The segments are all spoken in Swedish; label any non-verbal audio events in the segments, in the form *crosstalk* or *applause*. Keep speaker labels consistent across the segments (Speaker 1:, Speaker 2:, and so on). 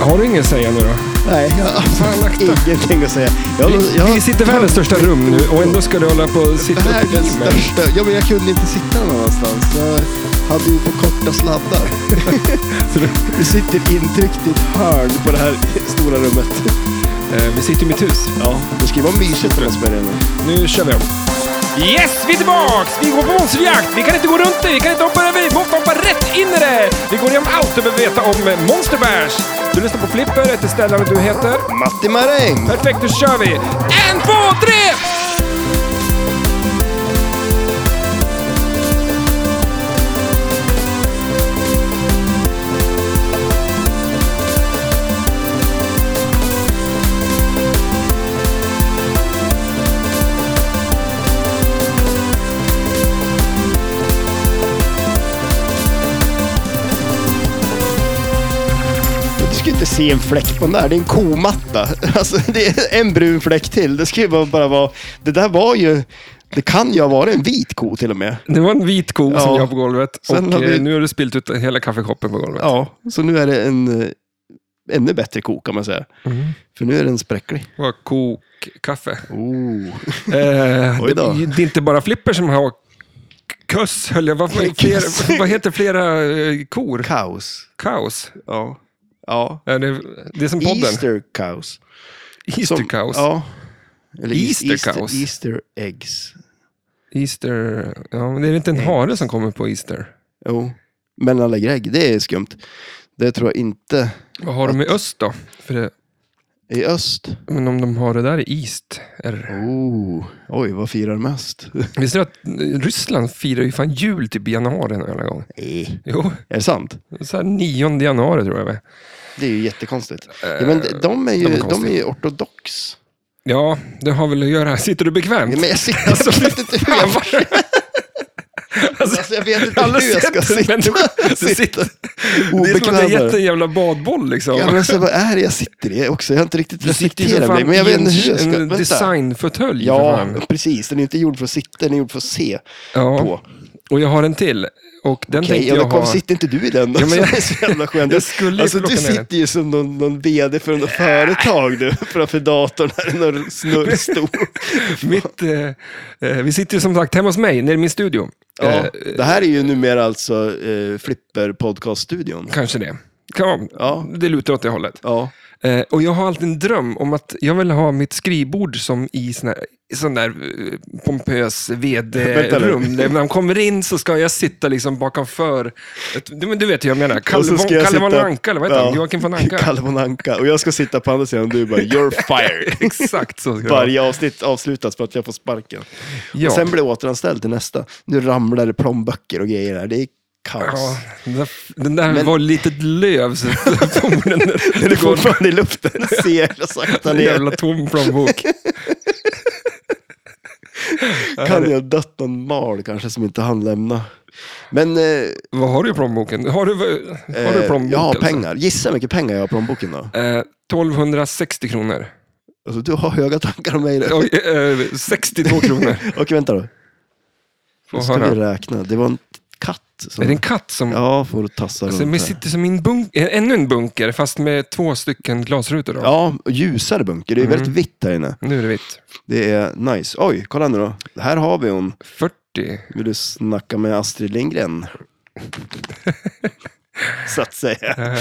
Speaker 1: Har du ingen att säga nu då?
Speaker 2: Nej, jag
Speaker 1: Fan, akta.
Speaker 2: har ingenting att säga. Jag,
Speaker 1: Vi,
Speaker 2: jag,
Speaker 1: vi sitter i världens största rum nu och ändå ska du hålla på och sitta och
Speaker 2: världens
Speaker 1: filma.
Speaker 2: största. Ja, men jag kunde inte sitta någon annanstans. Jag hade ju på korta sladdar. *laughs* Så du- du sitter intryckt i ett hörn på det här stora rummet.
Speaker 1: Eh, Vi sitter i mitt hus.
Speaker 2: Ja, det ska ju vara mysigt när man spelar in det.
Speaker 1: Nu kör vi om. Yes, vi är tillbaks! Vi går på monsterjakt! Vi kan inte gå runt det, vi kan inte hoppa över, vi måste hoppa rätt in i det! Vi går igenom allt du behöver veta om Monsterbärs. Du lyssnar på Flipper, heter Stellan och du heter?
Speaker 2: Matti Maräng!
Speaker 1: Perfekt, då kör vi! En, två, tre!
Speaker 2: Du ska ju inte se en fläck på den där. Det är en komatta. *laughs* Alltså, det är en brun fläck till. Det ska ju bara, bara vara... Det där var ju... Det kan ju ha varit en vit ko till och med.
Speaker 1: Det var en vit ko som
Speaker 2: Ja.
Speaker 1: jag har på golvet.
Speaker 2: Sen
Speaker 1: och
Speaker 2: har vi-
Speaker 1: eh, nu har du spilt ut hela kaffekoppen på golvet.
Speaker 2: Ja, så nu är det en eh, ännu bättre ko kan man säga. För nu är den spräcklig.
Speaker 1: Det var kokkaffe.
Speaker 2: Oh.
Speaker 1: Eh, det,
Speaker 2: Oj då.
Speaker 1: det är inte bara Flipper som har kuss, höll jag. Vad,
Speaker 2: Kuss.
Speaker 1: flera, vad heter flera eh, kor?
Speaker 2: Kaos.
Speaker 1: Kaos?
Speaker 2: *laughs* Ja. Ja.
Speaker 1: Är det, det är som podden.
Speaker 2: Easter kaos. Som-
Speaker 1: Easter-kaos.
Speaker 2: Ja. Eller
Speaker 1: Easter
Speaker 2: Easter,
Speaker 1: kaos.
Speaker 2: Easter eggs.
Speaker 1: Easter... Ja, men det är inte en hare som kommer på Easter.
Speaker 2: Jo. Men alla grägg, det är skumt. Det tror jag inte.
Speaker 1: Vad har de i öst då? För det,
Speaker 2: I öst.
Speaker 1: men om de har det där i East? Är,
Speaker 2: Oh. Oj, vad firar *laughs* mest?
Speaker 1: visste du att eh, Ryssland firar ju fan jul typ i januari en jävla gång?
Speaker 2: Nej.
Speaker 1: Jo,
Speaker 2: Är det sant?
Speaker 1: så här 9 januari tror jag. väl.
Speaker 2: Det är ju jättekonstigt. Ja, men de är ju,
Speaker 1: Eh, de är
Speaker 2: de är
Speaker 1: konstiga.
Speaker 2: ju ortodox.
Speaker 1: Ja, det har väl att göra. *laughs* Sitter du bekvämt?
Speaker 2: Ja, men jag, ser, alltså,
Speaker 1: *laughs*
Speaker 2: jag vet inte hur jag, alltså, jag vet inte
Speaker 1: alla
Speaker 2: hur jag ska
Speaker 1: sätt en
Speaker 2: *laughs* sitta.
Speaker 1: människa- *laughs* du sitter- Det är som att jag
Speaker 2: Obekväm
Speaker 1: gett
Speaker 2: där.
Speaker 1: en jävla badboll liksom.
Speaker 2: Ja, men alltså, vad är det jag sitter i också? Jag har inte riktigt
Speaker 1: du sitter ju för
Speaker 2: reflekterat mig,
Speaker 1: fan
Speaker 2: men jag
Speaker 1: i
Speaker 2: vet
Speaker 1: en,
Speaker 2: inte hur jag ska...
Speaker 1: en
Speaker 2: Vänta.
Speaker 1: designfåtölj. för
Speaker 2: Ja,
Speaker 1: fan.
Speaker 2: precis. Den är inte gjord för att sitta, den är gjord för att se
Speaker 1: ja.
Speaker 2: på.
Speaker 1: Och jag har en till. Och den
Speaker 2: Okej,
Speaker 1: tänkte jag
Speaker 2: jag kom,
Speaker 1: ha.
Speaker 2: sitter inte du i den då?
Speaker 1: Ja, men jag-
Speaker 2: *laughs* det är så jävla skönt.
Speaker 1: Jag skulle ju
Speaker 2: alltså,
Speaker 1: plocka
Speaker 2: du
Speaker 1: ner den.
Speaker 2: sitter ju som någon, någon vd för något företag nu, framför datorn här,
Speaker 1: *laughs*
Speaker 2: någon snurrstor.
Speaker 1: Mitt, eh, eh, vi sitter ju som sagt hemma hos mig, nere i min studio.
Speaker 2: Ja,
Speaker 1: Eh,
Speaker 2: det här är ju numera alltså eh, Flipper Podcast-studion.
Speaker 1: kanske det. Kan,
Speaker 2: Ja.
Speaker 1: Det lutar åt det hållet.
Speaker 2: Ja.
Speaker 1: Eh, och jag har alltid en dröm om att jag vill ha mitt skrivbord som i sån, här, i sån där eh, pompös
Speaker 2: *laughs* Vänta nu.
Speaker 1: vd-rum. Där När man kommer in så ska jag sitta liksom bakomför. Ett, du, men du vet hur jag menar.
Speaker 2: Och så ska
Speaker 1: Kalle,
Speaker 2: jag
Speaker 1: Kalle von
Speaker 2: sitta-
Speaker 1: Anka, eller vad heter han? Joakim von Anka.
Speaker 2: *laughs* Kalle von Anka. Och jag ska sitta på andra sidan och du bara, you're
Speaker 1: *laughs*
Speaker 2: fired.
Speaker 1: Exakt så ska det vara.
Speaker 2: *laughs* Varje avsnitt avslutas för att jag får sparken.
Speaker 1: Ja.
Speaker 2: Och sen blir jag återanställd till nästa. Nu ramlar det plånböcker och grejer här. Det är kaos.
Speaker 1: Ja, den där, den där
Speaker 2: Men-
Speaker 1: var litet löv.
Speaker 2: *laughs*
Speaker 1: Så *laughs* den,
Speaker 2: Den är fortfarande
Speaker 1: *laughs*
Speaker 2: i luften. Seglar sakta
Speaker 1: En
Speaker 2: ner.
Speaker 1: jävla tom plånbok.
Speaker 2: Kan jag ha dött någon mal kanske som inte han lämna. Men... Eh,
Speaker 1: Vad har du i plånboken? Har du, har du
Speaker 2: eh,
Speaker 1: plånbok?
Speaker 2: jag har
Speaker 1: alltså?
Speaker 2: pengar. Gissa hur mycket pengar jag har i plånboken då.
Speaker 1: Eh, 1260 kronor.
Speaker 2: Alltså, du har höga tankar om mig nu.
Speaker 1: Oj, eh, 62
Speaker 2: *laughs*
Speaker 1: kronor.
Speaker 2: Okej, vänta då.
Speaker 1: Få
Speaker 2: Nu ska
Speaker 1: höra.
Speaker 2: vi räkna. Det var en katt som...
Speaker 1: Är det en katt som...
Speaker 2: Ja, får tassa
Speaker 1: alltså, men
Speaker 2: runt här.
Speaker 1: sitter som i en bunker, ännu en bunker, fast med två stycken glasrutor. Då.
Speaker 2: Ja, och ljusare bunker. Det är
Speaker 1: Mm.
Speaker 2: väldigt vitt här inne.
Speaker 1: Nu är det vitt.
Speaker 2: Det är nice. Oj, kolla nu då. Här har vi hon.
Speaker 1: 40.
Speaker 2: Vill du snacka med
Speaker 1: *laughs*
Speaker 2: Astrid Lindgren? Så att säga.
Speaker 1: Äh,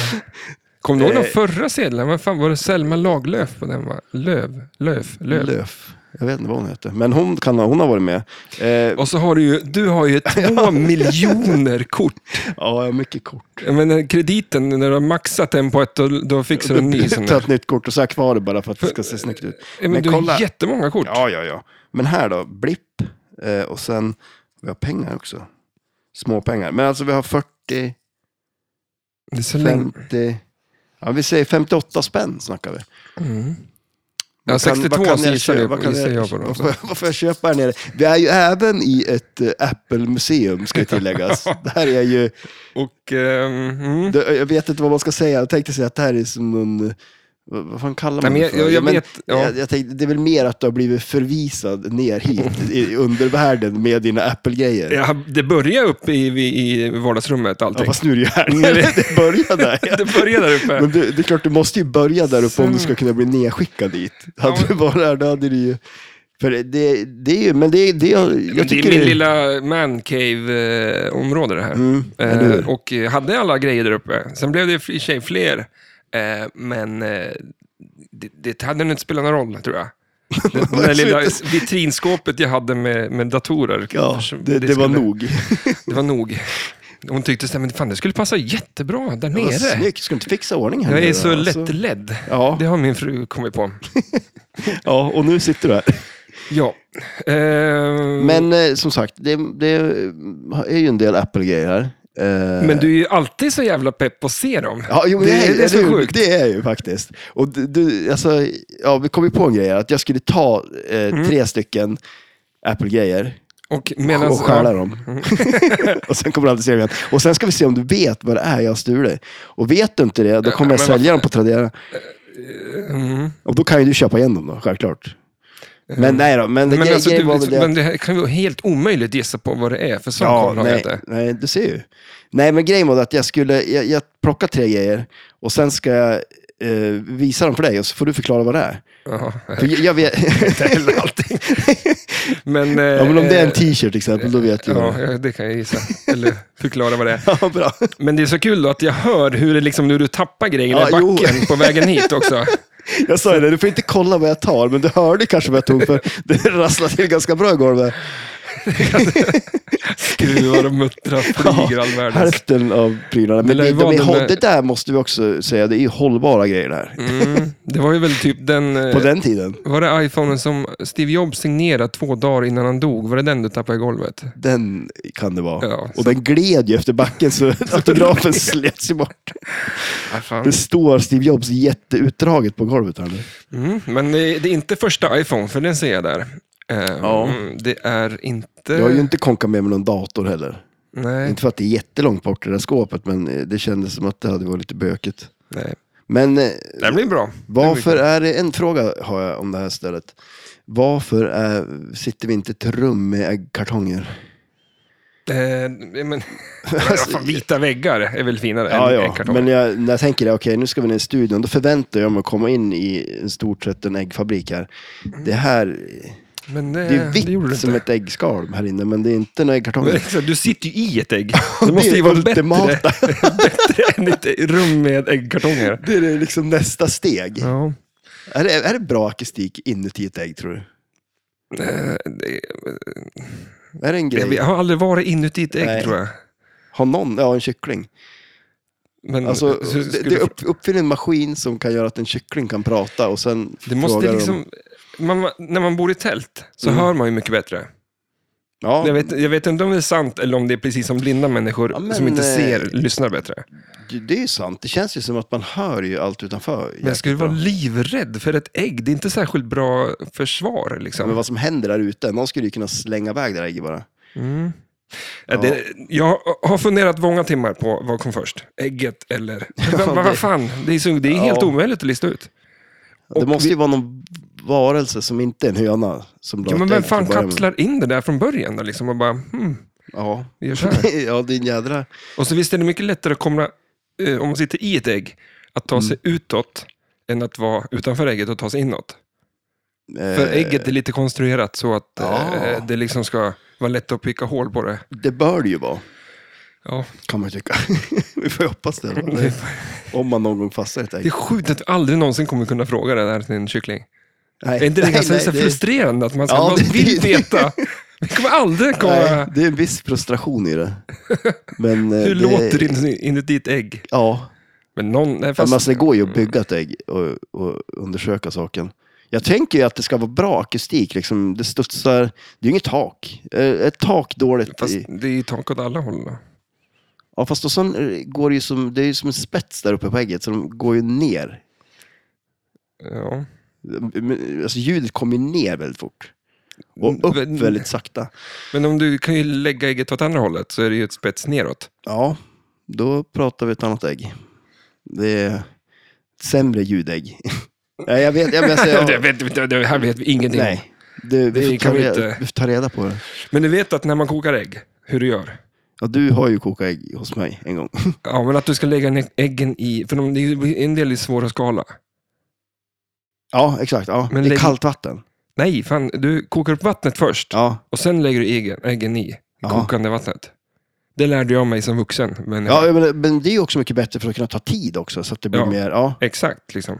Speaker 1: Kommer du ihåg de
Speaker 2: Eh.
Speaker 1: förra sedlarna? Vad fan var det Selma Lagerlöf på den? Va? Löv, löv, löv.
Speaker 2: Löf. Jag vet inte vad hon heter. Men hon, kan, ha- hon har varit med. Eh,
Speaker 1: Och så har du ju, du har
Speaker 2: *laughs*
Speaker 1: ju två miljoner kort.
Speaker 2: ja, jag har mycket kort.
Speaker 1: Jag menar, krediten, när du har maxat den på ett, då, då fixar du en ny sån
Speaker 2: Ta
Speaker 1: där.
Speaker 2: ett nytt kort och så har jag kvar det bara för att det ska se snyggt ut.
Speaker 1: Ja, Men,
Speaker 2: Men
Speaker 1: du
Speaker 2: kolla.
Speaker 1: har jättemånga kort.
Speaker 2: Ja, ja, ja. Men här då, blipp. Eh, och sen, vi har pengar också. Små pengar. Men alltså vi har 40,
Speaker 1: Det är så länge.
Speaker 2: 50, ja vi säger 58 spänn snackar vi.
Speaker 1: Mm.
Speaker 2: Vad
Speaker 1: Ja,
Speaker 2: kan-
Speaker 1: 62
Speaker 2: vad kan
Speaker 1: så
Speaker 2: jag
Speaker 1: gissar
Speaker 2: köpa?
Speaker 1: jag,
Speaker 2: Vad kan
Speaker 1: gissar jag på.
Speaker 2: *laughs* vad,
Speaker 1: Dem.
Speaker 2: får, vad får jag köpa här nere? Vi är ju även i ett eh, Apple-museum,
Speaker 1: *laughs*
Speaker 2: ska tilläggas. det här är ju,
Speaker 1: Och, ehm, mm,
Speaker 2: det, jag vet inte vad man ska säga, jag tänkte säga att det här är som någon eh, Vad vad fan kallar
Speaker 1: Nej,
Speaker 2: man
Speaker 1: men jag-
Speaker 2: det för?
Speaker 1: jag- jag vet, ja.
Speaker 2: jag, jag tänkte, det är väl mer att du har blivit förvisad ner hit i undervärlden med dina Apple-grejer.
Speaker 1: Ja, det börjar uppe i, i, i vardagsrummet
Speaker 2: Ja,
Speaker 1: allting.
Speaker 2: fast nu är det ju
Speaker 1: *laughs*
Speaker 2: här
Speaker 1: Nej, det-
Speaker 2: det börjar
Speaker 1: *laughs*
Speaker 2: där.
Speaker 1: det börjar där uppe. Mm.
Speaker 2: Men du, det är klart, du måste ju börja där uppe om du ska kunna bli nedskickad dit. Hade
Speaker 1: men-
Speaker 2: du varit där, då hade du ju... För det, det är ju, men det, det, jag, jag
Speaker 1: det är
Speaker 2: tycker...
Speaker 1: min lilla mancave-område det här.
Speaker 2: Mm, eller hur?
Speaker 1: eh, och eh, hade alla grejer där uppe. Sen blev det i och för sig fler, eh, men eh, det, det hade nog inte spelat någon roll,
Speaker 2: *laughs*
Speaker 1: tror jag. Det, det där lilla vitrinskåpet jag hade med, med datorer.
Speaker 2: Ja,
Speaker 1: För-
Speaker 2: det, det var
Speaker 1: skulle-
Speaker 2: nog.
Speaker 1: Det var nog. Hon tyckte så här, men fan, det skulle passa jättebra där
Speaker 2: *laughs* Vad
Speaker 1: nere.
Speaker 2: Snyggt, ska du inte fixa ordning här
Speaker 1: Jag
Speaker 2: nere
Speaker 1: är
Speaker 2: då,
Speaker 1: så
Speaker 2: alltså?
Speaker 1: lättledd.
Speaker 2: Ja,
Speaker 1: Det har min fru kommit på.
Speaker 2: ja, och nu sitter du här.
Speaker 1: Ja. Eh, Mm.
Speaker 2: Men eh, som sagt, det, det är ju en del Apple-grejer här. Eh,
Speaker 1: men du är ju alltid så jävla pepp på att se dem.
Speaker 2: Ja, jo, men
Speaker 1: Det är- det är så
Speaker 2: eller hur?
Speaker 1: sjukt.
Speaker 2: Det är jag ju faktiskt. Och du, du, alltså, ja, vi kom ju på en grej här, att jag skulle ta eh,
Speaker 1: Mm.
Speaker 2: tre stycken Apple-grejer
Speaker 1: Och medans,
Speaker 2: och stjäla dem.
Speaker 1: Mm.
Speaker 2: *laughs* och sen kommer du aldrig se dem igen. Och sen ska vi se om du vet vad det är jag har stulit. Och vet du inte det, då kommer jag
Speaker 1: men
Speaker 2: sälja dem på Tradera.
Speaker 1: mm.
Speaker 2: Och då kan ju du köpa igen dem då, självklart. Men nej då, men, det
Speaker 1: Eh. Men,
Speaker 2: grej,
Speaker 1: alltså,
Speaker 2: grejen
Speaker 1: du,
Speaker 2: var väl det.
Speaker 1: men det här kan ju vara helt omöjligt gissa på vad det är, för sån koll har jag
Speaker 2: nej,
Speaker 1: inte.
Speaker 2: nej, du ser ju. Nej, men grejen var att jag skulle, jag, jag plockar tre grejer och sen ska jag eh, visa dem för dig och så får du förklara vad det är.
Speaker 1: Jaha.
Speaker 2: För jag, jag vet,
Speaker 1: *laughs* Inte heller allting. Men, eh,
Speaker 2: ja, men om det är en t-shirt till exempel, då vet jag.
Speaker 1: Ja,
Speaker 2: vad det är.
Speaker 1: ja, det kan jag gissa. Eller förklara vad det är.
Speaker 2: *laughs* Ja, bra.
Speaker 1: Men det är så kul då att jag hör hur, det liksom, hur du tappar grejerna i
Speaker 2: Ja, jo.
Speaker 1: backen på vägen hit
Speaker 2: *laughs*
Speaker 1: också.
Speaker 2: Jag sa ju det, du får inte kolla vad jag tar, men du hörde kanske vad jag tog för *laughs* det rasslade till ganska bra i golvet.
Speaker 1: Skruvar och muttrar, flyger all världens.
Speaker 2: Hälften av prylarna.
Speaker 1: Det
Speaker 2: Men
Speaker 1: lär
Speaker 2: det,
Speaker 1: ju
Speaker 2: de
Speaker 1: vara
Speaker 2: är,
Speaker 1: de
Speaker 2: hå-
Speaker 1: där-
Speaker 2: det där måste vi också säga, det är ju hållbara grejer det här.
Speaker 1: Mm, det var ju väl typ den... eh,
Speaker 2: På den tiden.
Speaker 1: Var det iPhonen som Steve Jobs signerade två dagar innan han dog? Var det den du tappade i golvet?
Speaker 2: Den kan det vara.
Speaker 1: Ja,
Speaker 2: och den gled ju efter
Speaker 1: *laughs*
Speaker 2: backen så autografen slets ju bort.
Speaker 1: Ah, fan.
Speaker 2: Det står Steve Jobs jätteutdraget på golvet här nu.
Speaker 1: Mm, men det, det är inte första iPhone, för den ser jag där. Eh,
Speaker 2: Ja.
Speaker 1: mm, Det är inte...
Speaker 2: Jag har ju inte konkat med mig någon dator heller.
Speaker 1: Nej,
Speaker 2: Inte för att det är jättelångt bort det där skåpet, men eh, det kändes som att det hade varit lite bökigt.
Speaker 1: nej.
Speaker 2: Men eh,
Speaker 1: Det här blir bra.
Speaker 2: varför är det, en fråga har jag om det här stället. Varför är, sitter vi inte i ett rum med äggkartonger?
Speaker 1: Eh, men, alltså, vita väggar är väl finare
Speaker 2: Ja,
Speaker 1: än,
Speaker 2: ja.
Speaker 1: än kartong?
Speaker 2: men jag, när jag tänker det, okej nu ska vi ner i studion, då förväntar jag mig att komma in i en stort sett en äggfabrik här. Det här,
Speaker 1: Men,
Speaker 2: det är
Speaker 1: eh,
Speaker 2: vitt
Speaker 1: gjorde du
Speaker 2: som ett äggskal här inne, men det är inte några äggkartonger.
Speaker 1: Exakt, liksom, Du sitter ju i ett
Speaker 2: *laughs*
Speaker 1: ägg. Det
Speaker 2: Det
Speaker 1: måste
Speaker 2: är
Speaker 1: ju vara
Speaker 2: det
Speaker 1: bättre, *laughs*
Speaker 2: ultimata.
Speaker 1: bättre än ett rum med äggkartonger.
Speaker 2: *laughs* Det är det liksom nästa steg.
Speaker 1: Ja.
Speaker 2: Är, det, är det bra akustik inuti ett ägg tror du?
Speaker 1: Eh, det-
Speaker 2: Är det en grej?
Speaker 1: Jag har aldrig varit inuti ett ägg,
Speaker 2: Nej.
Speaker 1: tror jag.
Speaker 2: Har någon, ja en kyckling.
Speaker 1: Men,
Speaker 2: Alltså,
Speaker 1: så
Speaker 2: det,
Speaker 1: Mm. skulle
Speaker 2: det
Speaker 1: du-
Speaker 2: upp, uppfinner en maskin som kan göra att en kyckling kan prata och sen
Speaker 1: det måste
Speaker 2: frågar de-
Speaker 1: liksom... Man, när man bor i tält så
Speaker 2: Mm.
Speaker 1: hör man ju mycket bättre.
Speaker 2: Ja,
Speaker 1: Jag vet, jag vet inte om det är sant eller om det är precis som blinda människor
Speaker 2: Ja, men,
Speaker 1: som inte
Speaker 2: eh,
Speaker 1: ser lyssnar bättre.
Speaker 2: det- det är ju sant. Det känns ju som att man hör ju allt utanför.
Speaker 1: Men jag skulle
Speaker 2: jättebra.
Speaker 1: vara livrädd för ett ägg. Det är inte särskilt bra försvar. Liksom.
Speaker 2: Men vad som händer där ute, någon skulle ju kunna slänga iväg det där ägget bara.
Speaker 1: Mm. Ja, det, jag har funderat många timmar på vad kom först. Ägget
Speaker 2: *laughs*
Speaker 1: eller... Men vad-
Speaker 2: det-
Speaker 1: Vad fan, det är, så, det är helt
Speaker 2: Ja.
Speaker 1: omöjligt att lista ut.
Speaker 2: det
Speaker 1: Och
Speaker 2: måste ju vara någon varelse som inte är en höna. Som la
Speaker 1: Ja, men
Speaker 2: ett
Speaker 1: vem
Speaker 2: ägg
Speaker 1: fan
Speaker 2: till att börja med.
Speaker 1: kapslar in det där från början? Då, liksom, och bara, hmm,
Speaker 2: Ja. *laughs*
Speaker 1: vi gör så här.
Speaker 2: ja, det är en jädra...
Speaker 1: Och så visst är det mycket lättare att komma, eh, om man sitter i ett ägg, att ta sig
Speaker 2: Mm.
Speaker 1: utåt än att vara utanför ägget och ta sig inåt. För
Speaker 2: eh, Ah.
Speaker 1: ägget är lite konstruerat så att
Speaker 2: Ja.
Speaker 1: eh, det liksom ska vara lätt att picka hål på det.
Speaker 2: Det bör det ju vara,
Speaker 1: Ja.
Speaker 2: kan man ju tycka. *laughs* vi får ju
Speaker 1: *laughs*
Speaker 2: hoppas det. va? Om man någon gång fastnar i ett
Speaker 1: Det är
Speaker 2: ägg.
Speaker 1: sjukt att vi aldrig någonsin kommer kunna fråga det där till en kyckling.
Speaker 2: Nej,
Speaker 1: Är inte det
Speaker 2: nej,
Speaker 1: ganska
Speaker 2: nej,
Speaker 1: så
Speaker 2: det-
Speaker 1: frustrerande att man ska
Speaker 2: Ja,
Speaker 1: man
Speaker 2: det-
Speaker 1: vill
Speaker 2: det-
Speaker 1: veta? Vi kommer aldrig komma...
Speaker 2: Nej, det är en viss frustration
Speaker 1: *laughs*
Speaker 2: i det. Men, eh,
Speaker 1: Hur
Speaker 2: det,
Speaker 1: låter det in- inuti ett ägg?
Speaker 2: Ja,
Speaker 1: Men någon... Nej,
Speaker 2: men
Speaker 1: fast,
Speaker 2: alltså, det går ju att bygga ett ägg och, och undersöka saken. Jag tänker ju att det ska vara bra akustik, liksom. det studsar, det är ju inget tak. Eh, Ett tak dåligt.
Speaker 1: fast
Speaker 2: i,
Speaker 1: det är ju tak åt alla håll. Då.
Speaker 2: ja, fast och sen eh, går det ju som, det är ju som en spets där uppe på ägget, så de går ju ner.
Speaker 1: Ja.
Speaker 2: Men, Alltså ljudet kommer ju ner väldigt fort. Och upp
Speaker 1: Men-
Speaker 2: väldigt sakta.
Speaker 1: Men om du kan ju lägga ägget åt andra hållet så är det ju ett spets neråt.
Speaker 2: Ja, då pratar vi ett annat ägg. Det är ett sämre ljudägg. *laughs* Nej, jag vet. Jag, men alltså,
Speaker 1: *laughs* Det,
Speaker 2: jag,
Speaker 1: vet, vi- det här vet vi ingenting om.
Speaker 2: nej. Du, vi,
Speaker 1: Det
Speaker 2: får
Speaker 1: kan
Speaker 2: ta
Speaker 1: vi
Speaker 2: reda,
Speaker 1: inte.
Speaker 2: vi får ta reda på det.
Speaker 1: Men du vet att när man kokar ägg, hur du gör?
Speaker 2: Ja, du har ju kokat ägg hos mig en gång.
Speaker 1: Ja, men att du ska lägga ner äggen i, för de, det är en del är svåra att skala.
Speaker 2: Ja, exakt. Ja.
Speaker 1: Men
Speaker 2: det är
Speaker 1: lägg-
Speaker 2: kallt vatten.
Speaker 1: Nej, fan, du kokar upp vattnet först
Speaker 2: Ja,
Speaker 1: och sen lägger du äggen, äggen i
Speaker 2: Ja.
Speaker 1: kokande vattnet. Det lärde jag mig som vuxen. Men
Speaker 2: ja men, men det är ju också mycket bättre för att kunna ta tid också. Så att det blir
Speaker 1: Ja.
Speaker 2: mer, ja,
Speaker 1: Exakt, liksom.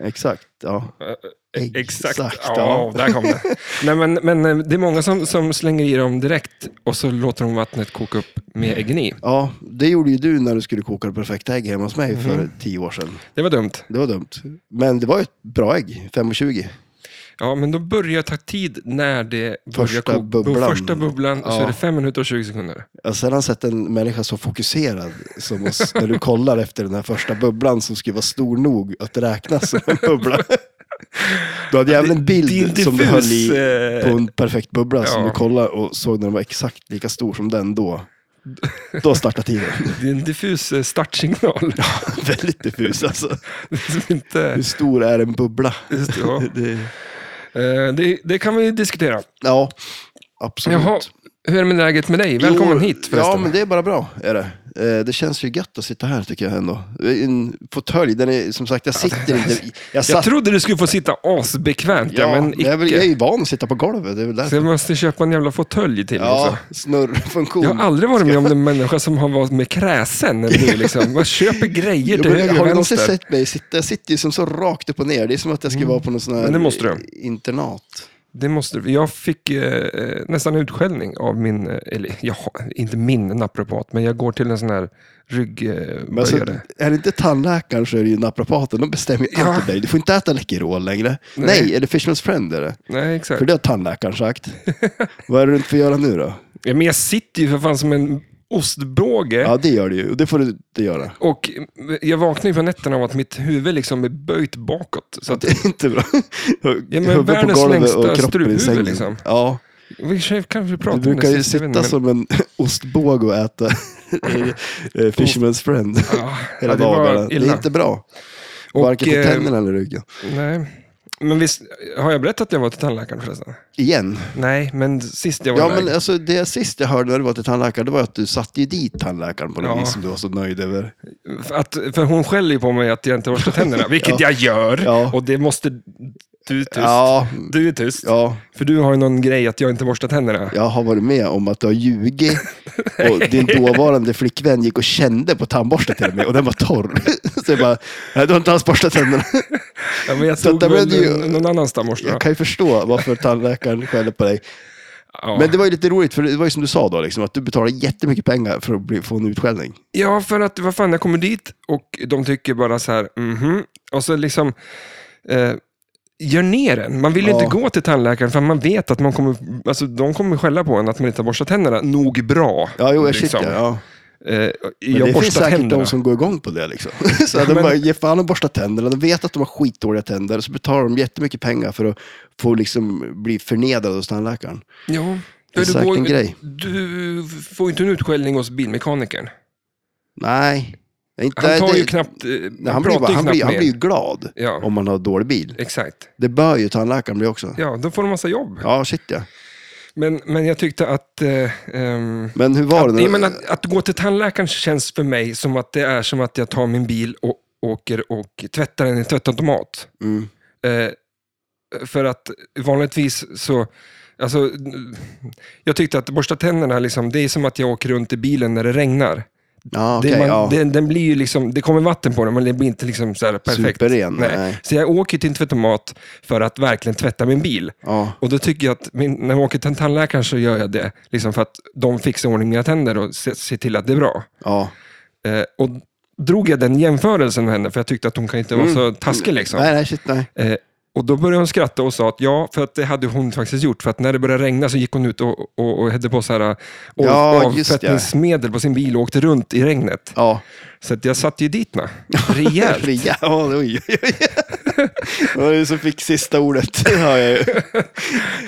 Speaker 1: Eh,
Speaker 2: exakt. Ja.
Speaker 1: E- Exakt.
Speaker 2: Eh, Exakt,
Speaker 1: ja,
Speaker 2: ja.
Speaker 1: där kom det.
Speaker 2: *laughs*
Speaker 1: Nej, men, men eh, det är många som, som slänger i dem direkt och så låter de vattnet koka upp
Speaker 2: Mm.
Speaker 1: med äggen i.
Speaker 2: ja, det gjorde ju du när du skulle koka det perfekta ägg hemma hos mig
Speaker 1: Mhm.
Speaker 2: för tio år sedan.
Speaker 1: Det var dumt.
Speaker 2: Det var dumt. Men det var ju ett bra ägg, 5,20.
Speaker 1: Ja, men då börjar jag ta tid när det
Speaker 2: Första
Speaker 1: börjar koka.
Speaker 2: bubblan.
Speaker 1: Första bubblan så
Speaker 2: Ja.
Speaker 1: är det 5 minuter och 20 sekunder.
Speaker 2: Jag har sällan sett en människa så fokuserad som oss när du kollar efter den här första bubblan som skulle vara stor nog att räknas som en bubbla. Du hade även en bild
Speaker 1: Din
Speaker 2: som du höll
Speaker 1: diffus,
Speaker 2: i på
Speaker 1: eh,
Speaker 2: en perfekt bubbla som
Speaker 1: Ja.
Speaker 2: du kollade och såg när den var exakt lika stor som den då. Då startade tiden.
Speaker 1: din diffus eh, startsignal. *laughs*
Speaker 2: Väldigt diffus alltså.
Speaker 1: Som inte,
Speaker 2: Hur stor är en bubbla?
Speaker 1: just, ja.
Speaker 2: Det,
Speaker 1: Eh, det, det kan vi diskutera.
Speaker 2: ja, absolut.
Speaker 1: Jaha, hur är det med läget med dig? Välkommen
Speaker 2: Jo,
Speaker 1: hit
Speaker 2: Ja,
Speaker 1: förresten.
Speaker 2: men det är bara bra. Är det. Eh, det känns ju gött att sitta här tycker jag ändå. En fåtölj, den är som sagt, jag sitter inte... Jag
Speaker 1: Jag
Speaker 2: satt...
Speaker 1: trodde du skulle få sitta asbekvämt, ja, men
Speaker 2: jag, är väl, jag är
Speaker 1: icke.
Speaker 2: ju van att sitta på golvet, det är väl
Speaker 1: Så
Speaker 2: därför.
Speaker 1: jag måste köpa en jävla fåtölj till.
Speaker 2: Ja,
Speaker 1: Också. liksom?
Speaker 2: snurrfunktion.
Speaker 1: Jag har aldrig varit med om en människa som har varit mer kräsen än du. Liksom. Man köper grejer
Speaker 2: *laughs* Jo,
Speaker 1: till
Speaker 2: men
Speaker 1: höger
Speaker 2: har
Speaker 1: och
Speaker 2: du någonsin
Speaker 1: vänster. Mm.
Speaker 2: sett mig sitta? Jag sitter ju som så rakt upp och ner. Det är som att jag ska vara på någon sån här
Speaker 1: Men det måste du.
Speaker 2: internat.
Speaker 1: Det måste, jag fick eh, eh, nästan utskällning av min, eh, eller jag har- inte min naprapat, men jag går till en sån här eh,
Speaker 2: Men alltså,
Speaker 1: ryggböjare.
Speaker 2: är det inte tandläkaren så är det ju naprapaten. De bestämmer ju
Speaker 1: Ja.
Speaker 2: allt åt dig. Du får inte äta Läkerol längre.
Speaker 1: Nej.
Speaker 2: Nej. eller Fishman's Friend är det.
Speaker 1: Nej, exakt.
Speaker 2: För det har
Speaker 1: *laughs*
Speaker 2: tandläkaren sagt. Vad är det du inte får göra nu då?
Speaker 1: Ja, men jag sitter ju för fan som en ostbåge.
Speaker 2: Ja, det gör du ju. Och det får du inte göra. *laughs*
Speaker 1: Och eh, jag vaknar ju på nätterna av att mitt huvud liksom är böjt bakåt. Så
Speaker 2: *laughs*
Speaker 1: att,
Speaker 2: Det är inte bra.
Speaker 1: Ja, men
Speaker 2: Huvudet på
Speaker 1: världens
Speaker 2: golvet
Speaker 1: längsta
Speaker 2: och kroppen i
Speaker 1: struphuvud,
Speaker 2: sängen.
Speaker 1: liksom.
Speaker 2: Ja,
Speaker 1: vi kanske- kanske pratar
Speaker 2: du
Speaker 1: om
Speaker 2: brukar ju
Speaker 1: sist, jag vet inte,
Speaker 2: sitta
Speaker 1: men-
Speaker 2: som en *laughs* ostbåge och äta *laughs* eh, Fisherman's friend
Speaker 1: Ja,
Speaker 2: *laughs*
Speaker 1: ja,
Speaker 2: hela
Speaker 1: Ah, det var
Speaker 2: dagarna. Det
Speaker 1: illa.
Speaker 2: är inte bra.
Speaker 1: Och,
Speaker 2: Varken för
Speaker 1: eh,
Speaker 2: tänderna eller ryggen.
Speaker 1: Nej. Men visst, har jag berättat att jag var till tandläkaren förresten?
Speaker 2: Igen.
Speaker 1: Nej, men sist jag var
Speaker 2: Ja,
Speaker 1: iväg-
Speaker 2: men alltså, det sist jag hörde när du var till tandläkaren, det var att du satte ju dit tandläkaren på något
Speaker 1: Ja.
Speaker 2: vis som du var så nöjd över.
Speaker 1: För Att, för hon skäller ju på mig att jag inte borstar tänderna, vilket jag gör.
Speaker 2: Ja.
Speaker 1: Och det måste... Du är tyst.
Speaker 2: Ja,
Speaker 1: Du är tyst.
Speaker 2: ja,
Speaker 1: För du har ju någon grej att jag inte borstar tänderna.
Speaker 2: jag har varit med om att du har ljugit och
Speaker 1: *laughs*
Speaker 2: din dåvarande flickvän gick och kände på tandborsten till mig och den var torr. Så jag bara, nej du har inte alls borstat tänderna.
Speaker 1: Ja, men jag
Speaker 2: Så
Speaker 1: tog
Speaker 2: där
Speaker 1: väl
Speaker 2: blev det ju-
Speaker 1: någon- någon annan stamborste. då.
Speaker 2: Jag kan ju förstå varför tandläkaren skäller på dig.
Speaker 1: Ja.
Speaker 2: Men det var ju lite roligt, för det var ju som du sa då, liksom, att du betalar jättemycket pengar för att bli, få en utskällning.
Speaker 1: ja, för att vad fan, jag kommer dit och de tycker bara så här, mhm. Och så liksom... Eh, Gör ner en. Man vill ju
Speaker 2: Ja.
Speaker 1: inte gå till tandläkaren för man vet att man kommer, alltså, de kommer skälla på en att man inte har borstat tänderna nog bra.
Speaker 2: Ja, jo, jag
Speaker 1: Liksom.
Speaker 2: shit, ja, ja.
Speaker 1: Eh,
Speaker 2: Men
Speaker 1: jag
Speaker 2: det finns
Speaker 1: borstar
Speaker 2: säkert
Speaker 1: tänderna.
Speaker 2: de som går igång på det. Liksom. *laughs* så
Speaker 1: Ja,
Speaker 2: de
Speaker 1: men-
Speaker 2: bara ger fan och borstar tänderna, de vet att de har skitdåliga tänder, så betalar de jättemycket pengar för att få liksom, bli förnedrade hos tandläkaren.
Speaker 1: Ja.
Speaker 2: Det är
Speaker 1: Du
Speaker 2: säkert
Speaker 1: går-
Speaker 2: en grej.
Speaker 1: Du får ju inte en utskällning hos bilmekanikern.
Speaker 2: Nej, det är inte,
Speaker 1: Han tar
Speaker 2: det-
Speaker 1: ju knappt... eh,
Speaker 2: Nej, han, blir,
Speaker 1: pratar
Speaker 2: bara-
Speaker 1: ju
Speaker 2: han,
Speaker 1: knappt
Speaker 2: blir, han
Speaker 1: med
Speaker 2: blir ju glad
Speaker 1: er. Ja,
Speaker 2: om man har dålig bil.
Speaker 1: exakt.
Speaker 2: Det bör ju tandläkaren bli också.
Speaker 1: Ja, då får de massa jobb.
Speaker 2: Ja, shit ja.
Speaker 1: Men, men jag tyckte att... Eh, ehm,
Speaker 2: Men hur var det?
Speaker 1: nej,
Speaker 2: när-
Speaker 1: men att, att gå till tandläkaren känns för mig som att det är som att jag tar min bil och åker och tvättar den i en tvättautomat.
Speaker 2: Mm.
Speaker 1: Eh, för att vanligtvis så... Alltså, jag tyckte att borsta tänderna, liksom, det är som att jag åker runt i bilen när det regnar.
Speaker 2: Ja,
Speaker 1: Det,
Speaker 2: okej,
Speaker 1: man,
Speaker 2: ja.
Speaker 1: den, den blir ju liksom, det kommer vatten på den, men det blir inte liksom så här perfekt.
Speaker 2: Superren, nej.
Speaker 1: Så jag åker till en tvättomat för att verkligen tvätta min bil.
Speaker 2: ja.
Speaker 1: Och då tycker jag att min, när jag åker till en tandläkare så gör jag det. Liksom för att de fixar i ordning mina tänder och ser, ser till att det är bra.
Speaker 2: ja.
Speaker 1: Eh, och drog jag den jämförelsen med henne, för jag tyckte att hon kan inte vara så taskig. Liksom.
Speaker 2: Mm. Nej, nej, shit, nej.
Speaker 1: Eh, och då började hon skratta och sa att ja, för att det hade hon faktiskt gjort. För att när det började regna så gick hon ut och, och, och hade på så här, och,
Speaker 2: Ja, just det.
Speaker 1: avfettningsmedel på sin bil och åkte runt i regnet.
Speaker 2: Ja.
Speaker 1: Så att jag satt ju dit
Speaker 2: *laughs*
Speaker 1: med. Rejält.
Speaker 2: Fria. Ja, oj, oj,
Speaker 1: *laughs*
Speaker 2: oj. Det var du som fick sista ordet. Ja, jag ju.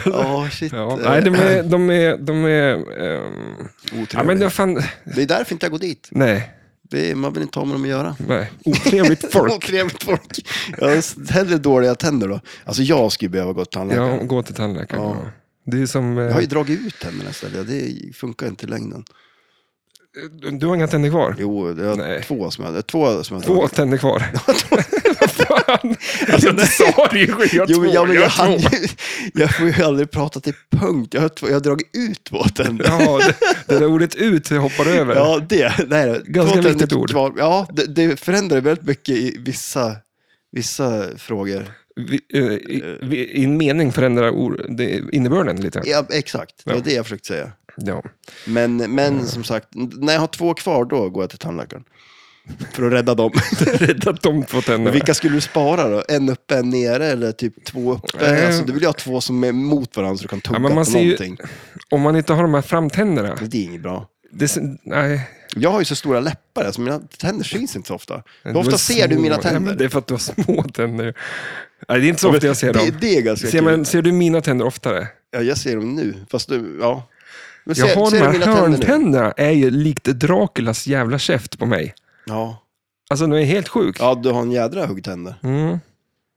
Speaker 2: Ja, shit.
Speaker 1: Ja, nej, de är... De är, de är ehm, ja, men det var fan,
Speaker 2: Det är därför inte jag går dit.
Speaker 1: nej.
Speaker 2: Det är, man vill inte ha med dem att göra.
Speaker 1: Nej, *laughs* otrevligt folk.
Speaker 2: *laughs* Otrevligt folk. Ja, hellre dåliga tänder då. Alltså jag skulle behöva gå till tandläkaren.
Speaker 1: Ja, gå till tandläkaren.
Speaker 2: Ja.
Speaker 1: Ja. Det är som...
Speaker 2: Jag
Speaker 1: Eh,
Speaker 2: har ju dragit ut tänderna istället. Det funkar inte i längden.
Speaker 1: du har inga tänder kvar?
Speaker 2: Jo, det var
Speaker 1: Nej.
Speaker 2: två som jag hade. Två som jag
Speaker 1: Två
Speaker 2: dragit.
Speaker 1: tänder
Speaker 2: *laughs*
Speaker 1: kvar. Vad fan? Jag sa det ju! Jag har
Speaker 2: Jo, men
Speaker 1: två,
Speaker 2: jag,
Speaker 1: jag
Speaker 2: men jag,
Speaker 1: har
Speaker 2: hann
Speaker 1: två.
Speaker 2: ju, *laughs* jag får ju aldrig prata till punkt. Jag har, två, jag har dragit ut två tänder.
Speaker 1: Ja, det, det där ordet ut hoppar över.
Speaker 2: Ja, det. Nej, det-
Speaker 1: Ganska
Speaker 2: två tänder
Speaker 1: viktigt ord.
Speaker 2: Kvar. Ja, det, det förändrar väldigt mycket i vissa, vissa frågor.
Speaker 1: Vi, eh, i, vi, I en mening förändrar or, det, innebörden lite.
Speaker 2: Ja, exakt. Det var
Speaker 1: Ja.
Speaker 2: det jag försökte säga.
Speaker 1: Ja. *laughs*
Speaker 2: Men, men som sagt, när jag har två kvar då går jag till tandläkaren. För att rädda dem. *laughs*
Speaker 1: Räddat de två tänderna.
Speaker 2: Men vilka skulle du spara då? En uppe, en nere eller typ två uppe?
Speaker 1: Nej.
Speaker 2: Alltså, du vill ju ha två som är mot varandra så du kan tugga
Speaker 1: Eh. Ja, men man
Speaker 2: på
Speaker 1: ser ju-
Speaker 2: någonting.
Speaker 1: Om man inte har de här framtänderna.
Speaker 2: Det är inget bra.
Speaker 1: Det, ser- nej,
Speaker 2: Jag har ju så stora läppar, alltså mina tänder syns inte så ofta. Hur
Speaker 1: Det
Speaker 2: ofta
Speaker 1: var
Speaker 2: ser du
Speaker 1: små-
Speaker 2: mina
Speaker 1: Ja, men
Speaker 2: tänder?
Speaker 1: det är för att du har små *laughs* tänder. Nej, det är inte så ofta jag ser
Speaker 2: Det,
Speaker 1: dem.
Speaker 2: det är ganska
Speaker 1: Ser,
Speaker 2: kul.
Speaker 1: man, ser du mina tänder oftare?
Speaker 2: Ja, jag ser dem nu, fast du, ja. Men
Speaker 1: Jag har de
Speaker 2: ser du
Speaker 1: här
Speaker 2: mina tänder nu?
Speaker 1: hörntänderna är ju likt Draculas jävla käft på mig.
Speaker 2: Ja.
Speaker 1: Alltså den är helt sjuk.
Speaker 2: ja, du har en jädra huggtänder.
Speaker 1: Mm.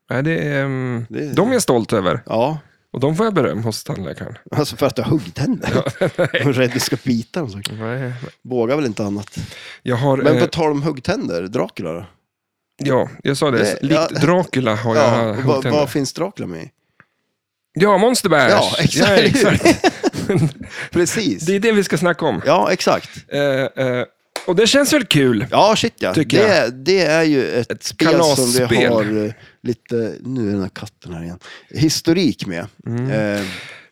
Speaker 1: Nej, det är, ehm,
Speaker 2: Det är-
Speaker 1: De är jag stolt över.
Speaker 2: Ja,
Speaker 1: Och de får jag beröm hos tandläkaren.
Speaker 2: alltså för att du har huggtänder.
Speaker 1: *laughs*
Speaker 2: Jag är rädd du ska bita dem. Så.
Speaker 1: Nej.
Speaker 2: Vågar väl inte annat.
Speaker 1: Jag har...
Speaker 2: Men
Speaker 1: eh,
Speaker 2: på tal om huggtänder, Dracula då?
Speaker 1: ja, jag sa det.
Speaker 2: Eh,
Speaker 1: Likt
Speaker 2: ja.
Speaker 1: Dracula har
Speaker 2: Ja,
Speaker 1: jag
Speaker 2: och vad,
Speaker 1: huggtänder.
Speaker 2: vad finns Dracula med i?
Speaker 1: Ja, Monster Bash.
Speaker 2: Ja, exakt.
Speaker 1: Ja, exakt.
Speaker 2: Precis.
Speaker 1: Det är det vi ska snacka om.
Speaker 2: Ja, exakt.
Speaker 1: Eh, eh, och det känns väl kul?
Speaker 2: Ja, shit ja.
Speaker 1: Tycker
Speaker 2: Det, det är ju ett, spel som vi
Speaker 1: kalasspel.
Speaker 2: har eh, lite, nu är den här katten här igen, historik med.
Speaker 1: Mm.
Speaker 2: Eh,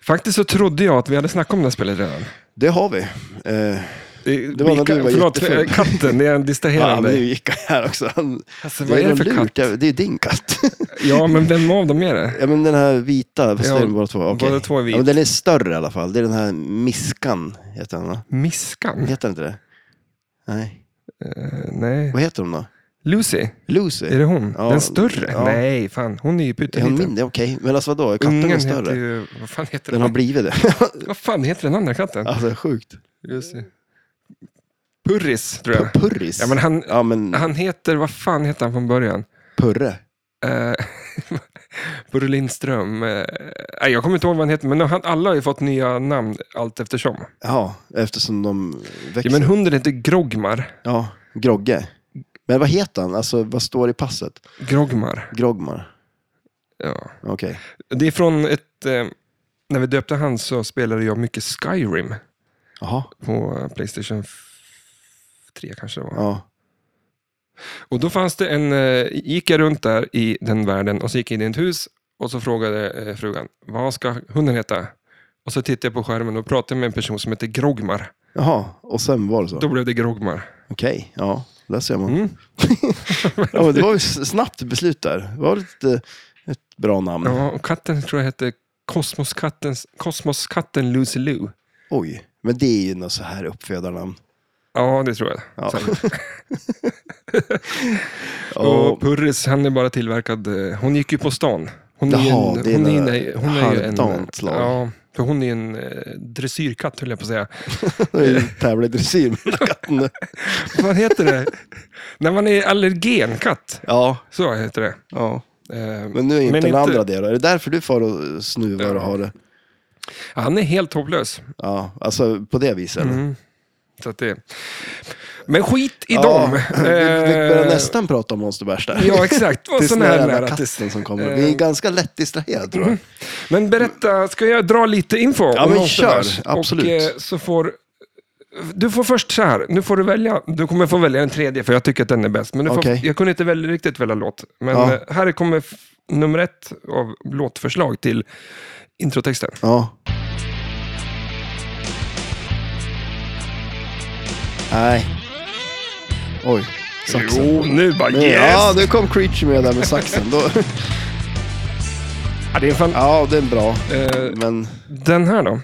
Speaker 1: Faktiskt så trodde jag att vi hade snackat om det här spelet redan.
Speaker 2: det har vi. Eh,
Speaker 1: Det,
Speaker 2: Det var när du var
Speaker 1: Förlåt,
Speaker 2: jättefull.
Speaker 1: katten, det är en
Speaker 2: ja,
Speaker 1: distraherande.
Speaker 2: nu gick jag här också. Han,
Speaker 1: Alltså, vad är det
Speaker 2: någon
Speaker 1: för katt?
Speaker 2: Jag- Det är
Speaker 1: *laughs*
Speaker 2: din katt.
Speaker 1: Ja, men vem av dem är det?
Speaker 2: ja, men den här vita, fast
Speaker 1: Ja,
Speaker 2: det är den båda två. Okej.
Speaker 1: båda två är vit.
Speaker 2: Ja, men den är större i alla fall. Det är den här Miskan, heter den va?
Speaker 1: Miskan?
Speaker 2: Heter den inte det? Nej.
Speaker 1: Eh, nej.
Speaker 2: Vad heter hon då?
Speaker 1: Lucy?
Speaker 2: Lucy?
Speaker 1: Är det hon?
Speaker 2: Ja,
Speaker 1: den större?
Speaker 2: ja.
Speaker 1: Nej, fan. Hon är ju
Speaker 2: Är hon
Speaker 1: pytteliten.
Speaker 2: mindre? Okej, men alltså vadå? Är katten
Speaker 1: Ungen
Speaker 2: är
Speaker 1: heter
Speaker 2: större?
Speaker 1: ju... Vad fan heter den?
Speaker 2: Den har blivit
Speaker 1: *laughs*
Speaker 2: det.
Speaker 1: Vad fan heter den andra katten?
Speaker 2: alltså sjukt.
Speaker 1: Lucy. Purris, tror jag.
Speaker 2: Pu- Purris?
Speaker 1: Ja, men han,
Speaker 2: Ja, men
Speaker 1: han heter... Vad fan heter han från början?
Speaker 2: Purre.
Speaker 1: Uh, Burre Lindström. eh, nej, jag kommer inte ihåg vad han heter, men han, alla har ju fått nya namn allt eftersom.
Speaker 2: Ja, eftersom de växer.
Speaker 1: Ja,
Speaker 2: Ja,
Speaker 1: men hunden heter Grogmar.
Speaker 2: Grogge. Men vad heter han? Alltså, vad står i passet?
Speaker 1: Grogmar.
Speaker 2: Grogmar?
Speaker 1: Ja.
Speaker 2: Okej.
Speaker 1: Det är från ett... Eh, när vi döpte han så spelade jag mycket Skyrim
Speaker 2: Jaha.
Speaker 1: på eh, Playstation f- 3 kanske det var.
Speaker 2: Ja.
Speaker 1: Och då fanns det en... Eh, gick jag runt där i den världen och så gick jag in i ett hus och så frågade eh, frugan, vad ska hunden heta? Och så tittade jag på skärmen och pratade med en person som heter Grogmar.
Speaker 2: Jaha, och sen var det så?
Speaker 1: Då blev det Grogmar.
Speaker 2: Okej, ja. Där ser man.
Speaker 1: Mm.
Speaker 2: *laughs* Ja, men det var ju s- snabbt beslut där. Det var lite, ett bra namn.
Speaker 1: Ja, och katten tror jag hette Kosmoskatten, Kosmoskatten Lucy Lou.
Speaker 2: Oj, men det är ju något så här uppfödarnamn.
Speaker 1: Ja, det tror jag.
Speaker 2: Ja.
Speaker 1: Sen-
Speaker 2: Och, *laughs*
Speaker 1: Och Purris, han är bara tillverkad... eh, Hon gick ju på stan. Hon är ju
Speaker 2: Jaha, det är
Speaker 1: en... Hon
Speaker 2: en, eh,
Speaker 1: är, ju- hon är ju en eh,
Speaker 2: halvdant lag.
Speaker 1: ja, för hon är en eh, dressyrkatt, höll jag på att säga.
Speaker 2: tävla i dressyr *laughs* med den här katten.
Speaker 1: Vad heter det? När man är allergenkatt.
Speaker 2: Ja,
Speaker 1: Så heter det.
Speaker 2: ja.
Speaker 1: Eh,
Speaker 2: Men nu är inte
Speaker 1: Men
Speaker 2: den
Speaker 1: inte-
Speaker 2: andra det då. Är det därför du far och snuvar och har det?
Speaker 1: Han är helt hopplös.
Speaker 2: Ja, alltså på det viset. eller?
Speaker 1: Mm. Så att det... Men skit i
Speaker 2: ja,
Speaker 1: dem.
Speaker 2: *laughs* Vi, vi börjar
Speaker 1: Eh,
Speaker 2: nästan prata om Monster Bash där.
Speaker 1: Ja, exakt. Vad
Speaker 2: *laughs* Tills
Speaker 1: sån
Speaker 2: den här
Speaker 1: här
Speaker 2: jävla
Speaker 1: nära. Eh. Mm-hmm. tills-
Speaker 2: katten som kommer. Vi är ganska lätt distraherade tror jag.
Speaker 1: Men berätta, ska jag dra lite info?
Speaker 2: Ja,
Speaker 1: om
Speaker 2: men
Speaker 1: Monster
Speaker 2: kör.
Speaker 1: Mash?
Speaker 2: Absolut.
Speaker 1: Och, eh, så får, du får först så här, nu får du välja. Du kommer få välja den tredje, för jag tycker att den är bäst. Men du
Speaker 2: Okej.
Speaker 1: får, jag kunde inte välja, riktigt välja låt. Men
Speaker 2: Ja.
Speaker 1: eh, här kommer f- nummer ett av låtförslag till introtexten.
Speaker 2: Ja. Nej. Oj, saxen.
Speaker 1: Jo, nu bara
Speaker 2: Nu-
Speaker 1: yes!
Speaker 2: Ja, nu kom Creature med där med saxen.
Speaker 1: *laughs*
Speaker 2: Då,
Speaker 1: Ja, det är fan,
Speaker 2: ja, det är bra.
Speaker 1: eh,
Speaker 2: Men
Speaker 1: den här då?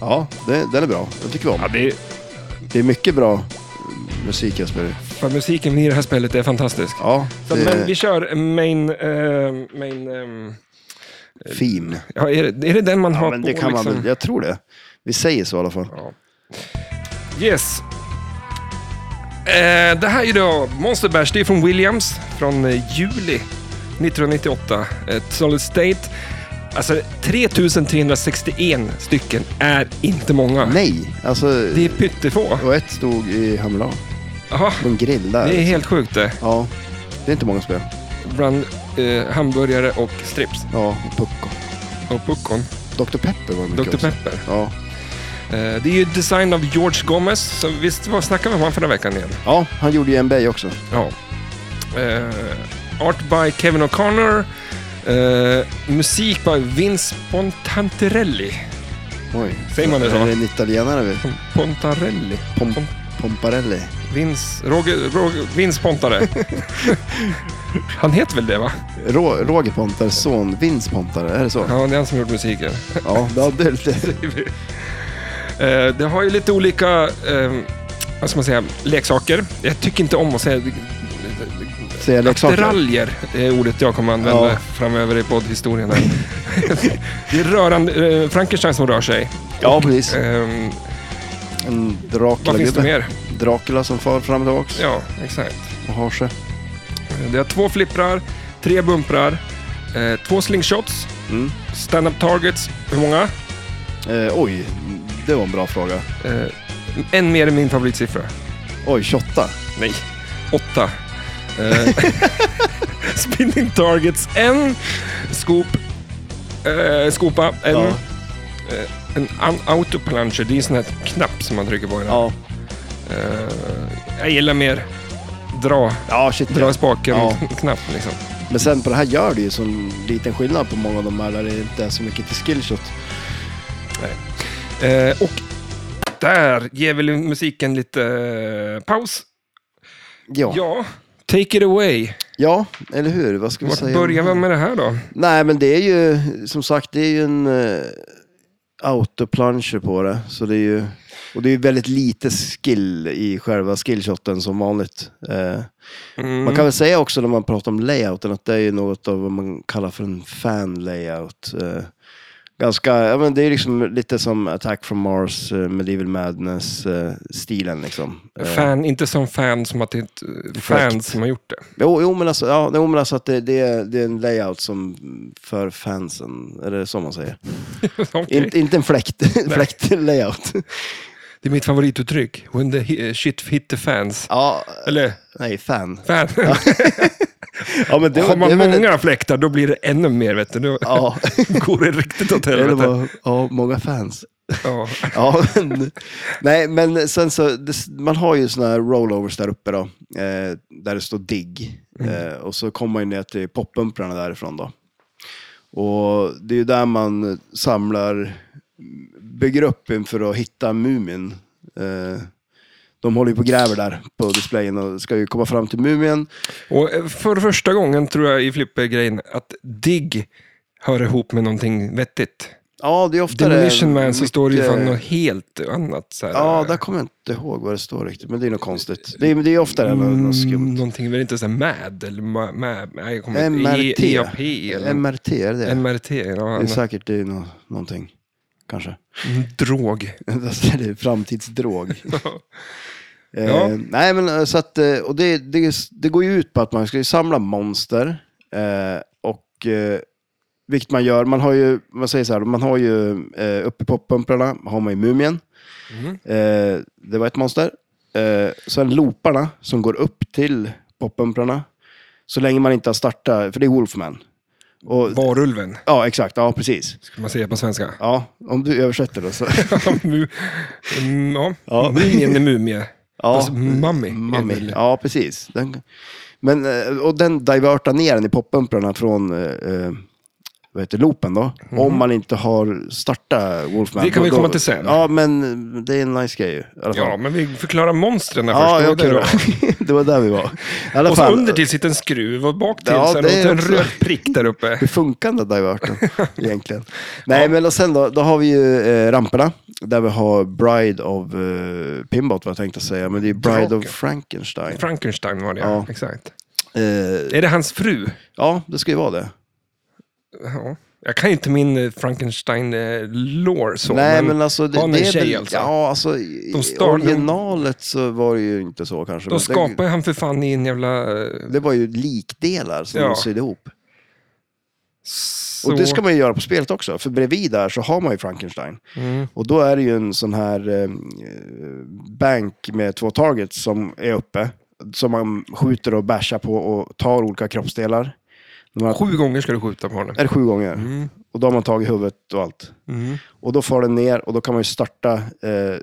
Speaker 2: ja, det, den är bra. Den tycker vi om.
Speaker 1: Ja, det är,
Speaker 2: Det är mycket bra musik jag spelar.
Speaker 1: för musiken i det här spelet är fantastisk.
Speaker 2: Ja,
Speaker 1: Så,
Speaker 2: det,
Speaker 1: Men vi kör main... Eh, main ehm,
Speaker 2: Fin.
Speaker 1: Ja, är, det, är det den man har
Speaker 2: Ja, men
Speaker 1: på
Speaker 2: det kan man
Speaker 1: liksom?
Speaker 2: väl, jag tror det. Vi säger så i alla fall.
Speaker 1: Ja. Yes. Eh, det här är ju då Monster Bash, det är från Williams från eh, juli 1998. Ett Solid State. Alltså 3361 stycken är inte många.
Speaker 2: Nej, alltså...
Speaker 1: Det är pyttefå.
Speaker 2: Och ett stod i Hamla.
Speaker 1: Jaha,
Speaker 2: De grillar.
Speaker 1: det är helt sjukt det.
Speaker 2: liksom. Ja. Det är inte många spel.
Speaker 1: Bland eh, hamburgare och strips
Speaker 2: Ja, och Pucko.
Speaker 1: och puckon.
Speaker 2: Dr. Pepper var det mycket
Speaker 1: Dr.
Speaker 2: också.
Speaker 1: Pepper.
Speaker 2: Ja.
Speaker 1: Eh, det är ju design av George Gomez. Så visst vad snackade vi om han förra veckan igen?
Speaker 2: ja, han gjorde ju NBA också.
Speaker 1: Ja. Eh, art by Kevin O'Connor. Eh, musik by Vince Pontanterelli.
Speaker 2: Oj.
Speaker 1: Säger man det så?
Speaker 2: Är det en italienare? vi?
Speaker 1: Pontarelli.
Speaker 2: Pom
Speaker 1: Pom-
Speaker 2: Pomparelli?
Speaker 1: Vince, Roger, Roger, Vince
Speaker 2: *laughs*
Speaker 1: Pontare. Han heter väl det va?
Speaker 2: Rå- Roger Pontars son, Vince Pontare, är det så?
Speaker 1: Ja, det är han som gjort musiken.
Speaker 2: Ja, det hade lite...
Speaker 1: Eh, det har ju lite olika, eh, vad ska man säga, leksaker. Jag tycker inte om att säga
Speaker 2: Säger jag leksaker?
Speaker 1: Attiraljer är ordet jag kommer använda
Speaker 2: Ja.
Speaker 1: framöver i poddhistorien. Här. *laughs* det är rörande, eh, Frankenstein som rör sig.
Speaker 2: Ja, precis.
Speaker 1: Ehm,
Speaker 2: En Dracula
Speaker 1: vad finns det
Speaker 2: gubbe.
Speaker 1: mer?
Speaker 2: Dracula som far fram och tillbaks
Speaker 1: Ja, exakt.
Speaker 2: och har sig.
Speaker 1: Eh, Det har två flipprar, tre bumprar, eh, två slingshots,
Speaker 2: Mm.
Speaker 1: stand-up targets, hur många?
Speaker 2: Eh, oj, det var en bra fråga.
Speaker 1: Eh, en mer än min favoritsiffra.
Speaker 2: Oj, 28.
Speaker 1: Nej. Åtta. Eh, *laughs* spinning targets, en. Scoop, eh, skopa, en.
Speaker 2: Ja.
Speaker 1: En un- autoplunger, det är en sån här knapp som man trycker på. Ja.
Speaker 2: Ja,
Speaker 1: jag gillar mer dra,
Speaker 2: ja shit.
Speaker 1: dra i spaken
Speaker 2: Ja.
Speaker 1: *laughs* knapp liksom.
Speaker 2: Men sen på det här gör det ju sån liten skillnad på många av de här där det inte är så mycket till skillshot.
Speaker 1: Eh, och där ger väl musiken lite eh, paus.
Speaker 2: Ja. ja.
Speaker 1: Ja, take it away.
Speaker 2: eller hur? Vad ska vi
Speaker 1: Vart
Speaker 2: säga?
Speaker 1: börjar vi med det här då?
Speaker 2: Nej, men det är ju som sagt, det är ju en uh, autoplunger på det. Så det är ju, och det är ju väldigt lite skill i själva skillshoten som vanligt. Eh,
Speaker 1: Mm.
Speaker 2: Man kan väl säga också när man pratar om layouten att det är ju något av vad man kallar för en fan layout. Eh, Ganska, ja men det är liksom lite som Attack from Mars, eh, Medieval Madness-stilen liksom. Eh,
Speaker 1: Fan, inte som fan som att det är ett, eh, fans som har gjort det. *laughs*
Speaker 2: Jo, jo, men alltså, ja, jo, men alltså att det, det, är, det är en layout som för fansen, är det så man säger?
Speaker 1: Okej.
Speaker 2: Inte- inte en fläkt, *laughs* fläkt layout.
Speaker 1: Det är mitt favorituttryck. When the hi- eh, shit hit the fans.
Speaker 2: Ja,
Speaker 1: Eller
Speaker 2: nej, fan.
Speaker 1: fan.
Speaker 2: Ja, men
Speaker 1: *laughs*
Speaker 2: det,
Speaker 1: Har man
Speaker 2: det, är väl-
Speaker 1: många fläktar då blir det ännu mer. Vet du. Då
Speaker 2: Ja,
Speaker 1: *laughs* går det riktigt åt
Speaker 2: *laughs* eller
Speaker 1: helvete.
Speaker 2: vad, ja, många fans.
Speaker 1: Ja.
Speaker 2: Ja, men, nej, men sen så, det, man har ju såna här rollovers där uppe då, eh, där det står digg. Eh, och så kommer man ju ner till poppumprarna därifrån då. Och det är ju där man samlar, bygger upp inför att hitta Mumin. Eh, de håller ju på och gräver där på displayen och ska ju komma fram till Mumien.
Speaker 1: Och eh, för första gången tror jag i flippergrejen att digg hör ihop med någonting vettigt.
Speaker 2: Ja, det är oftare...
Speaker 1: Demolition Man så står det ju för
Speaker 2: mycket-
Speaker 1: något helt annat. Så här,
Speaker 2: Ja, där kommer jag inte ihåg vad det står riktigt, men det är något konstigt. Det är, det är oftare något, något skumt.
Speaker 1: Mm, någonting, väl inte så här MAD eller ma- MAD, nej, jag kommer inte-
Speaker 2: MRT.
Speaker 1: E- EAP eller
Speaker 2: MRT, är det det?
Speaker 1: MRT, ja,
Speaker 2: det är
Speaker 1: en
Speaker 2: säkert det är nå någonting. Kanske. *laughs*
Speaker 1: Mm, drog.
Speaker 2: det är framtidsdrog. Eh,
Speaker 1: Ja.
Speaker 2: nej, men eh, så att, eh, och det, det, det går ju ut på att man ska ju samla monster. Eh, och, eh, vilket man gör, man har ju, man säger så här, man har ju eh, uppe i poppumprarna har man ju mumien.
Speaker 1: Mm.
Speaker 2: Eh, det var ett monster. Eh, sen looparna som går upp till poppumprarna. Så länge man inte har startat, för det är Wolfman. Och,
Speaker 1: Varulven,
Speaker 2: ja, exakt. Ja, precis.
Speaker 1: ska man säga på
Speaker 2: *laughs*
Speaker 1: svenska.
Speaker 2: Ja, om du översätter då så.
Speaker 1: Mu- mm, ja,
Speaker 2: Ja.
Speaker 1: mumien är mumie.
Speaker 2: Ja.
Speaker 1: Fast mummy. är
Speaker 2: Mummy.
Speaker 1: väl-
Speaker 2: Ja, precis. Den, men, eh, och den divertar ner den i poppumprarna från eh, eh, vad heter loopen då. Om man inte har startat Wolfman.
Speaker 1: Mhm. Det kan vi
Speaker 2: Då-
Speaker 1: komma till sen.
Speaker 2: Ja, men det är en nice grej ju. i alla
Speaker 1: Ja,
Speaker 2: fall.
Speaker 1: men vi förklarar monstren
Speaker 2: ja,
Speaker 1: först.
Speaker 2: ja
Speaker 1: det var
Speaker 2: okej
Speaker 1: det
Speaker 2: då. *laughs*
Speaker 1: då.
Speaker 2: det var där vi var. I alla
Speaker 1: Och så
Speaker 2: fall, eh,
Speaker 1: under till sitter en skruv och bak till
Speaker 2: Ja,
Speaker 1: så här,
Speaker 2: det
Speaker 1: och
Speaker 2: är
Speaker 1: en
Speaker 2: också-
Speaker 1: röd prick där
Speaker 2: *laughs*
Speaker 1: uppe.
Speaker 2: Hur funkar den
Speaker 1: *laughs*
Speaker 2: där diverten egentligen? Nej, men och sen då, då har vi ju eh, ramperna. Där vi har Bride of eh, Pimbot, vad jag tänkte säga. Men det är Bride
Speaker 1: Draken.
Speaker 2: of Frankenstein.
Speaker 1: Frankenstein var det, ja.
Speaker 2: Ja.
Speaker 1: Exakt.
Speaker 2: Eh,
Speaker 1: Är det hans fru?
Speaker 2: ja, det ska ju vara det.
Speaker 1: Ja. Jag kan inte min eh, Frankenstein-lore så.
Speaker 2: Nej, men alltså...
Speaker 1: han är en tjej
Speaker 2: väl-
Speaker 1: alltså.
Speaker 2: Ja, alltså i
Speaker 1: De
Speaker 2: i
Speaker 1: startade-
Speaker 2: originalet så var det ju inte så kanske.
Speaker 1: Då
Speaker 2: men
Speaker 1: skapar han för fan i en jävla... eh,
Speaker 2: det, det var ju likdelar som
Speaker 1: Ja.
Speaker 2: de sydde ihop.
Speaker 1: Så...
Speaker 2: Och det ska man ju göra på spelet också, för bredvid där så har man ju Frankenstein.
Speaker 1: Mm.
Speaker 2: Och då är det ju en sån här eh, bank med två targets som är uppe. Som man skjuter och bashar på och tar olika kroppsdelar. De har,
Speaker 1: Sju Mm. gånger ska du skjuta på honom.
Speaker 2: är det sju gånger. Och då har man tagit huvudet och allt.
Speaker 1: Mm.
Speaker 2: Och då får den ner och då kan man ju starta eh,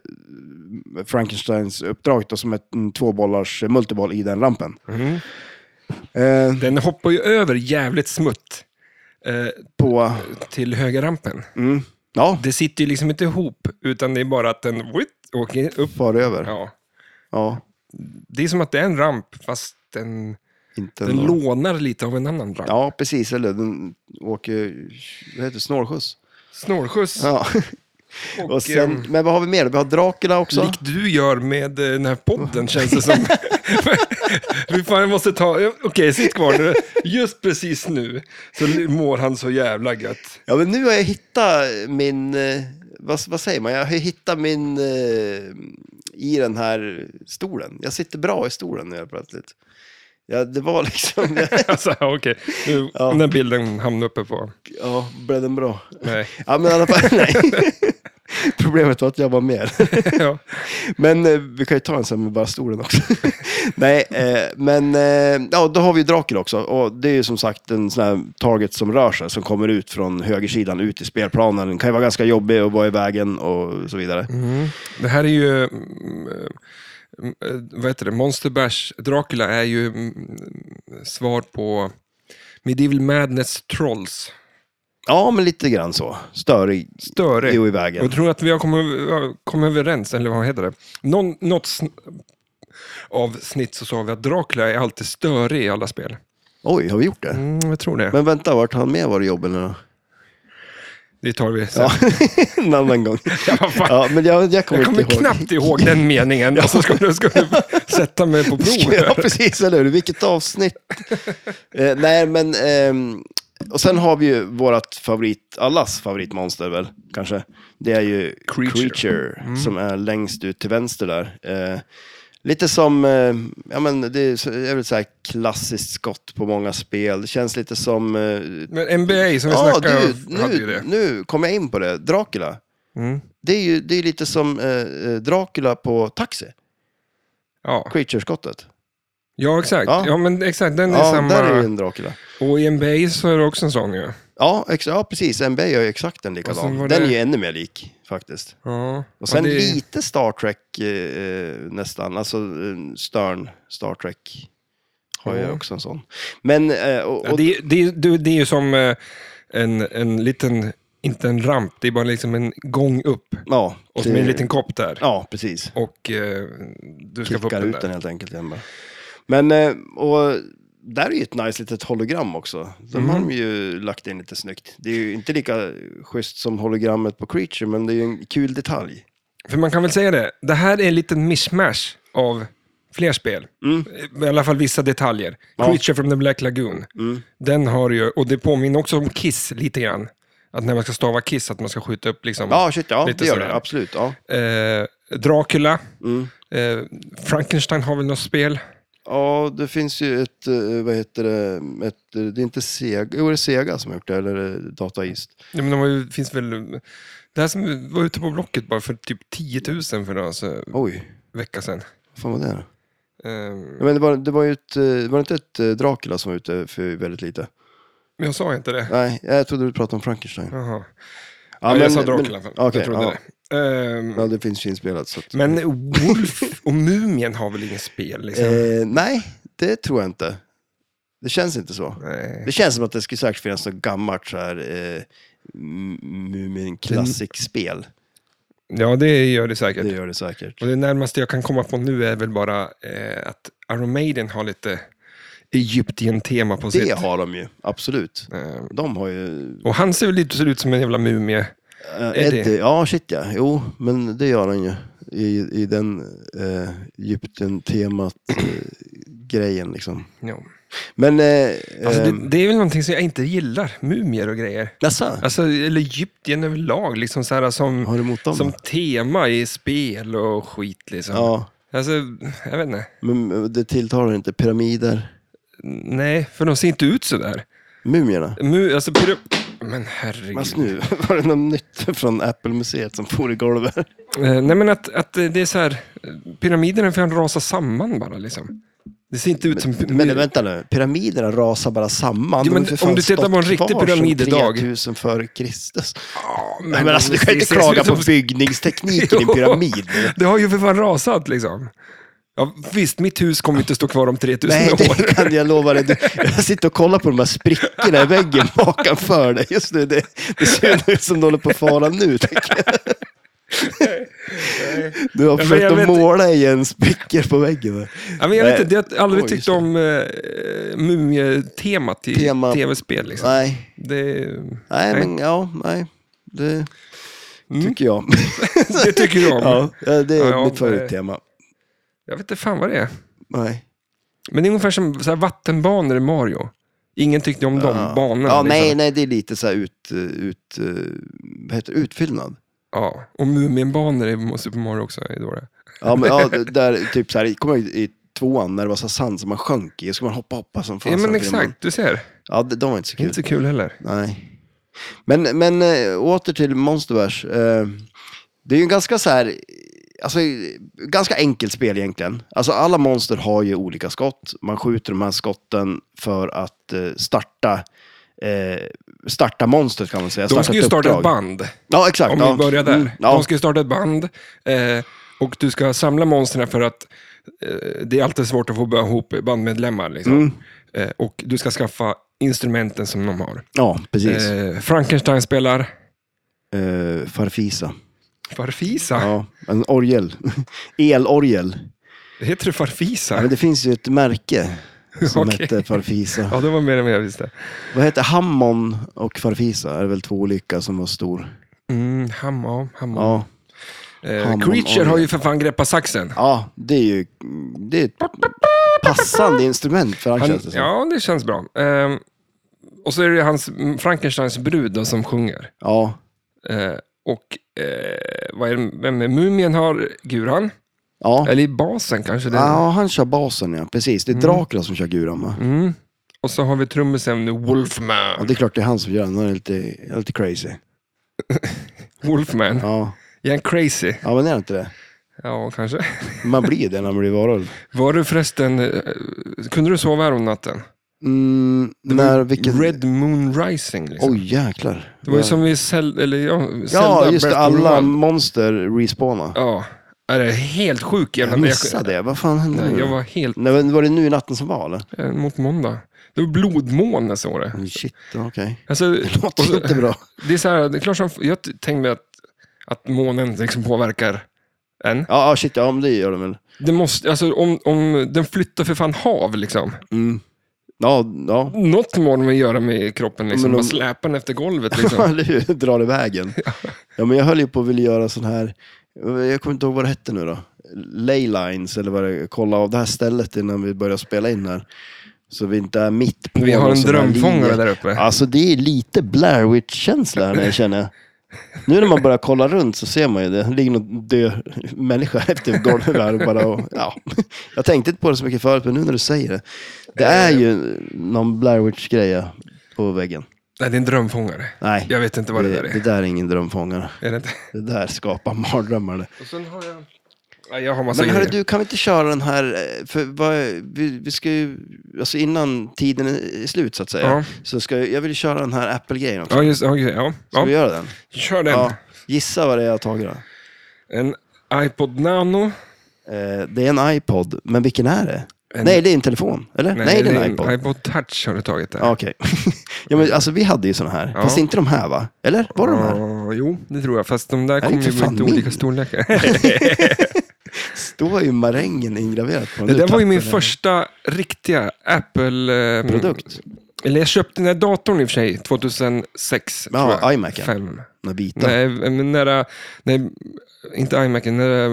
Speaker 2: Frankensteins uppdrag då, som ett, mm, en tvåbollars eh, multiboll i den rampen.
Speaker 1: Mm.
Speaker 2: Eh,
Speaker 1: Den hoppar ju över jävligt smutt eh,
Speaker 2: på...
Speaker 1: till högerrampen.
Speaker 2: Mm, ja,
Speaker 1: Det sitter ju liksom inte ihop, utan det är bara att den whitt, åker upp.
Speaker 2: far över. Ja.
Speaker 1: Ja. Det är som att det är en ramp, fast den,
Speaker 2: inte
Speaker 1: den
Speaker 2: någon-
Speaker 1: lånar lite av en annan ramp.
Speaker 2: Ja, precis. Eller den åker... Vad heter det? Snålskjuts.
Speaker 1: Snålskjuts.
Speaker 2: Ja.
Speaker 1: Och,
Speaker 2: *laughs* Och sen,
Speaker 1: ehm,
Speaker 2: men vad har vi mer? Vi har Dracula också.
Speaker 1: Likt du gör med eh, den här podden känns det som. Vi fan jag måste ta, eh, okej sitt kvar nu. Just precis nu så mår han så jävla
Speaker 2: *laughs*
Speaker 1: gött.
Speaker 2: Ja, men nu har jag hittat min... eh, Vad, vad säger man? Jag har hittat min... eh, I den här stolen. Jag sitter bra i stolen nu helt plötsligt. Ja, det var *laughs* liksom...
Speaker 1: Alltså okej, nu
Speaker 2: Ja.
Speaker 1: den här bilden hamnar uppe på.
Speaker 2: Ja, blev den bra?
Speaker 1: Nej. *laughs*
Speaker 2: Ja, men i alla fall, nej. *laughs* Problemet var att jag var med.
Speaker 1: ja.
Speaker 2: Men eh, vi kan ju ta en sen med bara stolen också. *laughs* Nej, eh, men eh, ja, då har vi ju Dracula också. Och det är ju som sagt en sån här target som rör sig, som kommer ut från högersidan ut i spelplanen. Den kan ju vara ganska jobbig och vara i vägen och så vidare.
Speaker 1: Mm. Det här är ju, mm, eh, eh, vad heter det, Monster Bash Dracula är ju mm, svar på Medieval Madness Trolls.
Speaker 2: Ja, men lite grann så. Störig
Speaker 1: Störig.
Speaker 2: och i
Speaker 1: Och
Speaker 2: vägen.
Speaker 1: tror att vi har kommit, kommit överens, eller vad heter det? Någon, något sn- avsnitt så sa vi att Dracula är alltid störig i alla spel.
Speaker 2: Oj, har vi gjort det?
Speaker 1: Mm, jag tror det.
Speaker 2: Men vänta, vart han med var i jobben? eller?
Speaker 1: Det tar vi sen.
Speaker 2: Ja, *laughs* en annan gång.
Speaker 1: Ja, *laughs* vad fan.
Speaker 2: Ja, men jag, jag kommer,
Speaker 1: Jag kommer
Speaker 2: inte ihåg.
Speaker 1: knappt ihåg den
Speaker 2: *laughs*
Speaker 1: meningen. Alltså, ska du, ska du sätta mig på prov?
Speaker 2: Ja, precis, eller hur? Vilket avsnitt. eh, nej, men... ehm, och sen har vi ju vårt favorit, allas favoritmonster väl, kanske. Det är ju
Speaker 1: Creature. Mm.
Speaker 2: Creature, som är längst ut till vänster där. Eh, lite som, eh, ja men det är så- är väl så här klassiskt skott på många spel. Det känns lite som... Eh,
Speaker 1: Men NBA som vi
Speaker 2: ja,
Speaker 1: snackade
Speaker 2: du,
Speaker 1: om hade ju
Speaker 2: nu,
Speaker 1: det.
Speaker 2: nu kom jag in på det. Dracula.
Speaker 1: Mm.
Speaker 2: Det är ju det är lite som eh, eh, Dracula på Taxi,
Speaker 1: Ja.
Speaker 2: Creature-skottet.
Speaker 1: ja, exakt.
Speaker 2: Ja.
Speaker 1: Ja, men exakt. Den är
Speaker 2: Ja,
Speaker 1: samma.
Speaker 2: där är ju en Dracula.
Speaker 1: Och i NBA så är det också en sån ju.
Speaker 2: Ja, ex- ja precis. NBA gör ju exakt den
Speaker 1: Och sen
Speaker 2: likadan.
Speaker 1: var
Speaker 2: Den
Speaker 1: det-
Speaker 2: är ju ännu mer lik faktiskt.
Speaker 1: Ja.
Speaker 2: Och sen
Speaker 1: ja, det...
Speaker 2: lite Star Trek eh, eh, nästan, alltså eh, Stern Star Trek har
Speaker 1: Ja.
Speaker 2: ju också en sån. Men, eh, och,
Speaker 1: Ja,
Speaker 2: och,
Speaker 1: det, det, det, det är ju som eh, en, en liten, inte en ramp, det är bara liksom en gång upp.
Speaker 2: ja,
Speaker 1: Och med en
Speaker 2: det-
Speaker 1: liten kopp där.
Speaker 2: Ja, precis.
Speaker 1: Och eh, du ska få upp
Speaker 2: Klickar
Speaker 1: den
Speaker 2: ut den
Speaker 1: där.
Speaker 2: helt enkelt igen bara. Men, eh, och där är ju ett nice litet hologram också. De
Speaker 1: Mm.
Speaker 2: har de ju lagt in lite snyggt. Det är ju inte lika schysst som hologrammet på Creature, men det är ju en kul
Speaker 1: Mm.
Speaker 2: detalj.
Speaker 1: För man kan väl säga det, det här är en liten mishmash av fler spel. Eh, I alla fall vissa detaljer.
Speaker 2: Mm. Ja. Mm.
Speaker 1: Creature from the Black Lagoon. Den har ju, och det påminner också om Kiss lite grann. Att när man ska stava Kiss, att man ska skjuta upp liksom.
Speaker 2: Ja, shit, ja,
Speaker 1: Lite
Speaker 2: det gör
Speaker 1: sådär.
Speaker 2: det. Absolut, ja.
Speaker 1: Eh, Dracula.
Speaker 2: Mm.
Speaker 1: Eh, Frankenstein har väl något spel?
Speaker 2: Ja, det finns ju ett, eh, vad heter det, ett, eh, det är inte Sega, jo det är Sega som har gjort det, eller eh, Data East.
Speaker 1: Ja, men de har ju, finns väl... Det här som var ute på Blocket bara för typ 10 000 för några alltså,
Speaker 2: Oj,
Speaker 1: vecka sedan.
Speaker 2: vad fan var det? då?
Speaker 1: Ehm,
Speaker 2: Ja, Men det var, det var ju ett, eh, var det inte ett eh, Dracula som var ute för väldigt lite?
Speaker 1: men jag sa inte det.
Speaker 2: Nej, jag trodde du pratade om Frankenstein. Ja,
Speaker 1: Jaha. Ja, jag sa Dracula. Men,
Speaker 2: okej,
Speaker 1: jag trodde
Speaker 2: ja.
Speaker 1: det. Ehm,
Speaker 2: Ja, det finns ju inspelat. Så att,
Speaker 1: men Wolf och Mumien har väl inget spel? Liksom?
Speaker 2: eh, nej, det tror jag inte. Det känns inte så.
Speaker 1: Nej.
Speaker 2: Det känns som att det skulle säkert finnas något gammalt så här, eh, m- Mumin Classic-spel.
Speaker 1: Ja, det gör det säkert.
Speaker 2: Det gör det säkert.
Speaker 1: Mm. Och det närmaste jag kan komma på nu är väl bara eh, att Iron Maiden har lite Egyptien-tema på sitt.
Speaker 2: Det har de ju, absolut.
Speaker 1: Ehm,
Speaker 2: De har ju
Speaker 1: och han ser väl lite ser ut som en jävla mumie.
Speaker 2: Eh,
Speaker 1: Eddie.
Speaker 2: Eddie. Ja, shit ja. Jo, men det gör han ju. I, i den eh, Egypten-temat eh, grejen liksom.
Speaker 1: Ja.
Speaker 2: Men... Eh,
Speaker 1: Alltså,
Speaker 2: ehm,
Speaker 1: det, det är väl någonting som jag inte gillar, mumier och grejer.
Speaker 2: Jaså?
Speaker 1: Alltså, eller Egyptien överlag, liksom så här, som,
Speaker 2: Har du emot dem?
Speaker 1: som tema i spel och skit. Liksom.
Speaker 2: Ja,
Speaker 1: Alltså, jag vet inte.
Speaker 2: men eh, det tilltalar inte. Pyramider.
Speaker 1: Nej, för de ser inte ut så där.
Speaker 2: Mumierna.
Speaker 1: Mu, alltså, pyra... Men herregud.
Speaker 2: Men
Speaker 1: *laughs*
Speaker 2: nu var det något nytt från Apple-museet som for i golvet.
Speaker 1: Eh, nej, men att, att eh, det är så här, eh, pyramiderna kan rasa samman bara. Liksom. Det ser inte ut som...
Speaker 2: Men eh, vänta nu, pyramiderna rasar bara samman.
Speaker 1: Jo, men
Speaker 2: De har för fan
Speaker 1: om du tittar på en
Speaker 2: stått
Speaker 1: riktig
Speaker 2: kvar sedan
Speaker 1: pyramid idag.
Speaker 2: 3000 före Kristus.
Speaker 1: Ja,
Speaker 2: Men, men alltså, du
Speaker 1: det
Speaker 2: kan ju inte
Speaker 1: ser-
Speaker 2: klaga
Speaker 1: ser
Speaker 2: på
Speaker 1: ut som-
Speaker 2: byggningstekniken i
Speaker 1: *laughs*
Speaker 2: en
Speaker 1: Jo.
Speaker 2: pyramid.
Speaker 1: Det har ju för fan rasat liksom. Ja, visst, mitt hus kommer inte stå kvar om 3000
Speaker 2: Nej,
Speaker 1: år.
Speaker 2: det kan jag lova dig. Du- Jag sitter och kollar på de här sprickorna i väggen bakanför dig just nu. Det, det ser ut som de håller på att fara nu. tänker jag. Du har
Speaker 1: men
Speaker 2: försökt
Speaker 1: jag
Speaker 2: att
Speaker 1: vet-
Speaker 2: måla igen sprickor på väggen. va?
Speaker 1: Ja, men jag vet
Speaker 2: Nej.
Speaker 1: inte, jag har aldrig
Speaker 2: Oj,
Speaker 1: tyckt
Speaker 2: så.
Speaker 1: om eh, mumietemat i
Speaker 2: Tema-
Speaker 1: tv-spel. Liksom.
Speaker 2: Nej,
Speaker 1: Det,
Speaker 2: nej,
Speaker 1: Nej.
Speaker 2: men ja, nej. Det
Speaker 1: Mm.
Speaker 2: tycker jag.
Speaker 1: det tycker jag om.
Speaker 2: *laughs* Ja, det är
Speaker 1: Ja, ja,
Speaker 2: mitt favorittema.
Speaker 1: Jag vet inte fan vad det är.
Speaker 2: Nej.
Speaker 1: Men det är ungefär som så här, vattenbanor i Mario. Ingen tyckte om de
Speaker 2: ja.
Speaker 1: banorna.
Speaker 2: ja, nej,
Speaker 1: liksom.
Speaker 2: nej, det är lite så här ut, eh, ut, eh, vad heter det? utfyllnad.
Speaker 1: ja. Och mumienbanor i Super Mario också är dåliga.
Speaker 2: Ja,
Speaker 1: *laughs*
Speaker 2: men ja, det- där typ så här, kommer jag ihåg i tvåan när det var så här sand som man sjönk i, och så man hoppa, hoppa som fan.
Speaker 1: Ja, men
Speaker 2: samtidigt man-
Speaker 1: exakt, du ser.
Speaker 2: Ja, de, de var inte så
Speaker 1: Det är
Speaker 2: kul.
Speaker 1: inte så kul heller.
Speaker 2: Nej. Men, men eh, åter till Monsterverse. Eh, det är ju en ganska så här, alltså ganska enkelt spel egentligen. Alltså alla monster har ju olika skott. Man skjuter de här skotten för att eh, starta eh, starta monstret kan man säga.
Speaker 1: De ska ju
Speaker 2: ett
Speaker 1: starta ett
Speaker 2: uppdrag.
Speaker 1: band.
Speaker 2: Ja, exakt.
Speaker 1: Om
Speaker 2: ja.
Speaker 1: vi börjar där.
Speaker 2: Mm, ja.
Speaker 1: De ska ju starta ett band eh, och du ska samla monstren för att eh, det är alltid svårt att få börja ihop bandmedlemmar. Liksom.
Speaker 2: Mm,
Speaker 1: Eh, och du ska skaffa instrumenten som de har.
Speaker 2: ja, precis.
Speaker 1: Eh, Frankenstein spelar
Speaker 2: Eh, farfisa.
Speaker 1: Farfisa.
Speaker 2: Ja, en orgel. *laughs* Elorgel.
Speaker 1: Heter det Farfisa?
Speaker 2: Ja, men det finns ju ett märke som
Speaker 1: Okej.
Speaker 2: hette Farfisa.
Speaker 1: Ja, det var mer än vad jag visste.
Speaker 2: Vad heter Hammon och Farfisa? Är väl två olika som var stor.
Speaker 1: Mm, ham, ja, ham,
Speaker 2: Ja,
Speaker 1: eh,
Speaker 2: ham-
Speaker 1: Creature
Speaker 2: ham-
Speaker 1: har ju för fan greppat saxen.
Speaker 2: ja det är ju det är ett passande instrument för han
Speaker 1: Han,
Speaker 2: känns det som.
Speaker 1: ja, det känns bra. Eh, och så är det hans mm, Frankensteins brud då, som sjunger.
Speaker 2: Ja,
Speaker 1: Eh, och eh, vad är det, vem är mumien har guran?
Speaker 2: ja.
Speaker 1: Eller i basen kanske. Det.
Speaker 2: ja han kör basen ja, precis. Det är Dracula som kör guran va?
Speaker 1: Mm. Och så har vi trummisen
Speaker 2: Ja,
Speaker 1: Wolfman.
Speaker 2: det är klart det är han som gör den, han är lite, lite crazy.
Speaker 1: Wolfman.
Speaker 2: Ja.
Speaker 1: Är han crazy?
Speaker 2: ja, men är det inte det?
Speaker 1: Ja, kanske.
Speaker 2: Man blir det när man blir varulv.
Speaker 1: Var du förresten, eh, kunde du sova här om natten?
Speaker 2: Mm, när, vilken...
Speaker 1: Red Moon Rising. Liksom.
Speaker 2: Oj jäklar.
Speaker 1: det var ju som i Sel- eller, ja, Zelda
Speaker 2: Ja, just det.
Speaker 1: Breath of the
Speaker 2: Alla
Speaker 1: Wild.
Speaker 2: monster respawna.
Speaker 1: Ja, är det är helt sjuk jävla...
Speaker 2: Jag missade det. Vad fan hände
Speaker 1: Nej,
Speaker 2: nu?
Speaker 1: jag var helt
Speaker 2: Nej, men var det nu i natten som var eller? Mm,
Speaker 1: eh, mot måndag. Det var blodmåne såg det.
Speaker 2: Shit, okej.
Speaker 1: Alltså,
Speaker 2: Det
Speaker 1: *laughs* och så-
Speaker 2: låter inte bra.
Speaker 1: Det är så här, det är klart som, jag t- tänkte mig att, att månen liksom påverkar en.
Speaker 2: Ja, ja, shit, ja men det gör de väl.
Speaker 1: Det måste, alltså, om, om den flyttar för fan hav liksom.
Speaker 2: Mm. Ja, ja.
Speaker 1: Något må de väl göra med kroppen liksom.
Speaker 2: Men om-
Speaker 1: Bara släpa den efter golvet
Speaker 2: Ja,
Speaker 1: liksom.
Speaker 2: *laughs* eller hur? Drar iväg en. Ja, men jag höll ju på att vilja göra sån här, jag kommer inte ihåg vad det hette nu då. Laylines eller vad det är, kolla av det här stället innan vi börjar spela in här. Så vi inte är mitt på
Speaker 1: Vi har
Speaker 2: någon
Speaker 1: en
Speaker 2: sån här
Speaker 1: drömfångare
Speaker 2: linje.
Speaker 1: där uppe.
Speaker 2: Alltså det är lite Blair Witch-känsla här nu känner jag. Nu när man börjar kolla runt så ser man ju det. Det ligger någon död människa efter golvet här och bara... Och, ja. Jag tänkte inte på det så mycket förut, men nu när du säger det. Det
Speaker 1: Eh.
Speaker 2: är ju någon Blair Witch-grej på väggen.
Speaker 1: Nej, det är en drömfångare.
Speaker 2: Nej,
Speaker 1: Jag vet inte vad det,
Speaker 2: det,
Speaker 1: där är.
Speaker 2: det där är ingen drömfångare.
Speaker 1: är det inte?
Speaker 2: Det där skapar mardrömmar. det.
Speaker 1: Och sen har jag... Ja, jag har massa
Speaker 2: Men hörru
Speaker 1: grejer.
Speaker 2: du, kan vi inte köra den här, eh, för vad, vi, vi ska ju, alltså innan tiden är slut så att säga,
Speaker 1: Ja.
Speaker 2: så ska jag, jag vill ju köra den här Apple-grejen också.
Speaker 1: Ja, just ja, okej, ja.
Speaker 2: Ska vi
Speaker 1: ja.
Speaker 2: göra den?
Speaker 1: Kör den.
Speaker 2: Ja. Gissa vad det är jag har tagit då.
Speaker 1: En iPod Nano.
Speaker 2: Eh, det är en iPod, men vilken är det?
Speaker 1: En-
Speaker 2: Nej, det är en telefon, eller? Nej, det är en iPod.
Speaker 1: iPod Touch har du tagit där.
Speaker 2: Ja, Okej. *laughs* ja, men alltså vi hade ju såna här,
Speaker 1: Ja.
Speaker 2: fast inte de här va? Eller? Var det de här?
Speaker 1: Ja, jo, det tror jag. Fast de där
Speaker 2: är
Speaker 1: kommer
Speaker 2: för
Speaker 1: ju
Speaker 2: fan
Speaker 1: med lite
Speaker 2: min.
Speaker 1: olika storlekar.
Speaker 2: Står ju marängen ingraverat på
Speaker 1: *laughs*
Speaker 2: den.
Speaker 1: Det
Speaker 2: Du
Speaker 1: där var ju
Speaker 2: tappade
Speaker 1: min
Speaker 2: den.
Speaker 1: första riktiga Apple... ehm,
Speaker 2: Produkt.
Speaker 1: Eller jag köpte den här datorn i och för sig 2006.
Speaker 2: Ja,
Speaker 1: tror jag.
Speaker 2: iMacen.
Speaker 1: Fem.
Speaker 2: Den vita.
Speaker 1: Nej, eh, men nära, nej, inte iMacen, nära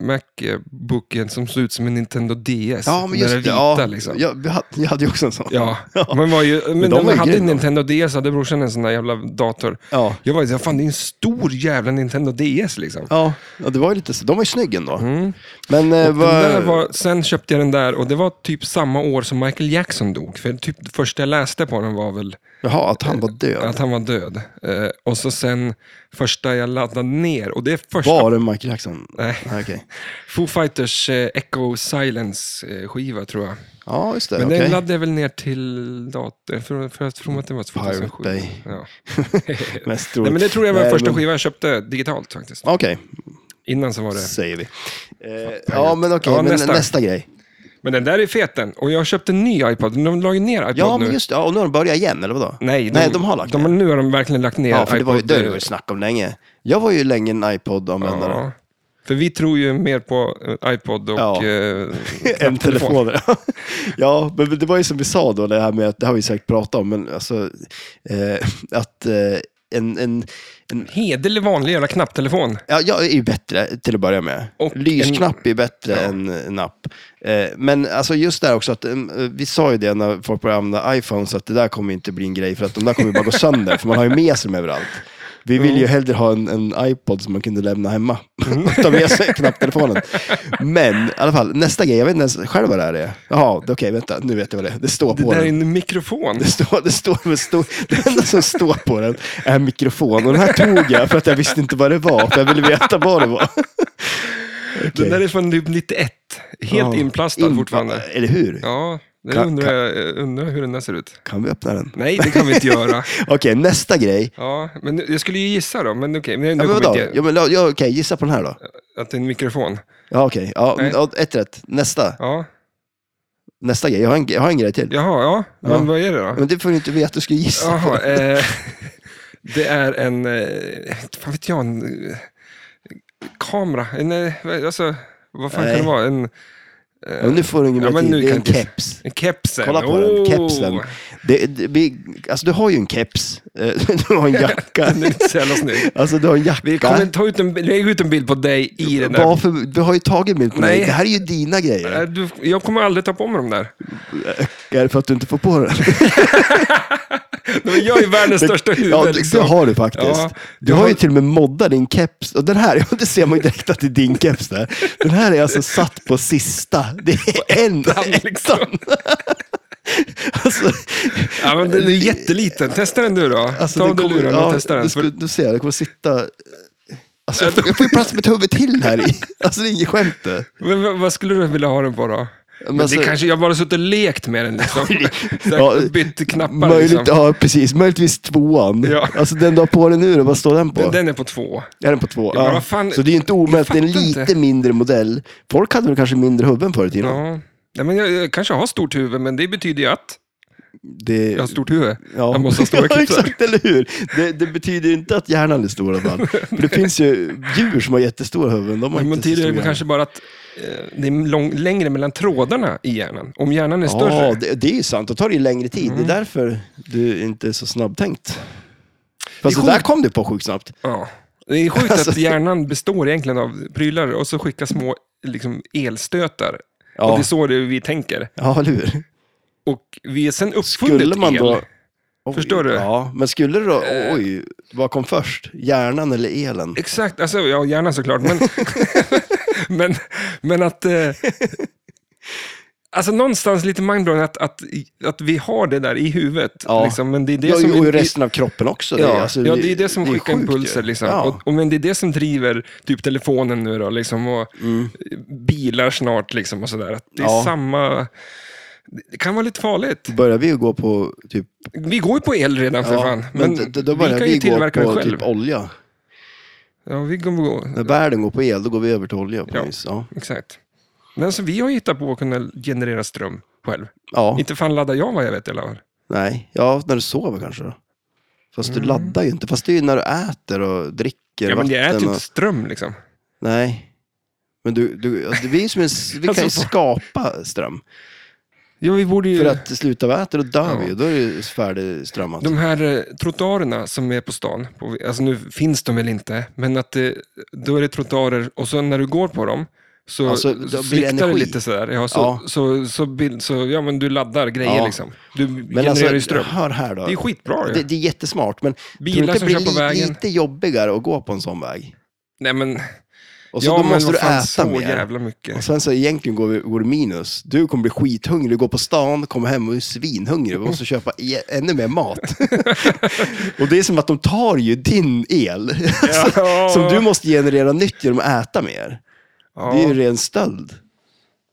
Speaker 1: Macbooken som ser ut som en Nintendo DS.
Speaker 2: ja, men just
Speaker 1: nära
Speaker 2: det.
Speaker 1: vita
Speaker 2: Ja,
Speaker 1: liksom.
Speaker 2: ja, vi hade, jag hade ju också en sån.
Speaker 1: Ja, men, var ju, men,
Speaker 2: de
Speaker 1: när
Speaker 2: var
Speaker 1: man
Speaker 2: ju
Speaker 1: hade en
Speaker 2: grymma.
Speaker 1: Nintendo DS hade brorsan en sån där jävla dator.
Speaker 2: Ja.
Speaker 1: Jag var ju såhär, fan det är en stor jävla Nintendo DS liksom.
Speaker 2: Ja, ja det var ju lite, så- de var ju snygg ändå.
Speaker 1: Mm.
Speaker 2: Men eh,
Speaker 1: Den där
Speaker 2: vad...
Speaker 1: var, sen köpte jag den där och det var typ samma år som Michael Jackson dog. För typ det första jag läste på den var väl
Speaker 2: Jaha, att han var död.
Speaker 1: att han var död. Eh, och så sen första jag laddade ner och det är första...
Speaker 2: Var det Michael Jackson?
Speaker 1: Nej,
Speaker 2: Nej, okej.
Speaker 1: Foo Fighters eh, Echo Silence-skiva tror jag.
Speaker 2: Ja, just det.
Speaker 1: Men
Speaker 2: okej.
Speaker 1: den laddade jag väl ner till datorn, för, för jag tror att den var 2007.
Speaker 2: Pirate Bay.
Speaker 1: Ja.
Speaker 2: Mest
Speaker 1: Nej,
Speaker 2: troligt.
Speaker 1: men det tror jag var
Speaker 2: Nej,
Speaker 1: första
Speaker 2: men-
Speaker 1: skivan jag köpte digitalt faktiskt.
Speaker 2: Okej,
Speaker 1: Innan så var det...
Speaker 2: säger vi. Eh, ja, men okej.
Speaker 1: Ja,
Speaker 2: men
Speaker 1: nästa.
Speaker 2: nästa. grej.
Speaker 1: Men den där är fet den. Och jag köpte en ny iPod. De la ju ner iPod
Speaker 2: Ja,
Speaker 1: nu.
Speaker 2: men just det. Ja, och nu har de börjat igen, eller vadå?
Speaker 1: Nej,
Speaker 2: Nej, de har lagt
Speaker 1: de,
Speaker 2: ner.
Speaker 1: Nu har de verkligen lagt ner
Speaker 2: Ja, för det var ju
Speaker 1: iPod,
Speaker 2: det har
Speaker 1: eh,
Speaker 2: det varit snack om länge. Jag var ju länge en iPod-användare.
Speaker 1: ja. För vi tror ju mer på eh, iPod och...
Speaker 2: Ja.
Speaker 1: eh,
Speaker 2: *laughs* *laughs* en
Speaker 1: telefon.
Speaker 2: telefon. ja, men det var ju som vi sa då, det här med att, det har vi säkert pratat om, men alltså eh, att eh, en, en, en
Speaker 1: hederlig vanlig jävla knapptelefon.
Speaker 2: Ja, jag är ju bättre till att börja med.
Speaker 1: Och
Speaker 2: Lysknapp är bättre
Speaker 1: Ja.
Speaker 2: än en app. Eh, Men alltså just där också, att, eh, vi sa ju det när folk började använda iPhones, att det där kommer inte bli en grej, för att de där kommer ju bara gå sönder, för man har ju med sig dem överallt. Vi vill
Speaker 1: Mm.
Speaker 2: ju hellre ha en, en iPod som man kunde lämna hemma. *laughs* Ta med sig knapptelefonen. Men i alla fall, nästa grej, jag vet inte ens själv vad det här är. Jaha, okej, vänta, nu vet jag vad det är. Det står
Speaker 1: Det
Speaker 2: på
Speaker 1: där är
Speaker 2: den.
Speaker 1: en mikrofon.
Speaker 2: Det, står, det, står med stor, det enda som står på den är en mikrofon. Och den här tog jag för att jag visste inte vad det var, för jag ville veta vad det var.
Speaker 1: Den där är från typ 91. Helt
Speaker 2: Ja.
Speaker 1: inplastad
Speaker 2: In-
Speaker 1: fortfarande.
Speaker 2: Eller hur?
Speaker 1: Ja, det
Speaker 2: Kan-
Speaker 1: undrar jag undrar hur den där ser ut.
Speaker 2: Kan vi öppna den?
Speaker 1: Nej, det kan vi inte
Speaker 2: *laughs*
Speaker 1: göra.
Speaker 2: Okej, nästa grej.
Speaker 1: Ja, men nu, jag skulle ju gissa då, men okej. men nu
Speaker 2: Ja, men
Speaker 1: kommer
Speaker 2: vadå?
Speaker 1: jag inte
Speaker 2: Ja, men, ja, okej, gissa på den här då.
Speaker 1: att det är en mikrofon.
Speaker 2: Ja, okej. Ja,
Speaker 1: Nej.
Speaker 2: ja, ett rätt. Nästa.
Speaker 1: Ja,
Speaker 2: Nästa grej. Jag har en, jag har en grej till.
Speaker 1: jaha, ja. Men
Speaker 2: Ja.
Speaker 1: vad är det då?
Speaker 2: Men det får du inte veta, du ska gissa.
Speaker 1: Jaha, eh, *laughs* det är en, eh, vad vet jag, en eh, kamera. En, eh, alltså, vad fan
Speaker 2: Nej.
Speaker 1: kan det vara? En,
Speaker 2: Ja, men nu får du ingen
Speaker 1: Ja,
Speaker 2: grej
Speaker 1: men
Speaker 2: till.
Speaker 1: nu
Speaker 2: Det är
Speaker 1: kan
Speaker 2: en
Speaker 1: du- Oh.
Speaker 2: keps.
Speaker 1: en kepsen.
Speaker 2: Kolla på
Speaker 1: Åh!
Speaker 2: den, kepsen. Det, det, vi, alltså du har ju en keps. Eh, *laughs* Du har en jacka.
Speaker 1: *laughs* Den är inte så jävla snygg.
Speaker 2: Alltså du har en jacka.
Speaker 1: Vi kommer ta ut en, lägg ut en bild på dig i den där.
Speaker 2: Varför, du har ju tagit mig på
Speaker 1: Nej.
Speaker 2: mig. Det här är ju dina grejer.
Speaker 1: Eh, Du, jag kommer aldrig ta på mig de där.
Speaker 2: Är det för att du inte får
Speaker 1: *laughs*
Speaker 2: på den?
Speaker 1: Men Jag är världens största huvud.
Speaker 2: Ja, det,
Speaker 1: liksom.
Speaker 2: det har du faktiskt.
Speaker 1: Ja,
Speaker 2: du
Speaker 1: jag
Speaker 2: har
Speaker 1: har-
Speaker 2: ju till och med moddat din keps. Och den här, *laughs* det ser man ju direkt att det är din keps där. Den här är alltså satt på sista. Det är en
Speaker 1: ettan, liksom.
Speaker 2: ettan. *laughs* Alltså,
Speaker 1: Ja, men den är jätteliten. Testa den du då.
Speaker 2: alltså,
Speaker 1: ta
Speaker 2: den
Speaker 1: av dig luren och testa den.
Speaker 2: du,
Speaker 1: För,
Speaker 2: skulle- du ser, det kommer sitta...
Speaker 1: *laughs*
Speaker 2: Alltså, jag får- jag får ju plats med huvudet till här i. Alltså det är inget skämt det.
Speaker 1: men, vad- vad skulle du vilja ha den på då? Men
Speaker 2: alltså-
Speaker 1: det kanske, jag har bara suttit och lekt med den. Liksom. Så
Speaker 2: *laughs* Ja,
Speaker 1: här, bytt knappar.
Speaker 2: Möjligt,
Speaker 1: liksom.
Speaker 2: Ja, precis. Möjligtvis tvåan.
Speaker 1: Ja.
Speaker 2: Alltså den du har på dig nu då, vad står den på?
Speaker 1: Den, den är på två.
Speaker 2: Är den på två?
Speaker 1: Ja,
Speaker 2: Ja,
Speaker 1: vad fan-
Speaker 2: så det är ju inte omöjligt, det är en
Speaker 1: jag fattar
Speaker 2: lite
Speaker 1: inte.
Speaker 2: mindre modell. Folk hade väl kanske mindre huvuden förr i tiden?
Speaker 1: Ja. Ja, men jag, jag kanske har stort huvud, men det betyder ju att
Speaker 2: Det...
Speaker 1: jag har stort huvud.
Speaker 2: Ja.
Speaker 1: Jag
Speaker 2: *laughs*
Speaker 1: måste ha stora
Speaker 2: ja,
Speaker 1: kepsar.
Speaker 2: exakt, eller hur? Det, det betyder ju inte att hjärnan är stor i alla fall. För det finns ju djur som har jättestora huvuden. De har
Speaker 1: Men
Speaker 2: inte så
Speaker 1: tidigare
Speaker 2: stor
Speaker 1: var det
Speaker 2: hjärna.
Speaker 1: kanske bara att eh, det är lång, längre mellan trådarna i hjärnan. Om hjärnan är större. Mm.
Speaker 2: Ja, det, det är ju sant. Då tar det ju längre tid. Det är därför du inte är så snabbtänkt. Fast
Speaker 1: Det är
Speaker 2: det, där
Speaker 1: sjukt.
Speaker 2: kom du på sjukt snabbt.
Speaker 1: Ja. Det är sjukt
Speaker 2: Alltså-
Speaker 1: att hjärnan består egentligen av prylar och så skickar små liksom, elstötar.
Speaker 2: Ja.
Speaker 1: Och det är så det vi tänker.
Speaker 2: Ja, eller hur?
Speaker 1: Och vi är sen uppfunnit
Speaker 2: Skulle man
Speaker 1: el.
Speaker 2: då... Oj,
Speaker 1: Förstår du? Eh.
Speaker 2: Ja, men skulle det då... Oj, vad kom först? Hjärnan eller elen?
Speaker 1: Exakt, alltså, ja, hjärnan såklart, men, *laughs* men, men att... Eh, alltså någonstans lite mindblown att, att, att vi har det där i huvudet.
Speaker 2: Ja.
Speaker 1: Liksom, men det är det
Speaker 2: ja,
Speaker 1: som...
Speaker 2: och ju resten av kroppen också.
Speaker 1: Ja,
Speaker 2: alltså,
Speaker 1: ja, det är det som
Speaker 2: är
Speaker 1: skickar
Speaker 2: sjukt ju.
Speaker 1: impulser. Liksom.
Speaker 2: Ja.
Speaker 1: Och, och, men det är det som driver typ telefonen nu då, liksom, och bilar snart liksom, och sådär. Att det är
Speaker 2: Mm. Ja.
Speaker 1: samma... Det kan vara lite farligt.
Speaker 2: Börjar vi ju gå på typ...
Speaker 1: Vi går ju på el redan för
Speaker 2: ja,
Speaker 1: fan. Men,
Speaker 2: d- då
Speaker 1: vi
Speaker 2: börjar
Speaker 1: kan
Speaker 2: vi,
Speaker 1: ju
Speaker 2: gå
Speaker 1: tillverka den
Speaker 2: på
Speaker 1: själv.
Speaker 2: typ olja.
Speaker 1: Ja, vi kommer gå.
Speaker 2: När världen går på el, då går vi över till olja. På
Speaker 1: Ja.
Speaker 2: ja. Vis. Ja.
Speaker 1: Exakt. Men alltså, vi har ju hittat på att kunna generera ström själv.
Speaker 2: ja,
Speaker 1: Inte fan laddar jag vad jag vet i alla fall.
Speaker 2: nej. Ja, när du sover kanske då. Fast du laddar ju inte. Fast det är ju när du äter och dricker
Speaker 1: Mm. Ja, men jag
Speaker 2: vatten.
Speaker 1: äter ju
Speaker 2: och...
Speaker 1: inte ström liksom. *laughs*
Speaker 2: Nej. Men du, du, alltså, vi, är som en, s- vi kan ju
Speaker 1: Alltså,
Speaker 2: skapa ström.
Speaker 1: Ja, vi borde ju...
Speaker 2: För att slutar vi äta då dör
Speaker 1: Ja.
Speaker 2: vi ju. Då är det ju färdigströmmat.
Speaker 1: De här eh, trottoarerna som är på stan, på, alltså nu finns de väl inte, men att det, då är det trottoarer och så när du går på dem så,
Speaker 2: Ja, så
Speaker 1: så
Speaker 2: det blir
Speaker 1: sviktar det
Speaker 2: energi.
Speaker 1: lite sådär. Ja, så,
Speaker 2: Ja.
Speaker 1: Så, så, bild, så ja, men du laddar grejer
Speaker 2: Ja.
Speaker 1: liksom. Du
Speaker 2: Men
Speaker 1: genererar
Speaker 2: alltså,
Speaker 1: ju ström.
Speaker 2: hör här då.
Speaker 1: Det är skitbra ju.
Speaker 2: Det, det är jättesmart, men
Speaker 1: Bilar
Speaker 2: tror du inte
Speaker 1: som
Speaker 2: det
Speaker 1: kör på
Speaker 2: blir li-
Speaker 1: vägen.
Speaker 2: lite jobbigare att gå på en sån väg?
Speaker 1: Nej men,
Speaker 2: Och så
Speaker 1: ja,
Speaker 2: då
Speaker 1: men
Speaker 2: måste du
Speaker 1: vad fan,
Speaker 2: äta
Speaker 1: så
Speaker 2: mer.
Speaker 1: jävla mycket.
Speaker 2: Och sen så egentligen går, vi, går det minus. Du kommer bli skithungrig, du går på stan, kommer hem och är svinhungrig. Vi måste köpa e- ännu mer mat.
Speaker 1: *laughs*
Speaker 2: och det är som att de tar ju din el. *laughs*
Speaker 1: Ja.
Speaker 2: som du måste generera nytt genom att äta mer.
Speaker 1: Ja.
Speaker 2: Det är ju ren stöld.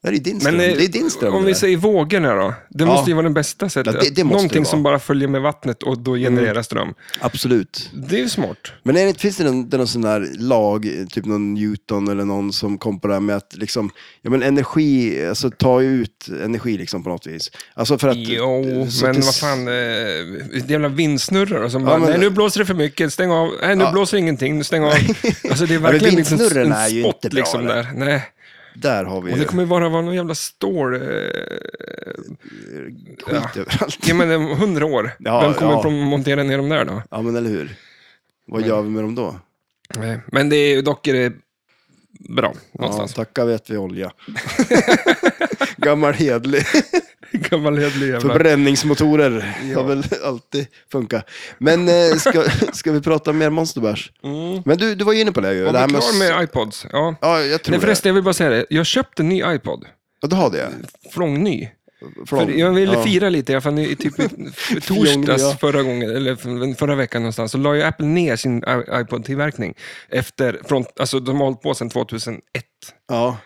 Speaker 2: Det här är ju din ström.
Speaker 1: Men eh,
Speaker 2: det är din ström.
Speaker 1: om
Speaker 2: det
Speaker 1: vi
Speaker 2: där.
Speaker 1: säger vågorna då. Det
Speaker 2: Ja.
Speaker 1: måste ju vara det bästa sättet.
Speaker 2: Ja, det- det måste
Speaker 1: Någonting
Speaker 2: det
Speaker 1: som
Speaker 2: vara. Mm.
Speaker 1: bara följer med vattnet och då genererar ström.
Speaker 2: Absolut.
Speaker 1: Det är ju smart.
Speaker 2: Men är det, finns det någon, det är någon sån där lag, typ någon Newton eller någon som kom på det här med att liksom, ja men energi, alltså ta ut energi liksom på något vis. Alltså för att...
Speaker 1: Jo,
Speaker 2: så
Speaker 1: men
Speaker 2: till-
Speaker 1: vad fan, eh, det jävla vindsnurror och som bara,
Speaker 2: men-
Speaker 1: nej nu blåser det för mycket, stäng av, nej nu blåser ingenting, nu
Speaker 2: *laughs*
Speaker 1: stäng av. Alltså det är
Speaker 2: men
Speaker 1: verkligen liksom en,
Speaker 2: vindsnurren
Speaker 1: en
Speaker 2: är ju
Speaker 1: spott
Speaker 2: inte bra,
Speaker 1: liksom
Speaker 2: eller?
Speaker 1: där. Nej.
Speaker 2: Där har vi
Speaker 1: Och
Speaker 2: ju
Speaker 1: det kommer ju bara vara någon jävla stål, eh,
Speaker 2: skit överallt.
Speaker 1: ja men om hundra år.
Speaker 2: *laughs* Ja,
Speaker 1: Vem kommer
Speaker 2: ja.
Speaker 1: att montera ner dem där då?
Speaker 2: Ja men eller hur. Vad gör vi med dem då?
Speaker 1: Nej. Men det är ju dock är det bra
Speaker 2: Ja,
Speaker 1: någonstans.
Speaker 2: tacka vet
Speaker 1: *laughs*
Speaker 2: vi olja. Gammal hedlig.
Speaker 1: *laughs* Gammal hederlig jävla...
Speaker 2: Förbränningsmotorer
Speaker 1: Ja.
Speaker 2: har väl alltid funkat. Men eh, ska, ska vi prata mer monsterbärs?
Speaker 1: Mm.
Speaker 2: Men du, du var ju inne på det ju.
Speaker 1: Och vi
Speaker 2: det här
Speaker 1: är
Speaker 2: med-
Speaker 1: klar med iPods. Ja.
Speaker 2: Ja, jag tror
Speaker 1: Nej förresten, jag vill bara säga det. Jag köpte en ny iPod.
Speaker 2: det. Ja, du har det?
Speaker 1: Flångny.
Speaker 2: Från-
Speaker 1: För jag ville
Speaker 2: ja.
Speaker 1: fira lite, jag fann i typ
Speaker 2: *laughs*
Speaker 1: i torsdags
Speaker 2: ja.
Speaker 1: förra gången, eller f- förra veckan någonstans, så la ju Apple ner sin i- iPod-tillverkning. Efter, från, alltså de har hållit på sedan 2001.
Speaker 2: Ja,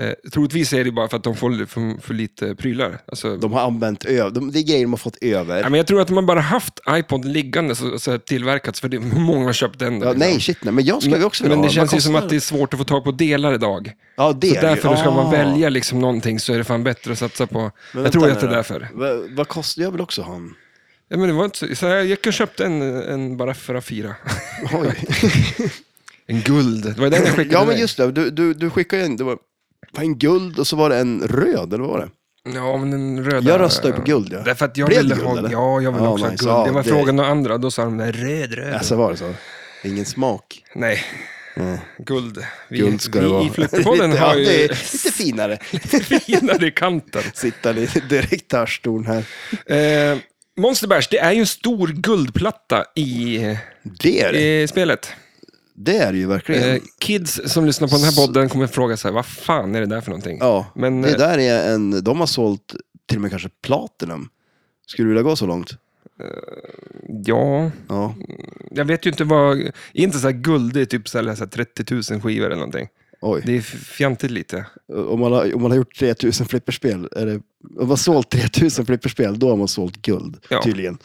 Speaker 1: Eh, troligtvis är det bara för att de får li- för, för lite prylar. Alltså,
Speaker 2: de har använt över. De, det är grejer de har fått över.
Speaker 1: ja, men jag tror att man bara haft iPod liggande så, så här tillverkats, för det, *laughs* hur många har köpt den. liksom.
Speaker 2: ja, nej, shit, nej, men jag skulle ju också vilja
Speaker 1: Mm. men det
Speaker 2: ha.
Speaker 1: känns ju
Speaker 2: Vad
Speaker 1: som
Speaker 2: kostar
Speaker 1: att det är svårt att få tag på delar idag.
Speaker 2: Ja, det
Speaker 1: Så
Speaker 2: är det ju.
Speaker 1: därför ska man
Speaker 2: Ah.
Speaker 1: välja liksom någonting så är det fan bättre att satsa på...
Speaker 2: Men
Speaker 1: jag
Speaker 2: vänta
Speaker 1: tror
Speaker 2: nu
Speaker 1: att det är
Speaker 2: då.
Speaker 1: därför.
Speaker 2: Va, vad kostar? Jag vill också
Speaker 1: *laughs*
Speaker 2: ha en.
Speaker 1: Ja, men det var inte så, så här, jag gick och köpte en, en bara för att
Speaker 2: *laughs*
Speaker 1: fira.
Speaker 2: Oj.
Speaker 1: En guld. Det var den jag skickade
Speaker 2: ja, men
Speaker 1: dig.
Speaker 2: just det. Du, du, du skickade ju en, det var var en guld och så var det en röd, eller vad var det?
Speaker 1: Ja, men den röda.
Speaker 2: Jag röstar ju på guld, ja.
Speaker 1: Därför att jag
Speaker 2: Blev
Speaker 1: ville
Speaker 2: det guld,
Speaker 1: ha...
Speaker 2: eller?
Speaker 1: Ja, jag ville
Speaker 2: Ja,
Speaker 1: också
Speaker 2: nice.
Speaker 1: ha guld.
Speaker 2: Ja,
Speaker 1: det var
Speaker 2: det-
Speaker 1: frågan några andra, då sa de där, röd, röd.
Speaker 2: Alltså var det så? Ingen smak.
Speaker 1: Nej. Guld. Vi,
Speaker 2: Mm. Guld ska det
Speaker 1: vi
Speaker 2: vara.
Speaker 1: i
Speaker 2: *laughs*
Speaker 1: Flyttepodden
Speaker 2: Lite-
Speaker 1: har
Speaker 2: ja, det
Speaker 1: ju
Speaker 2: är lite finare.
Speaker 1: *laughs* finare kanten.
Speaker 2: Sitta lite direkt i *laughs* arvstorn här.
Speaker 1: Eh, Monsterbärs, det är ju en stor guldplatta i
Speaker 2: Det är det. Mm.
Speaker 1: eh, spelet.
Speaker 2: Det är det ju verkligen.
Speaker 1: Eh, kids som lyssnar på den här podden kommer fråga sig, vad fan är det där för någonting?
Speaker 2: Ja,
Speaker 1: men,
Speaker 2: det
Speaker 1: eh,
Speaker 2: där är en... De har sålt till och med kanske platinum. Skulle du vilja gå så långt?
Speaker 1: ja.
Speaker 2: Ja.
Speaker 1: Mm. Jag vet ju inte vad, är inte så här guld, det är typ så här, så här 30 000 skivor eller någonting.
Speaker 2: Oj.
Speaker 1: Det är f- fjantigt lite.
Speaker 2: Om, man har, om man har gjort 3000 flipperspel, är det, om man har sålt 3000 flipperspel, då har man sålt guld.
Speaker 1: Ja.
Speaker 2: Tydligen.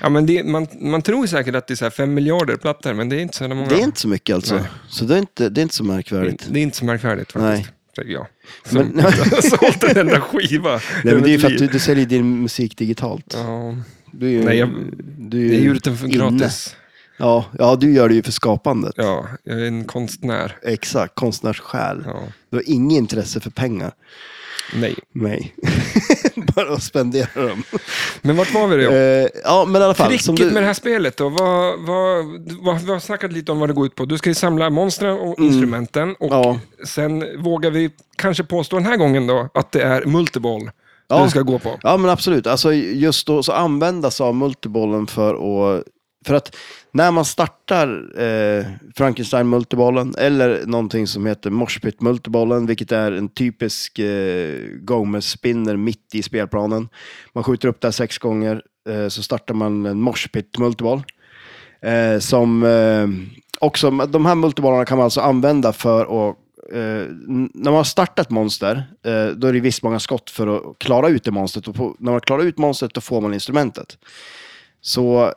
Speaker 1: Ja, men det, man, man tror säkert att det är så här 5 miljarder plattor, men det är inte så jävla många.
Speaker 2: Det är inte så mycket alltså.
Speaker 1: Nej. Mm.
Speaker 2: Så det är inte, det är inte så märkvärdigt.
Speaker 1: det är inte så märkvärdigt faktiskt. Nej. Ja. Som *laughs*
Speaker 2: Men, nej,
Speaker 1: har sålt en enda skiva.
Speaker 2: men det är ju för att
Speaker 1: Liv.
Speaker 2: du, du säljer din musik digitalt.
Speaker 1: Ja,
Speaker 2: Du är ju,
Speaker 1: Nej, jag-
Speaker 2: du är ju
Speaker 1: jag gjorde den för
Speaker 2: inne.
Speaker 1: gratis.
Speaker 2: Ja, ja, du gör det ju för skapandet.
Speaker 1: Ja, jag är en konstnär.
Speaker 2: Exakt, konstnärssjäl.
Speaker 1: Ja.
Speaker 2: Du har inget intresse för pengar.
Speaker 1: Nej.
Speaker 2: Nej. *laughs* Bara att spendera dem.
Speaker 1: Men vart var vi då?
Speaker 2: Eh, ja, men i alla fall. som
Speaker 1: Tricket
Speaker 2: du-
Speaker 1: med det här spelet då? Vad, vad, vad, vi har snackat lite om vad det går ut på. Du ska ju samla monstren och instrumenten och
Speaker 2: Mm. Ja.
Speaker 1: sen vågar vi kanske påstå den här gången då att det är multiball
Speaker 2: Ja.
Speaker 1: du ska gå på.
Speaker 2: Ja, men absolut. Alltså, just då så användas av multibollen för att... För att när man startar eh, Frankenstein-multibollen eller någonting som heter Moshpit-multibollen, vilket är en typisk eh, Gomez-spinner mitt i spelplanen. Man skjuter upp där sex gånger, eh, så startar man en Moshpit-multiboll. Eh, som eh, också, de här multibollarna kan man alltså använda för att eh, n- när man har startat ett monster, eh, då är det visst många skott för att klara ut det monstret. Och på, när man klarar ut monstret, då får man instrumentet. Så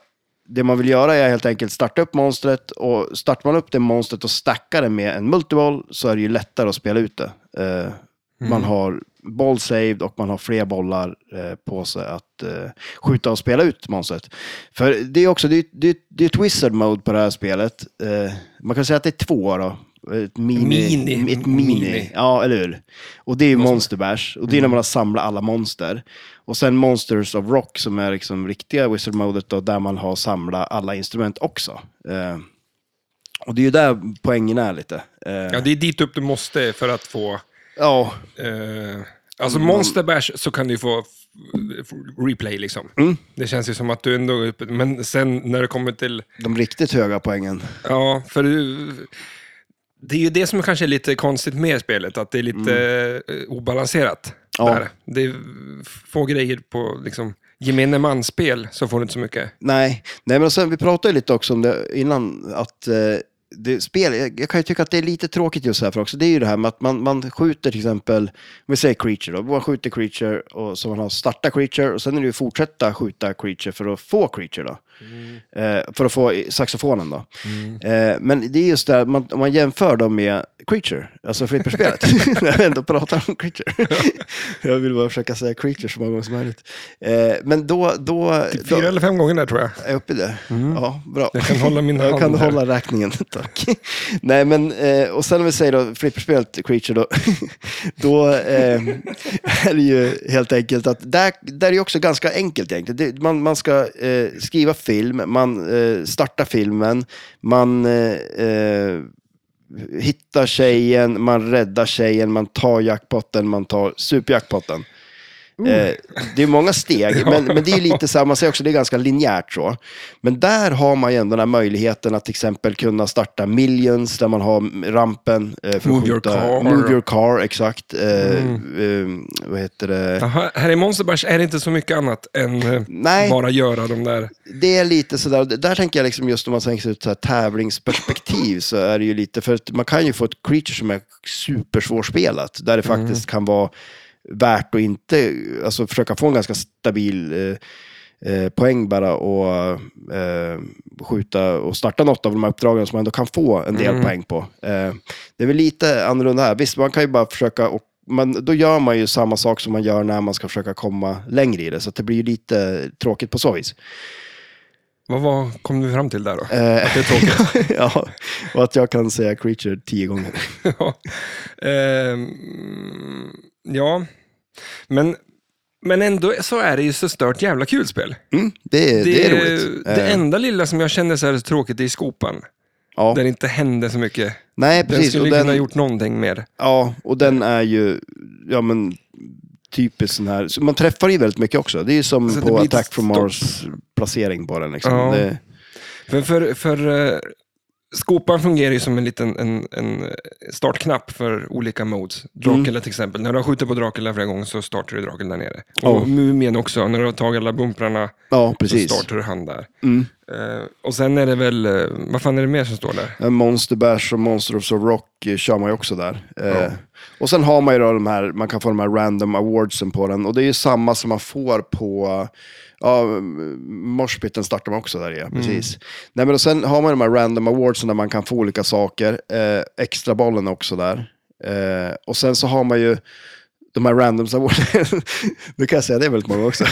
Speaker 2: det man vill göra är helt enkelt starta upp monstret och startar man upp det monstret och stackar det med en multiboll så är det ju lättare att spela ut det. Eh,
Speaker 1: Mm.
Speaker 2: Man har boll saved och man har fler bollar eh, på sig att eh, skjuta och spela ut monstret. För det är också, det är, det är, det är ett wizard mode på det här spelet. Eh, man kan säga att det är två då. Ett mini.
Speaker 1: Mini.
Speaker 2: Ett mini.
Speaker 1: Mini.
Speaker 2: Ja, eller hur? Och det är ju Monster Bash. Och det är när man har samlat alla monster. Och sen Monsters of Rock som är liksom riktiga Wizard Modet då, där man har samlat alla instrument också. Eh, och det är ju där poängen är lite. Eh,
Speaker 1: Ja, det är dit upp du måste för att få...
Speaker 2: ja,
Speaker 1: Eh, alltså
Speaker 2: Mm.
Speaker 1: Monster Bash så kan du ju få f- replay liksom.
Speaker 2: Mm.
Speaker 1: Det känns ju som att du ändå... Men sen när det kommer till...
Speaker 2: de riktigt höga poängen.
Speaker 1: Ja, för du- det är ju det som kanske är lite konstigt med spelet, att det är lite eh, obalanserat.
Speaker 2: Mm. Ja.
Speaker 1: Där. Det är få grejer på liksom, gemene man-spel, så får du inte så mycket.
Speaker 2: Nej, nej men sen, vi pratade ju lite också om det innan, att eh, det, spel, jag, jag kan ju tycka att det är lite tråkigt just här för också, det är ju det här med att man, man skjuter till exempel, om vi säger creature då, man skjuter creature och så man har starta creature och sen är det ju fortsätta skjuta creature för att få creature då. Eh, för att få i- saxofonen då. Eh, men det är just det här, man, om man jämför dem med creature, alltså flipperspelet, *laughs* när vi ändå pratar om creature. *laughs* jag vill bara försöka säga creature så många gånger som möjligt. Eh, men då... då då,
Speaker 1: Fyra eller fem gånger där tror jag.
Speaker 2: är jag uppe i det? Ja, bra.
Speaker 1: Mm. Jag kan hålla min
Speaker 2: *laughs* Jag
Speaker 1: hand
Speaker 2: kan
Speaker 1: här.
Speaker 2: hålla räkningen, *laughs* tack. Nej, men eh, och sen om vi säger då flipperspelet Creature då, *laughs* då eh, är det ju helt enkelt att där, där är ju också ganska enkelt egentligen. Det, man, man ska eh, skriva film, man eh, startar filmen, man eh, eh, hittar tjejen, man räddar tjejen, man tar jackpotten, man tar superjackpotten. Eh, det är
Speaker 1: *laughs*
Speaker 2: många steg, men, men det är ju lite så här, man säger också det är ganska linjärt så. Men där har man ju ändå den här möjligheten att till exempel kunna starta millions där man har rampen. Eh, för
Speaker 1: Move
Speaker 2: att
Speaker 1: your
Speaker 2: skjuta,
Speaker 1: car. Mm.
Speaker 2: Move your car, exakt. Eh, eh, vad heter det?
Speaker 1: Jaha, här i Monster Bash är det inte så mycket annat än eh,
Speaker 2: Nej.
Speaker 1: bara göra de där...
Speaker 2: Det är lite sådär, där tänker jag liksom just om man tänker sig ut så här tävlingsperspektiv så är det ju lite, för att man kan ju få ett creature som är supersvårspelat, där det faktiskt kan vara värt att inte, alltså försöka få en ganska stabil eh, eh, poäng bara och eh, skjuta och starta något av de här uppdragen som man ändå kan få en del poäng på. Eh, det är väl lite annorlunda här, visst man kan ju bara försöka och men då gör man ju samma sak som man gör när man ska försöka komma längre i det, så att det blir ju lite tråkigt på så vis.
Speaker 1: Vad var, kom du fram till där då?
Speaker 2: Eh.
Speaker 1: Att det är tråkigt.
Speaker 2: *laughs* ja, och att jag kan säga creature tio gånger.
Speaker 1: *laughs* ja. Ehm, ja. Men, men ändå så är det ju så stört jävla kul spel.
Speaker 2: Mm, det, är- det, är roligt.
Speaker 1: det
Speaker 2: Eh,
Speaker 1: enda lilla som jag känner så här tråkigt är skopan.
Speaker 2: ja.
Speaker 1: Där det inte händer så mycket.
Speaker 2: Nej,
Speaker 1: Den
Speaker 2: precis. Och
Speaker 1: skulle kunna ha
Speaker 2: den,
Speaker 1: gjort någonting mer.
Speaker 2: ja, och den är ju ja, men, typiskt sån här. Så man träffar ju väldigt mycket också. Det är ju som
Speaker 1: Så det
Speaker 2: på
Speaker 1: blir ett
Speaker 2: Attack from
Speaker 1: stopp.
Speaker 2: Mars placering på den. Liksom.
Speaker 1: Ja.
Speaker 2: Det,
Speaker 1: För, för, för eh, skopan fungerar ju som en liten en, en eh, startknapp för olika modes. Dracula
Speaker 2: Mm.
Speaker 1: till exempel. När du har skjutit på Dracula flera gånger så startar du Dracula där nere. Och
Speaker 2: Ja.
Speaker 1: Mumien också. När du har tagit alla bumprarna
Speaker 2: ja,
Speaker 1: så
Speaker 2: precis.
Speaker 1: startar du han där.
Speaker 2: Mm.
Speaker 1: Eh, och sen är det väl, eh, vad fan är det mer som står där?
Speaker 2: Eh, Monster Bash och Monster of the Rock eh, kör man ju också där. Eh, Och sen har man ju då de här, man kan få de här random awardsen på den. Och det är ju samma som man får på, ja, Morspitten startar man också där ja, precis. Nej men och sen har man de här random awardsen där man kan få olika saker. Eh, extra bollen också där. Eh, och sen så har man ju, de här randoms awarderna. *laughs* nu kan jag säga det väldigt många också.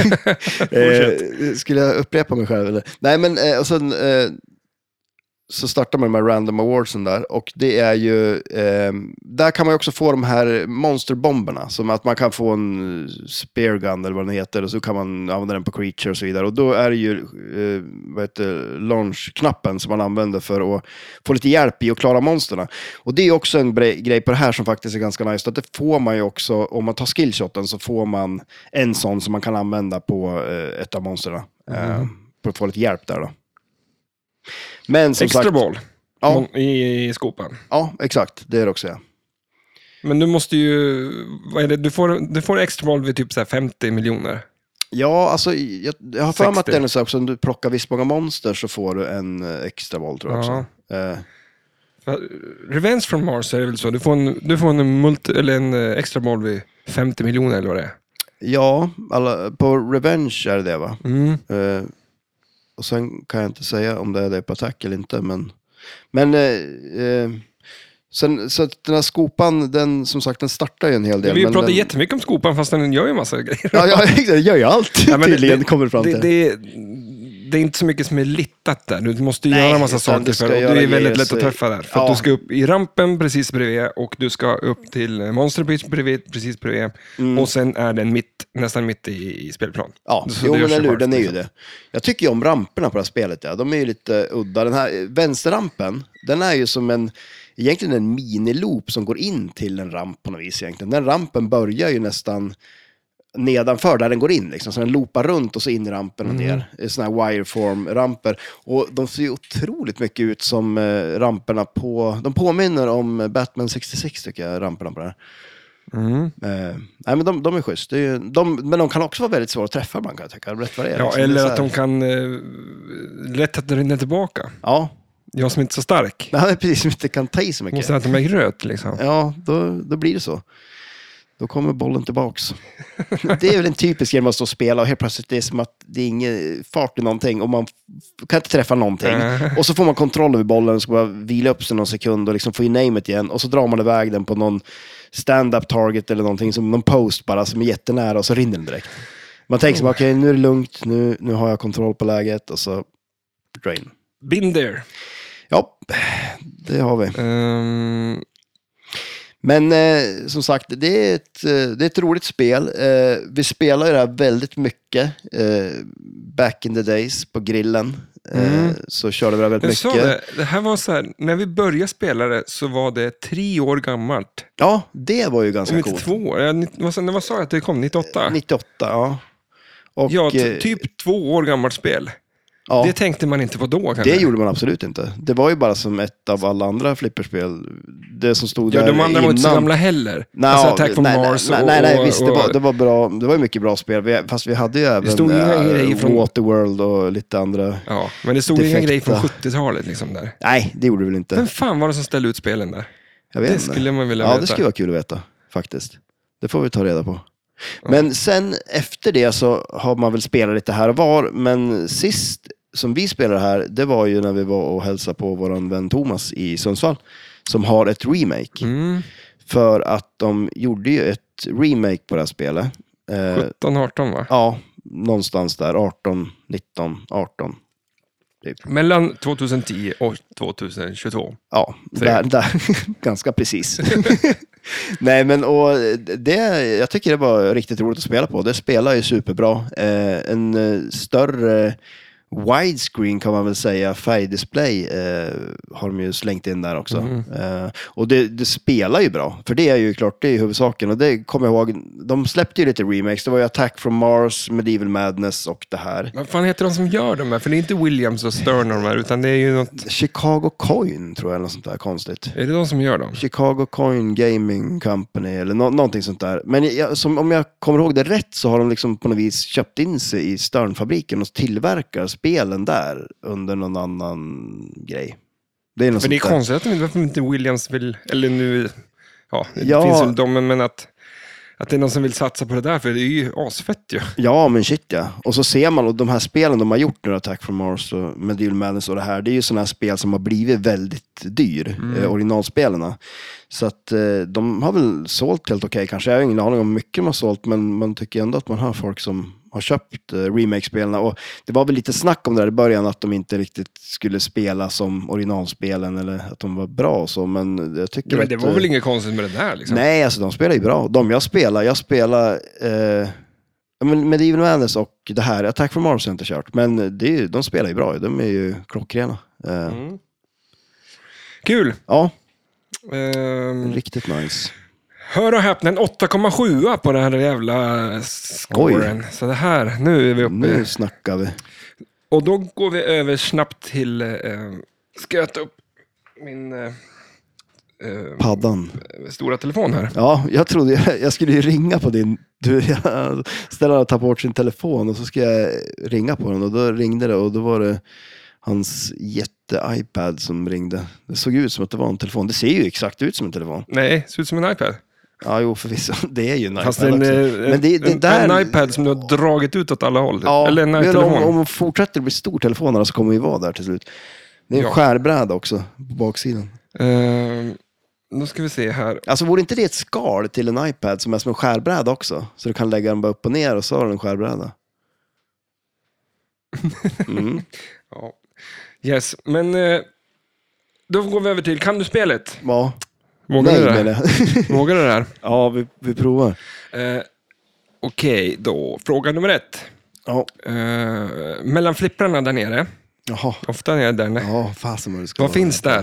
Speaker 2: eh, skulle jag upprepa mig själv? Eller? Nej, men eh, och sen, eh, så startar man med random awardsen där. Och det är ju, eh, där kan man ju också få de här monsterbomberna. Som att man kan få en spear gun eller vad den heter. Och så kan man använda den på creature och så vidare. Och då är det ju eh, vad heter, launch-knappen som man använder för att få lite hjälp i att klara monsterna. Och det är ju också en bre- grej på det här som faktiskt är ganska nice. Att det får man ju också, om man tar skillshoten så får man en sån som man kan använda på eh, ett av monstren. Eh, för att få lite hjälp där då. Men som
Speaker 1: Extra
Speaker 2: sagt,
Speaker 1: boll
Speaker 2: Ja.
Speaker 1: i, i skopan.
Speaker 2: ja exakt, det är det också ja.
Speaker 1: Men du måste ju, vad är det, du får, du får extra boll vid typ så här 50 miljoner.
Speaker 2: Ja, alltså jag, jag har för mig att
Speaker 1: 60.
Speaker 2: det är så här också, om du plockar visst många monster så får du en eh, extra boll tror jag också. Eh,
Speaker 1: För- Revenge from Mars är det väl så, du får en, du får en, multi, eller en eh, extra boll vid 50 miljoner eller vad det är.
Speaker 2: ja, alla, på Revenge är det det va?
Speaker 1: Mm.
Speaker 2: Eh, och sen kan jag inte säga om det är det på attack eller inte. Men, men eh, eh, sen, så att den här skopan, den, som sagt, den startar ju en hel del.
Speaker 1: Vi
Speaker 2: men
Speaker 1: pratar
Speaker 2: den,
Speaker 1: jättemycket om skopan fast den gör ju massa *laughs* grejer.
Speaker 2: *laughs* Ja, ja exakt, den gör ju allt
Speaker 1: Ja, men
Speaker 2: tydligen,
Speaker 1: det-
Speaker 2: kommer fram till.
Speaker 1: Det, det, det är inte så mycket som är littat där. Du måste
Speaker 2: Nej,
Speaker 1: göra en massa
Speaker 2: utan
Speaker 1: saker
Speaker 2: du
Speaker 1: för
Speaker 2: ska
Speaker 1: det.
Speaker 2: göra
Speaker 1: Du är väldigt
Speaker 2: grejer,
Speaker 1: lätt att
Speaker 2: så-
Speaker 1: träffa där. För att
Speaker 2: Ja.
Speaker 1: du ska upp i rampen precis bredvid och du ska upp till eh, Monster Beach bredvid, precis bredvid. Och sen är den mitt, nästan mitt i, i spelplan.
Speaker 2: Mm. Ja,
Speaker 1: Så det
Speaker 2: jo, men
Speaker 1: görs
Speaker 2: eller hur,
Speaker 1: bara,
Speaker 2: den är ju
Speaker 1: liksom.
Speaker 2: det. Jag tycker ju om ramperna på det här spelet. Ja. De är ju lite udda. Den här eh, vänsterrampen, den är ju som en, egentligen en miniloop som går in till en ramp på något vis egentligen. Den rampen börjar ju nästan nedanför där den går in liksom. Så den loopar runt och så in i rampen
Speaker 1: Mm.
Speaker 2: och ner. Sådana här wireform-ramper. Och de ser ju otroligt mycket ut som eh, ramperna på, de påminner om Batman 66 tycker jag, ramperna på det här.
Speaker 1: Mm.
Speaker 2: Eh, nej, men de, de är schysst. Det är ju, de, men de kan också vara väldigt svåra att träffa ibland kan jag tycka. Rätt vad det är,
Speaker 1: Ja,
Speaker 2: liksom. Det
Speaker 1: eller
Speaker 2: är så
Speaker 1: att
Speaker 2: här-
Speaker 1: de kan eh, lätt att rinna tillbaka.
Speaker 2: Ja, *laughs*
Speaker 1: Jag som inte är så stark.
Speaker 2: nej, precis. Som inte kan ta i så mycket.
Speaker 1: Måste äta mig gröt liksom.
Speaker 2: Ja, då, då blir det så. Då kommer bollen tillbaks. det är väl en typisk grej man står och spelar och helt plötsligt det är som att det är ingen fart i någonting och man f- kan inte träffa någonting.
Speaker 1: Nej.
Speaker 2: och så får man kontroll över bollen och ska bara vila upp sig någon sekund och liksom få in namet igen. Och så drar man iväg den på någon stand-up target eller någonting, som någon post bara som är jättenära och så rinner den direkt. Man tänker som okej nu är det lugnt, nu, nu har jag kontroll på läget och så drain.
Speaker 1: Been there.
Speaker 2: Ja, det har vi.
Speaker 1: Ehm,
Speaker 2: Men eh, som sagt, det är ett, eh, det är ett roligt spel. Eh, vi spelar ju det här väldigt mycket eh, back in the days på grillen. Eh,
Speaker 1: Mm.
Speaker 2: så körde vi det här väldigt
Speaker 1: jag sa
Speaker 2: mycket.
Speaker 1: det, det här var så här, när vi började spela det så var det tre år gammalt.
Speaker 2: Ja, det var ju
Speaker 1: Om
Speaker 2: ganska
Speaker 1: inte
Speaker 2: coolt.
Speaker 1: två år. Ja, nitt- vad sa- när- vad sa jag att det kom? 98?
Speaker 2: 98, ja. Och,
Speaker 1: ja,
Speaker 2: eh,
Speaker 1: ty- typ två år gammalt spel.
Speaker 2: ja,
Speaker 1: Det
Speaker 2: det,
Speaker 1: tänkte man inte på då kanske.
Speaker 2: gjorde man absolut inte. Det var ju bara som ett av alla andra flipperspel. Det som stod
Speaker 1: ja,
Speaker 2: där
Speaker 1: de andra var inte så
Speaker 2: innan.
Speaker 1: gamla heller.
Speaker 2: Nej,
Speaker 1: alltså
Speaker 2: ja,
Speaker 1: Attack from
Speaker 2: nej,
Speaker 1: Mars
Speaker 2: nej,
Speaker 1: och...
Speaker 2: nej, nej, visst,
Speaker 1: och,
Speaker 2: det var, det var bra. Det var ju mycket bra spel, Vi- fast vi hade ju även
Speaker 1: stod inga grejer
Speaker 2: äh,
Speaker 1: från-
Speaker 2: Waterworld och lite andra.
Speaker 1: Ja, men det stod ingen
Speaker 2: Defekta.
Speaker 1: grej från 70-talet liksom där.
Speaker 2: Nej, det gjorde det väl inte.
Speaker 1: Vem fan var det som ställde ut spelen där?
Speaker 2: Jag vet
Speaker 1: det
Speaker 2: inte.
Speaker 1: skulle man vilja
Speaker 2: Ja,
Speaker 1: veta.
Speaker 2: det skulle vara kul att veta faktiskt. Det får vi ta reda på. Men sen efter det så har man väl spelat lite här och var, men sist som vi spelade här, det var ju när vi var och hälsade på vår vän Thomas i Sundsvall, som har ett remake.
Speaker 1: Mm,
Speaker 2: För att de gjorde ju ett remake på det här spelet. Eh,
Speaker 1: 17-18 va?
Speaker 2: ja, någonstans där, 18, 19, 18. typ.
Speaker 1: Mellan 2010 och 2022.
Speaker 2: Ja,
Speaker 1: Säger
Speaker 2: där, där, *laughs* ganska *laughs* precis. Nej, men och det, jag tycker det var riktigt roligt att spela på. Det spelar ju superbra. Eh, en eh, större widescreen kan man väl säga, färgdisplay eh, har de ju slängt in där också. Eh, och det, det spelar ju bra, för det är ju klart, det är ju huvudsaken. Och det kommer jag ihåg, de släppte ju lite remakes. Det var ju Attack from Mars, Medieval Madness och det här.
Speaker 1: Vad fan heter de som gör de här? För det är inte Williams och Stern och de här, utan det är ju något...
Speaker 2: Chicago Coin tror jag, eller något sånt där konstigt.
Speaker 1: Är det de som gör dem?
Speaker 2: Chicago Coin Gaming Company eller nå- någonting sånt där. Men jag, som, om jag kommer ihåg det rätt så har de liksom på något vis köpt in sig i Sternfabriken och tillverkar spelen där under någon annan grej. Det är något
Speaker 1: För det är
Speaker 2: sånt där.
Speaker 1: konstigt att de, varför inte Williams vill, eller nu, ja, det
Speaker 2: Ja.
Speaker 1: finns väl de, men men att, att det är någon som vill satsa på det där, för det är ju asfett ju.
Speaker 2: Ja, men shit ja. Och så ser man, och de här spelen de har gjort nu, Attack from Mars och Medieval Madness och det här, det är ju sådana här spel som har blivit väldigt dyr,
Speaker 1: Mm.
Speaker 2: eh, originalspelarna. Så att eh, de har väl sålt helt okej kanske. Jag har ingen aning om hur mycket de har sålt, men man tycker ändå att man hör folk som har köpt eh, remake-spelen. Och det var väl lite snack om det där i början, att de inte riktigt skulle spela som originalspelen eller att de var bra och så, men jag tycker
Speaker 1: Ja, men
Speaker 2: att...
Speaker 1: det var
Speaker 2: eh,
Speaker 1: väl inget konstigt med det där liksom.
Speaker 2: Nej, alltså de spelar ju bra. De jag spelar, jag spelar eh, ja, men Medieval Madness och det här, Attack from Mars har jag inte kört, men det är ju, de spelar ju bra. De är ju klockrena. Eh,
Speaker 1: Mm. Kul!
Speaker 2: Ja,
Speaker 1: Ehm,
Speaker 2: riktigt nice.
Speaker 1: hör och häpna, en 8,7 på den här jävla scoren. Så det här, nu är vi uppe.
Speaker 2: Nu snackar vi.
Speaker 1: Och då går vi över snabbt till, eh, ska jag ta upp min eh, eh,
Speaker 2: Paddan.
Speaker 1: stora telefon här?
Speaker 2: Ja, jag trodde jag, jag skulle ju ringa på din... Du, *laughs* jag, Stellan har tagit bort sin telefon och så ska jag ringa på den och då ringde det och då var det hans jätte-iPad som ringde. Det såg ut som att det var en telefon. Det ser ju exakt ut som en telefon.
Speaker 1: Nej, ser ut som en iPad.
Speaker 2: Ja, jo förvisso. *laughs* Det är ju en
Speaker 1: Fast
Speaker 2: iPad
Speaker 1: en,
Speaker 2: också.
Speaker 1: eh,
Speaker 2: Men det, det
Speaker 1: en,
Speaker 2: där...
Speaker 1: en iPad som du har dragit ut åt alla håll.
Speaker 2: Ja,
Speaker 1: Eller en
Speaker 2: men
Speaker 1: iPhone.
Speaker 2: Om, om de fortsätter bli stortelefonerna så kommer vi vara där till slut. Det är en
Speaker 1: Ja.
Speaker 2: skärbräda också på baksidan.
Speaker 1: Ehm, då ska vi se här.
Speaker 2: Alltså vore inte det ett skal till en iPad som är som en skärbräda också? Så du kan lägga den bara upp och ner och så har du en skärbräda. Mm.
Speaker 1: Ja. Yes, men eh, då går vi över till kan du spelet?
Speaker 2: Ja,
Speaker 1: Vågar
Speaker 2: nej
Speaker 1: du det här?
Speaker 2: menar jag. *laughs*
Speaker 1: Vågar du det här?
Speaker 2: Ja, vi, vi provar.
Speaker 1: Eh, Okej, då fråga nummer ett.
Speaker 2: Ja,
Speaker 1: Eh, mellan flipprarna där nere,
Speaker 2: jaha.
Speaker 1: ofta nere där nere.
Speaker 2: Ja, fasen vad det ska
Speaker 1: Vad finns där?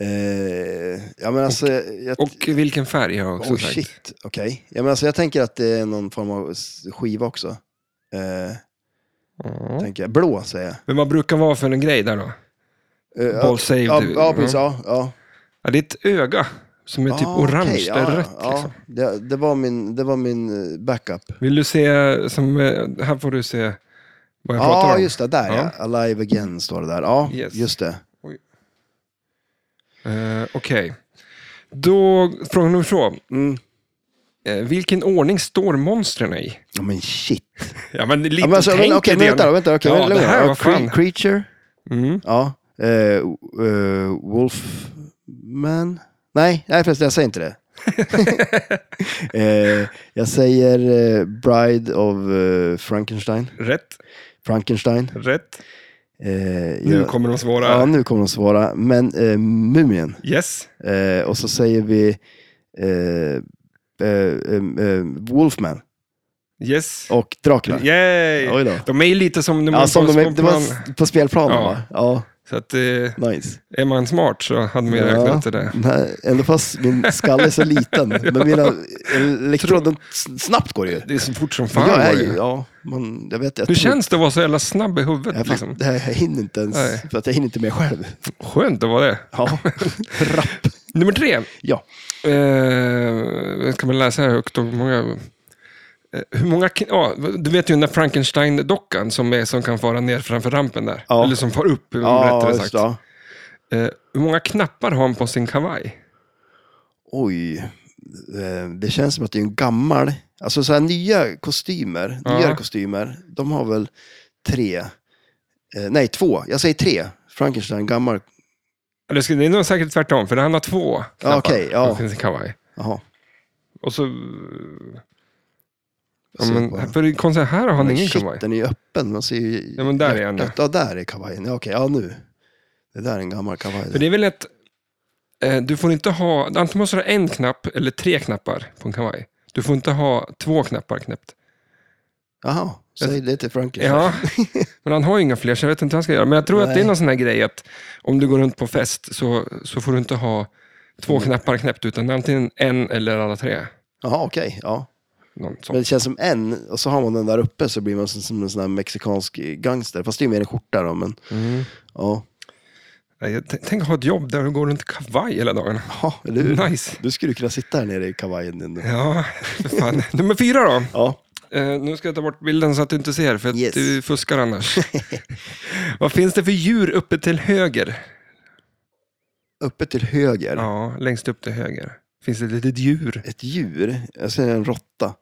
Speaker 2: Eh, ja, men alltså, jag,
Speaker 1: Och vilken färg har jag också
Speaker 2: oh,
Speaker 1: sagt.
Speaker 2: shit, okej. Ja, men alltså, jag tänker att det är någon form av s- skiva också. Eh,
Speaker 1: Ja.
Speaker 2: tänker jag. Blå säger jag.
Speaker 1: Men vad brukar vara för en grej där då?
Speaker 2: Eh, ja,
Speaker 1: Ball saved.
Speaker 2: ja, ja, precis. Ja, ja.
Speaker 1: Ja, det är ett öga som är Mm. typ
Speaker 2: Ah,
Speaker 1: orange,
Speaker 2: okej,
Speaker 1: det är
Speaker 2: ja,
Speaker 1: rött
Speaker 2: ja.
Speaker 1: liksom.
Speaker 2: Det, det, var min, det var min eh, backup.
Speaker 1: Vill du se, som, eh, här får du se vad jag pratar
Speaker 2: Ja,
Speaker 1: om.
Speaker 2: just det. Där ja. Alive again står det där. Ja,
Speaker 1: Yes.
Speaker 2: just det.
Speaker 1: Eh, Okej. Då, fråga nummer två.
Speaker 2: Mm.
Speaker 1: Eh, vilken ordning står monstren i?
Speaker 2: Ja, men shit.
Speaker 1: Ja, men lite
Speaker 2: Ja, men alltså,
Speaker 1: tänk
Speaker 2: men, okej,
Speaker 1: i
Speaker 2: men vänta då. Vänta, okej,
Speaker 1: Ja,
Speaker 2: men lugna.
Speaker 1: det här
Speaker 2: Ja,
Speaker 1: var
Speaker 2: Cre-
Speaker 1: fan.
Speaker 2: Creature.
Speaker 1: Mm.
Speaker 2: Ja. Eh, eh, Wolfman? Nej, nej förresten, jag säger
Speaker 1: *laughs*
Speaker 2: inte det. *laughs* eh, jag säger eh, Bride of eh, Frankenstein.
Speaker 1: Rätt,
Speaker 2: Frankenstein.
Speaker 1: rätt.
Speaker 2: Eh,
Speaker 1: Nu
Speaker 2: jag,
Speaker 1: kommer de svåra.
Speaker 2: ja, nu kommer de svåra. Men eh, Mumien.
Speaker 1: Yes,
Speaker 2: Eh, och så säger vi eh, eh, eh, eh, Wolfman
Speaker 1: yes.
Speaker 2: och Dracula.
Speaker 1: Yay!
Speaker 2: Oj då.
Speaker 1: De är ju lite som när man
Speaker 2: Ja, som de är,
Speaker 1: på
Speaker 2: det var
Speaker 1: man,
Speaker 2: s- på spelplanen
Speaker 1: Ja.
Speaker 2: va? Ja,
Speaker 1: Så att, eh,
Speaker 2: nice.
Speaker 1: är man smart så hade man ju räknat det där.
Speaker 2: Nej, ändå fast min skalle är så liten. Men mina elektroner, de s- snabbt går det ju.
Speaker 1: Det är så fort som fan.
Speaker 2: Men jag är
Speaker 1: var
Speaker 2: ju,
Speaker 1: det.
Speaker 2: ja, man, jag vet jag
Speaker 1: Hur
Speaker 2: tror-
Speaker 1: känns det att vara så jävla snabb i huvudet?
Speaker 2: jag, liksom.
Speaker 1: liksom?
Speaker 2: det här, jag hinner inte ens,
Speaker 1: Nej.
Speaker 2: för att jag hinner inte med själv.
Speaker 1: Skönt att vara det. *laughs*
Speaker 2: Ja, rapp.
Speaker 1: Nummer tre.
Speaker 2: Ja.
Speaker 1: Eh, ska man läsa här högt och hur många... eh, Hur många kn- ja, du vet ju den där Frankenstein-dockan som, är- som kan fara ner framför rampen där.
Speaker 2: Ja.
Speaker 1: Eller som far upp,
Speaker 2: Ja,
Speaker 1: rättare
Speaker 2: just
Speaker 1: sagt.
Speaker 2: det. ja.
Speaker 1: Eh, hur många knappar har han på sin kavaj?
Speaker 2: Oj, eh, det känns som att det är en gammal, alltså så här nya kostymer,
Speaker 1: Ja.
Speaker 2: nyare kostymer, de har väl tre, eh, nej två, jag säger tre. Frankenstein, gammal,
Speaker 1: Eller ska, det är nog säkert tvärtom, för han har två knappar
Speaker 2: okej, ja.
Speaker 1: på sin kavaj.
Speaker 2: jaha.
Speaker 1: Och så... Ja,
Speaker 2: Så
Speaker 1: men,
Speaker 2: bara-
Speaker 1: för det är konstigt, här har han ingen
Speaker 2: shit,
Speaker 1: kavaj.
Speaker 2: den är ju öppen. Man ser ju
Speaker 1: Ja, men där är den
Speaker 2: hjärtat. Ja, där är kavajen. Ja, okej, ja nu. Det där är en gammal kavaj.
Speaker 1: För det är väl ett... Eh, du får inte ha... Antingen måste du ha en knapp eller tre knappar på en kavaj. Du får inte ha två knappar knäppt.
Speaker 2: Jaha, säg det till Frankenstein.
Speaker 1: Ja, *laughs* men han har ju inga fler så jag vet inte vad han ska göra. Men jag tror att det är
Speaker 2: Nej.
Speaker 1: någon sån här grej att om du går runt på fest så, så får du inte ha två knappar knäppt utan antingen en eller alla tre.
Speaker 2: Jaha, okej. Ja.
Speaker 1: Någon sån.
Speaker 2: Men det känns som en, och så har man den där uppe så blir man som, som en sån här mexikansk gangster. Fast det är ju mer en skjorta då, men
Speaker 1: Mm.
Speaker 2: ja.
Speaker 1: Nej, jag t- Tänk att ha ett jobb där du går runt i kavaj hela dagarna.
Speaker 2: Ja, eller hur?
Speaker 1: Nice.
Speaker 2: Du skulle kunna sitta här nere i kavajen ändå.
Speaker 1: Ja, för fan. Nummer fyra då.
Speaker 2: Ja,
Speaker 1: Eh, nu ska jag ta bort bilden så att du inte ser, för att
Speaker 2: Yes.
Speaker 1: du fuskar
Speaker 2: *laughs*
Speaker 1: annars. Vad finns det för djur uppe till höger?
Speaker 2: uppe till höger.
Speaker 1: Ja, längst upp till höger. Finns det ett litet djur?
Speaker 2: Ett djur. Jag ser en råtta.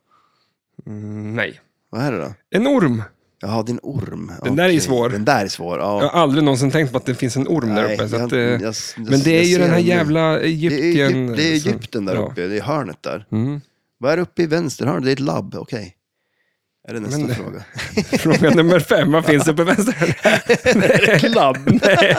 Speaker 1: Mm, nej.
Speaker 2: Vad är det då?
Speaker 1: En orm.
Speaker 2: Jaha, det är en orm. Den
Speaker 1: där är ju svår.
Speaker 2: Den där är svår, ja.
Speaker 1: Jag har aldrig någonsin tänkt på att det finns en orm där
Speaker 2: Nej,
Speaker 1: uppe. Så
Speaker 2: jag-
Speaker 1: att, eh,
Speaker 2: jag- jag-
Speaker 1: men det är
Speaker 2: jag
Speaker 1: ju
Speaker 2: ser
Speaker 1: den här
Speaker 2: den nu.
Speaker 1: jävla
Speaker 2: Det är,
Speaker 1: Egypten.
Speaker 2: Egypt, det är
Speaker 1: som-
Speaker 2: Egypten där
Speaker 1: ja.
Speaker 2: uppe, det är hörnet där.
Speaker 1: Mm.
Speaker 2: Vad är det uppe i vänster hörn? Det är ett labb, okej. Är det nästa
Speaker 1: Men- *laughs*
Speaker 2: fråga?
Speaker 1: *laughs* Fråga nummer fem, vad finns det
Speaker 2: *laughs*
Speaker 1: uppe i vänster? *laughs*
Speaker 2: Ett labb?
Speaker 1: Nej.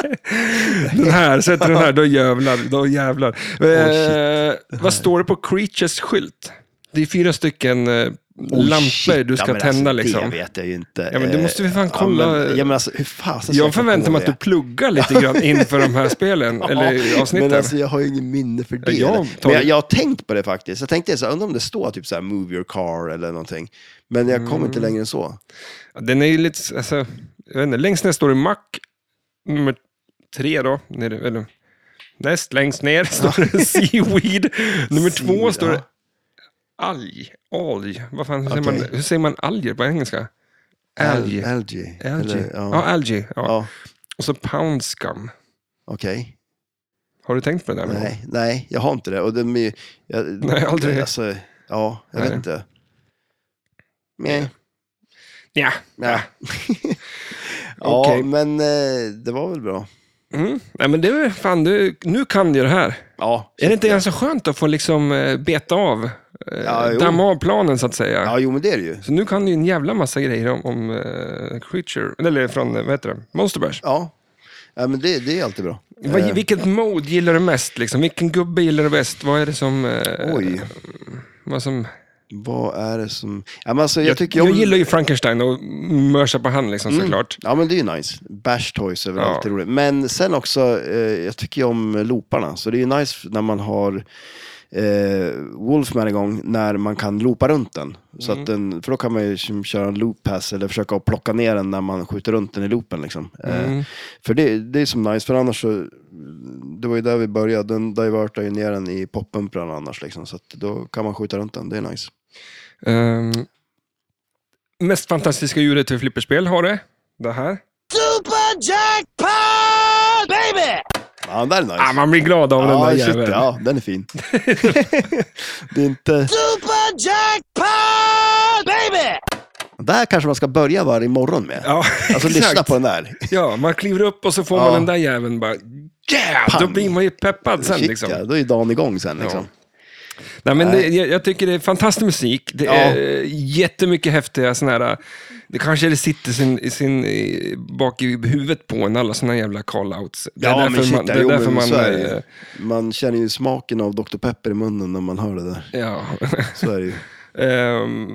Speaker 1: Den här, sätter den här, då jävlar. Då jävlar.
Speaker 2: Oh,
Speaker 1: eh, vad står det på Creatures skylt? Det är fyra stycken eh,
Speaker 2: Oh,
Speaker 1: lampor du ska tända. liksom.
Speaker 2: alltså, Det vet jag ju inte. Eh,
Speaker 1: Ja, men det måste vi fan kolla.
Speaker 2: Ja, men, ja, men alltså, hur fasen ska
Speaker 1: Jag
Speaker 2: komma
Speaker 1: förväntar
Speaker 2: på
Speaker 1: mig att du
Speaker 2: det?
Speaker 1: pluggar lite
Speaker 2: *laughs*
Speaker 1: grann inför de här spelen, eller avsnitten.
Speaker 2: Men alltså, jag har ju ingen minne för det.
Speaker 1: Ja, jag tar-
Speaker 2: Men jag, jag har tänkt på det faktiskt. Jag tänkte så här, undrar om det står typ så här, move your car eller någonting. Men jag kom
Speaker 1: Mm.
Speaker 2: inte längre än så.
Speaker 1: Den är ju lite, alltså, jag vet inte, längst ner står det Mac, nummer tre då, nere, eller, näst längst ner *laughs* står det Seaweed, nummer två
Speaker 2: Seaweed,
Speaker 1: står det
Speaker 2: ja.
Speaker 1: Alg, alg, vad fan, hur, säger
Speaker 2: Okej.
Speaker 1: man, hur säger man alger på engelska? Alg.
Speaker 2: Al- Algae.
Speaker 1: Algae.
Speaker 2: Eller,
Speaker 1: Ja,
Speaker 2: Ja,
Speaker 1: algae. Ja.
Speaker 2: ja.
Speaker 1: Och så pound scum.
Speaker 2: okej.
Speaker 1: Har du tänkt på det där? någon gång?
Speaker 2: Nej, nej, jag har inte det. Och de är ju, jag,
Speaker 1: Nej, aldrig.
Speaker 2: Alltså, ja, jag
Speaker 1: Nej.
Speaker 2: vet inte. Nej.
Speaker 1: Ja.
Speaker 2: Ja, *laughs* ja
Speaker 1: Okej.
Speaker 2: men eh, det var väl bra.
Speaker 1: Mm. Nej, men det är väl fan, du, nu kan du ju det här.
Speaker 2: Ja,
Speaker 1: Är det inte ganska skönt att få liksom eh, beta av eh,
Speaker 2: Ja, jo.
Speaker 1: damma av planen så att säga.
Speaker 2: Ja, jo men det är det ju.
Speaker 1: Så nu kan du ju en jävla massa grejer om, om eh, Creature, eller från, eh, vad heter det, Monsterbash.
Speaker 2: Ja, ja men det, det är alltid bra.
Speaker 1: Vad, vilket mode gillar du mest? Liksom? Vilken gubbe gillar du bäst? Vad är det som... eh,
Speaker 2: Oj,
Speaker 1: Vad som
Speaker 2: vad är det som... Ja, men alltså, jag,
Speaker 1: jag, jag,
Speaker 2: tycker om... Mm.
Speaker 1: gillar ju Frankenstein och mörsa på hand liksom, såklart.
Speaker 2: Ja, men det är ju nice. Bash toys är väl
Speaker 1: Ja.
Speaker 2: alltid roligt. Men sen också, eh, jag tycker ju om looparna. Så det är ju nice när man har eh, Wolfman igång, när man kan loopa runt den. Så att
Speaker 1: Mm.
Speaker 2: den. För då kan man ju som- köra en loop pass eller försöka att plocka ner den när man skjuter runt den i loopen. Liksom.
Speaker 1: Mm.
Speaker 2: Eh, för det, det är som nice, för annars så, det var ju där vi började. Den divertar ju ner den i poppumprarna annars. Liksom. Så att då kan man skjuta runt den, det är nice.
Speaker 1: Ehm, mest fantastiska djuret till flipperspel har det. Det här.
Speaker 3: Super Jackpot! Baby!
Speaker 2: Ja, den där är nice.
Speaker 1: Ah, man blir glad av den
Speaker 2: Ja,
Speaker 1: där
Speaker 2: shit,
Speaker 1: jäveln.
Speaker 2: ja, den
Speaker 1: *laughs*
Speaker 2: är fin. det är inte...
Speaker 3: Super Jackpot! Baby!
Speaker 2: Där kanske man ska börja varje morgon med.
Speaker 1: Ja,
Speaker 2: *laughs* alltså
Speaker 1: exakt.
Speaker 2: lyssna på den där.
Speaker 1: Ja, man kliver upp och så får man
Speaker 2: Ja.
Speaker 1: den där jäveln bara yeah! Då
Speaker 2: Pang.
Speaker 1: blir man ju peppad sen.
Speaker 2: Shit,
Speaker 1: Liksom.
Speaker 2: ja, då är dagen igång sen. Liksom.
Speaker 1: Nej, men det, jag, jag tycker det är fantastisk musik. Det
Speaker 2: Ja.
Speaker 1: är jättemycket häftiga sådana här... Det kanske det sitter sin, sin, eh, bak i huvudet på en, alla sådana jävla call-outs. Det är
Speaker 2: Ja,
Speaker 1: därför
Speaker 2: men shit,
Speaker 1: man, det är
Speaker 2: jo,
Speaker 1: därför
Speaker 2: men
Speaker 1: man...
Speaker 2: så är det
Speaker 1: eh,
Speaker 2: ju. Man känner ju smaken av Dr. Pepper i munnen när man hör det där.
Speaker 1: Ja. *laughs*
Speaker 2: Så är det ju.
Speaker 1: Ehm,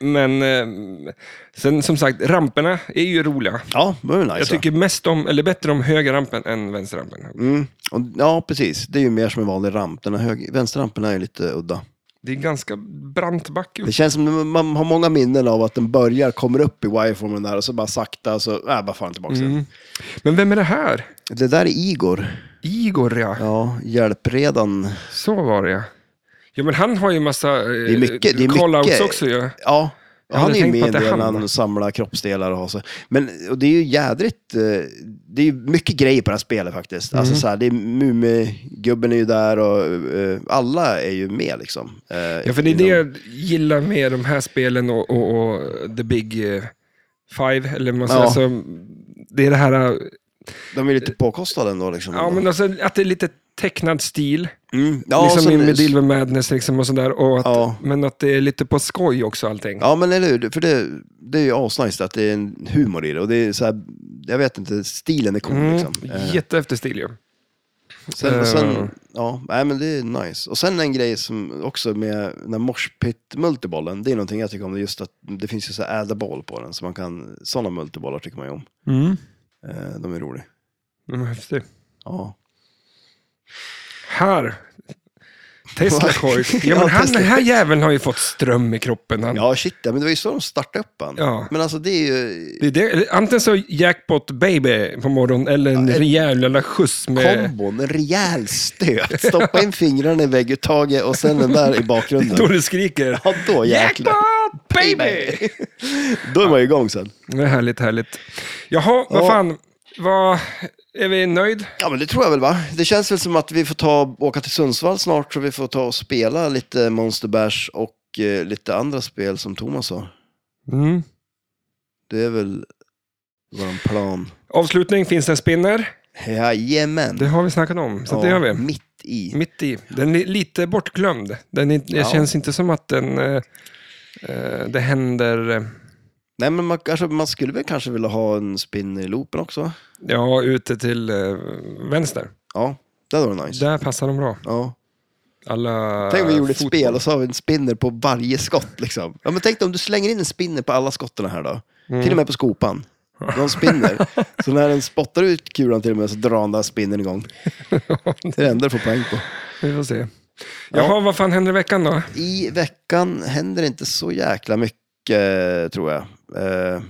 Speaker 1: men ehm, sen som sagt, ramperna är ju roliga.
Speaker 2: Ja, det var ju nice.
Speaker 1: Jag tycker mest om, eller bättre om höger rampen än vänster rampen.
Speaker 2: ja. Mm. Och, ja, precis. Det är ju mer som en vanlig ramp. Den här hög... Vänsterrampen är ju lite udda.
Speaker 1: Det är ganska brant backe.
Speaker 2: Det känns som att man har många minnen av att den börjar, kommer upp i wireformen där och så bara sakta, så äh, bara far den tillbaka
Speaker 1: Mm.
Speaker 2: sen.
Speaker 1: Men vem är det här?
Speaker 2: Det där är Igor.
Speaker 1: Igor ja.
Speaker 2: Ja, hjälpredan.
Speaker 1: Så var det ja. Ja men han har ju massa eh,
Speaker 2: Det är mycket. Det är
Speaker 1: call-outs
Speaker 2: mycket.
Speaker 1: också ju.
Speaker 2: Ja.
Speaker 1: Jag
Speaker 2: han
Speaker 1: hade
Speaker 2: är ju
Speaker 1: tänkt
Speaker 2: med
Speaker 1: på
Speaker 2: i
Speaker 1: att
Speaker 2: en
Speaker 1: det är
Speaker 2: del
Speaker 1: han,
Speaker 2: när
Speaker 1: va?
Speaker 2: han samlar kroppsdelar och har så. Men och det är ju jädrigt, eh, det är ju mycket grejer på det här spelet faktiskt. Alltså så här, det är Mumigubben är ju där och eh, alla är ju med liksom. Eh,
Speaker 1: Ja för det är det
Speaker 2: inom-
Speaker 1: jag gillar med de här spelen och, och, och the big eh, five, eller vad man säger
Speaker 2: Ja.
Speaker 1: så. Det är det här, eh,
Speaker 2: De är lite påkostade ändå liksom.
Speaker 1: ja men alltså att det är lite tecknad stil.
Speaker 2: mm. ja,
Speaker 1: liksom
Speaker 2: sen-
Speaker 1: i Medieval Madness liksom och sådär. Och att,
Speaker 2: Ja.
Speaker 1: Men att det är lite på skoj också allting.
Speaker 2: Ja men eller hur, för det, det är ju asnice att det är en humor i det och det är så här, jag vet inte, stilen är cool liksom. Eh,
Speaker 1: Mm. Jättehäftig stil ju.
Speaker 2: Sen, och
Speaker 1: Eh.
Speaker 2: sen, ja, nej, men det är nice. Och sen en grej som också med den här morspit multibollen det är någonting jag tycker om, det är just att det finns ju så här ädla boll på den, så man kan, sådana multibollar tycker man ju om.
Speaker 1: Mm.
Speaker 2: Eh, de är roliga.
Speaker 1: Mm, häftig.
Speaker 2: Ja.
Speaker 1: Här. Tesla Coils. Ja,
Speaker 2: *laughs* Ja,
Speaker 1: men han,
Speaker 2: Tesla.
Speaker 1: den här jäveln har ju fått ström i kroppen. Han.
Speaker 2: ja, shit ja, men det var ju så de startade upp han.
Speaker 1: Ja.
Speaker 2: Men alltså det är ju
Speaker 1: Det är det, eller antingen så jackpot baby på morgonen eller en rejäl jävla skjuts med...
Speaker 2: kombon, en rejäl stöt. Stoppa in fingrarna i vägguttaget och sen den där
Speaker 1: *laughs*
Speaker 2: i
Speaker 1: Då
Speaker 2: bakgrunden.
Speaker 1: du skriker
Speaker 2: Ja, då jäklar.
Speaker 1: jackpot baby!
Speaker 2: Då är man ju igång sen.
Speaker 1: Det är härligt, härligt. Jaha, vad
Speaker 2: Ja.
Speaker 1: fan. Vad, är vi nöjd?
Speaker 2: Ja, men det tror jag väl va? Det känns väl som att vi får ta, åka till Sundsvall snart så vi får ta och spela lite Monster Bash och eh, lite andra spel som Thomas sa.
Speaker 1: Mm.
Speaker 2: Det är väl vår plan.
Speaker 1: Avslutning, finns det en spinner?
Speaker 2: Jajamän.
Speaker 1: Det har vi snackat om, så det gör vi.
Speaker 2: Mitt i.
Speaker 1: Mitt i. Den är lite bortglömd. Den är, det
Speaker 2: Ja.
Speaker 1: känns inte som att den... eh, eh, det händer... eh,
Speaker 2: Nej, men man, kanske, man skulle väl kanske vilja ha en spinner i loopen också?
Speaker 1: Ja, ute till eh, vänster.
Speaker 2: Ja, det hade varit nice.
Speaker 1: Där passar de bra.
Speaker 2: Ja.
Speaker 1: Alla
Speaker 2: Tänk om vi gjorde ett
Speaker 1: fot-
Speaker 2: spel och så har vi en spinner på varje skott. Liksom. Ja, men tänk dig om du slänger in en spinner på alla skotten här då.
Speaker 1: Mm.
Speaker 2: Till och med på skopan.
Speaker 1: *laughs*
Speaker 2: Någon spinner. så när den spottar ut kulan till och med så drar den där
Speaker 1: *laughs*
Speaker 2: spinnen igång. Det är det enda du får poäng på.
Speaker 1: Vi får se. Jaha, vad fan händer i veckan då?
Speaker 2: I veckan händer inte så jäkla mycket tror jag. Eh,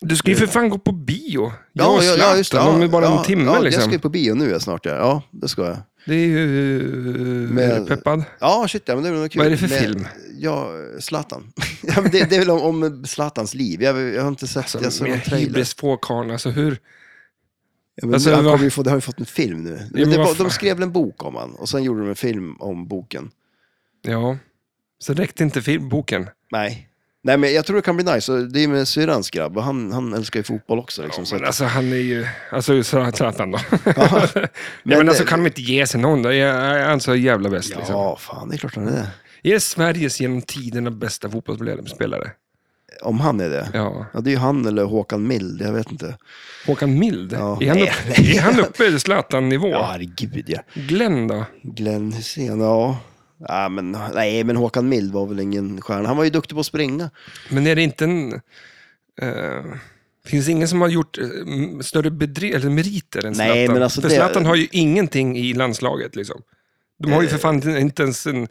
Speaker 1: Du ska ju för fan gå på bio.
Speaker 2: ja,
Speaker 1: Jag och
Speaker 2: ja, ja, just det.
Speaker 1: Zlatan, om
Speaker 2: Ja,
Speaker 1: bara
Speaker 2: ja,
Speaker 1: en timme
Speaker 2: ja, Jag
Speaker 1: liksom.
Speaker 2: ska ju på bio nu snart ja. Ja, det ska jag.
Speaker 1: Det är ju...
Speaker 2: Med-
Speaker 1: Är du peppad?
Speaker 2: Ja, shit, ja, men det är väl något kul.
Speaker 1: Vad är det för
Speaker 2: Med-
Speaker 1: film?
Speaker 2: Ja, Zlatan. *laughs* ja, men det, det är väl om, om Zlatans liv. Jag, jag har inte sett, jag
Speaker 1: Alltså,
Speaker 2: såg
Speaker 1: med
Speaker 2: en trailer.
Speaker 1: hybris få karln, alltså hur...
Speaker 2: Ja, men
Speaker 1: Alltså,
Speaker 2: nu, han
Speaker 1: vad-
Speaker 2: kommer ju få, det har ju fått en film nu.
Speaker 1: men
Speaker 2: Men det
Speaker 1: vad
Speaker 2: var,
Speaker 1: fan.
Speaker 2: de skrev väl en bok om han och sen gjorde de en film om boken.
Speaker 1: Ja. Så räckte inte film, boken.
Speaker 2: Nej. Nej, men jag tror det kan bli nice. Och Det är ju med syrrans grabb och han, han älskar ju fotboll också. Liksom, så
Speaker 1: Men
Speaker 2: att,
Speaker 1: alltså han är ju... Alltså så- Zlatan då.
Speaker 2: Ja,
Speaker 1: *laughs* Nej, men
Speaker 2: det-
Speaker 1: alltså kan de inte ge sig någon? då? Är är han så jävla bäst liksom?
Speaker 2: ja, fan det är klart han är det.
Speaker 1: Är Sveriges genom tiderna bästa fotbollsspelare?
Speaker 2: Om han är det.
Speaker 1: Ja.
Speaker 2: Ja, det är ju han eller Håkan Mild, jag vet inte.
Speaker 1: Håkan Mild?
Speaker 2: Ja.
Speaker 1: Är, han upp, är han uppe i Zlatan-nivå?
Speaker 2: Ja, herregud ja.
Speaker 1: Glenn då?
Speaker 2: Glenn Hysén, ja. Ja, men, nej, men Håkan Mild var väl ingen stjärna. Han var ju duktig på att springa.
Speaker 1: Men är det inte en... eh, finns det ingen som har gjort eh, m- större bedri- eller meriter än
Speaker 2: Nej,
Speaker 1: Zlatan?
Speaker 2: men alltså
Speaker 1: för
Speaker 2: det-
Speaker 1: Zlatan har ju ingenting i landslaget. liksom. De har ju för fan inte ens en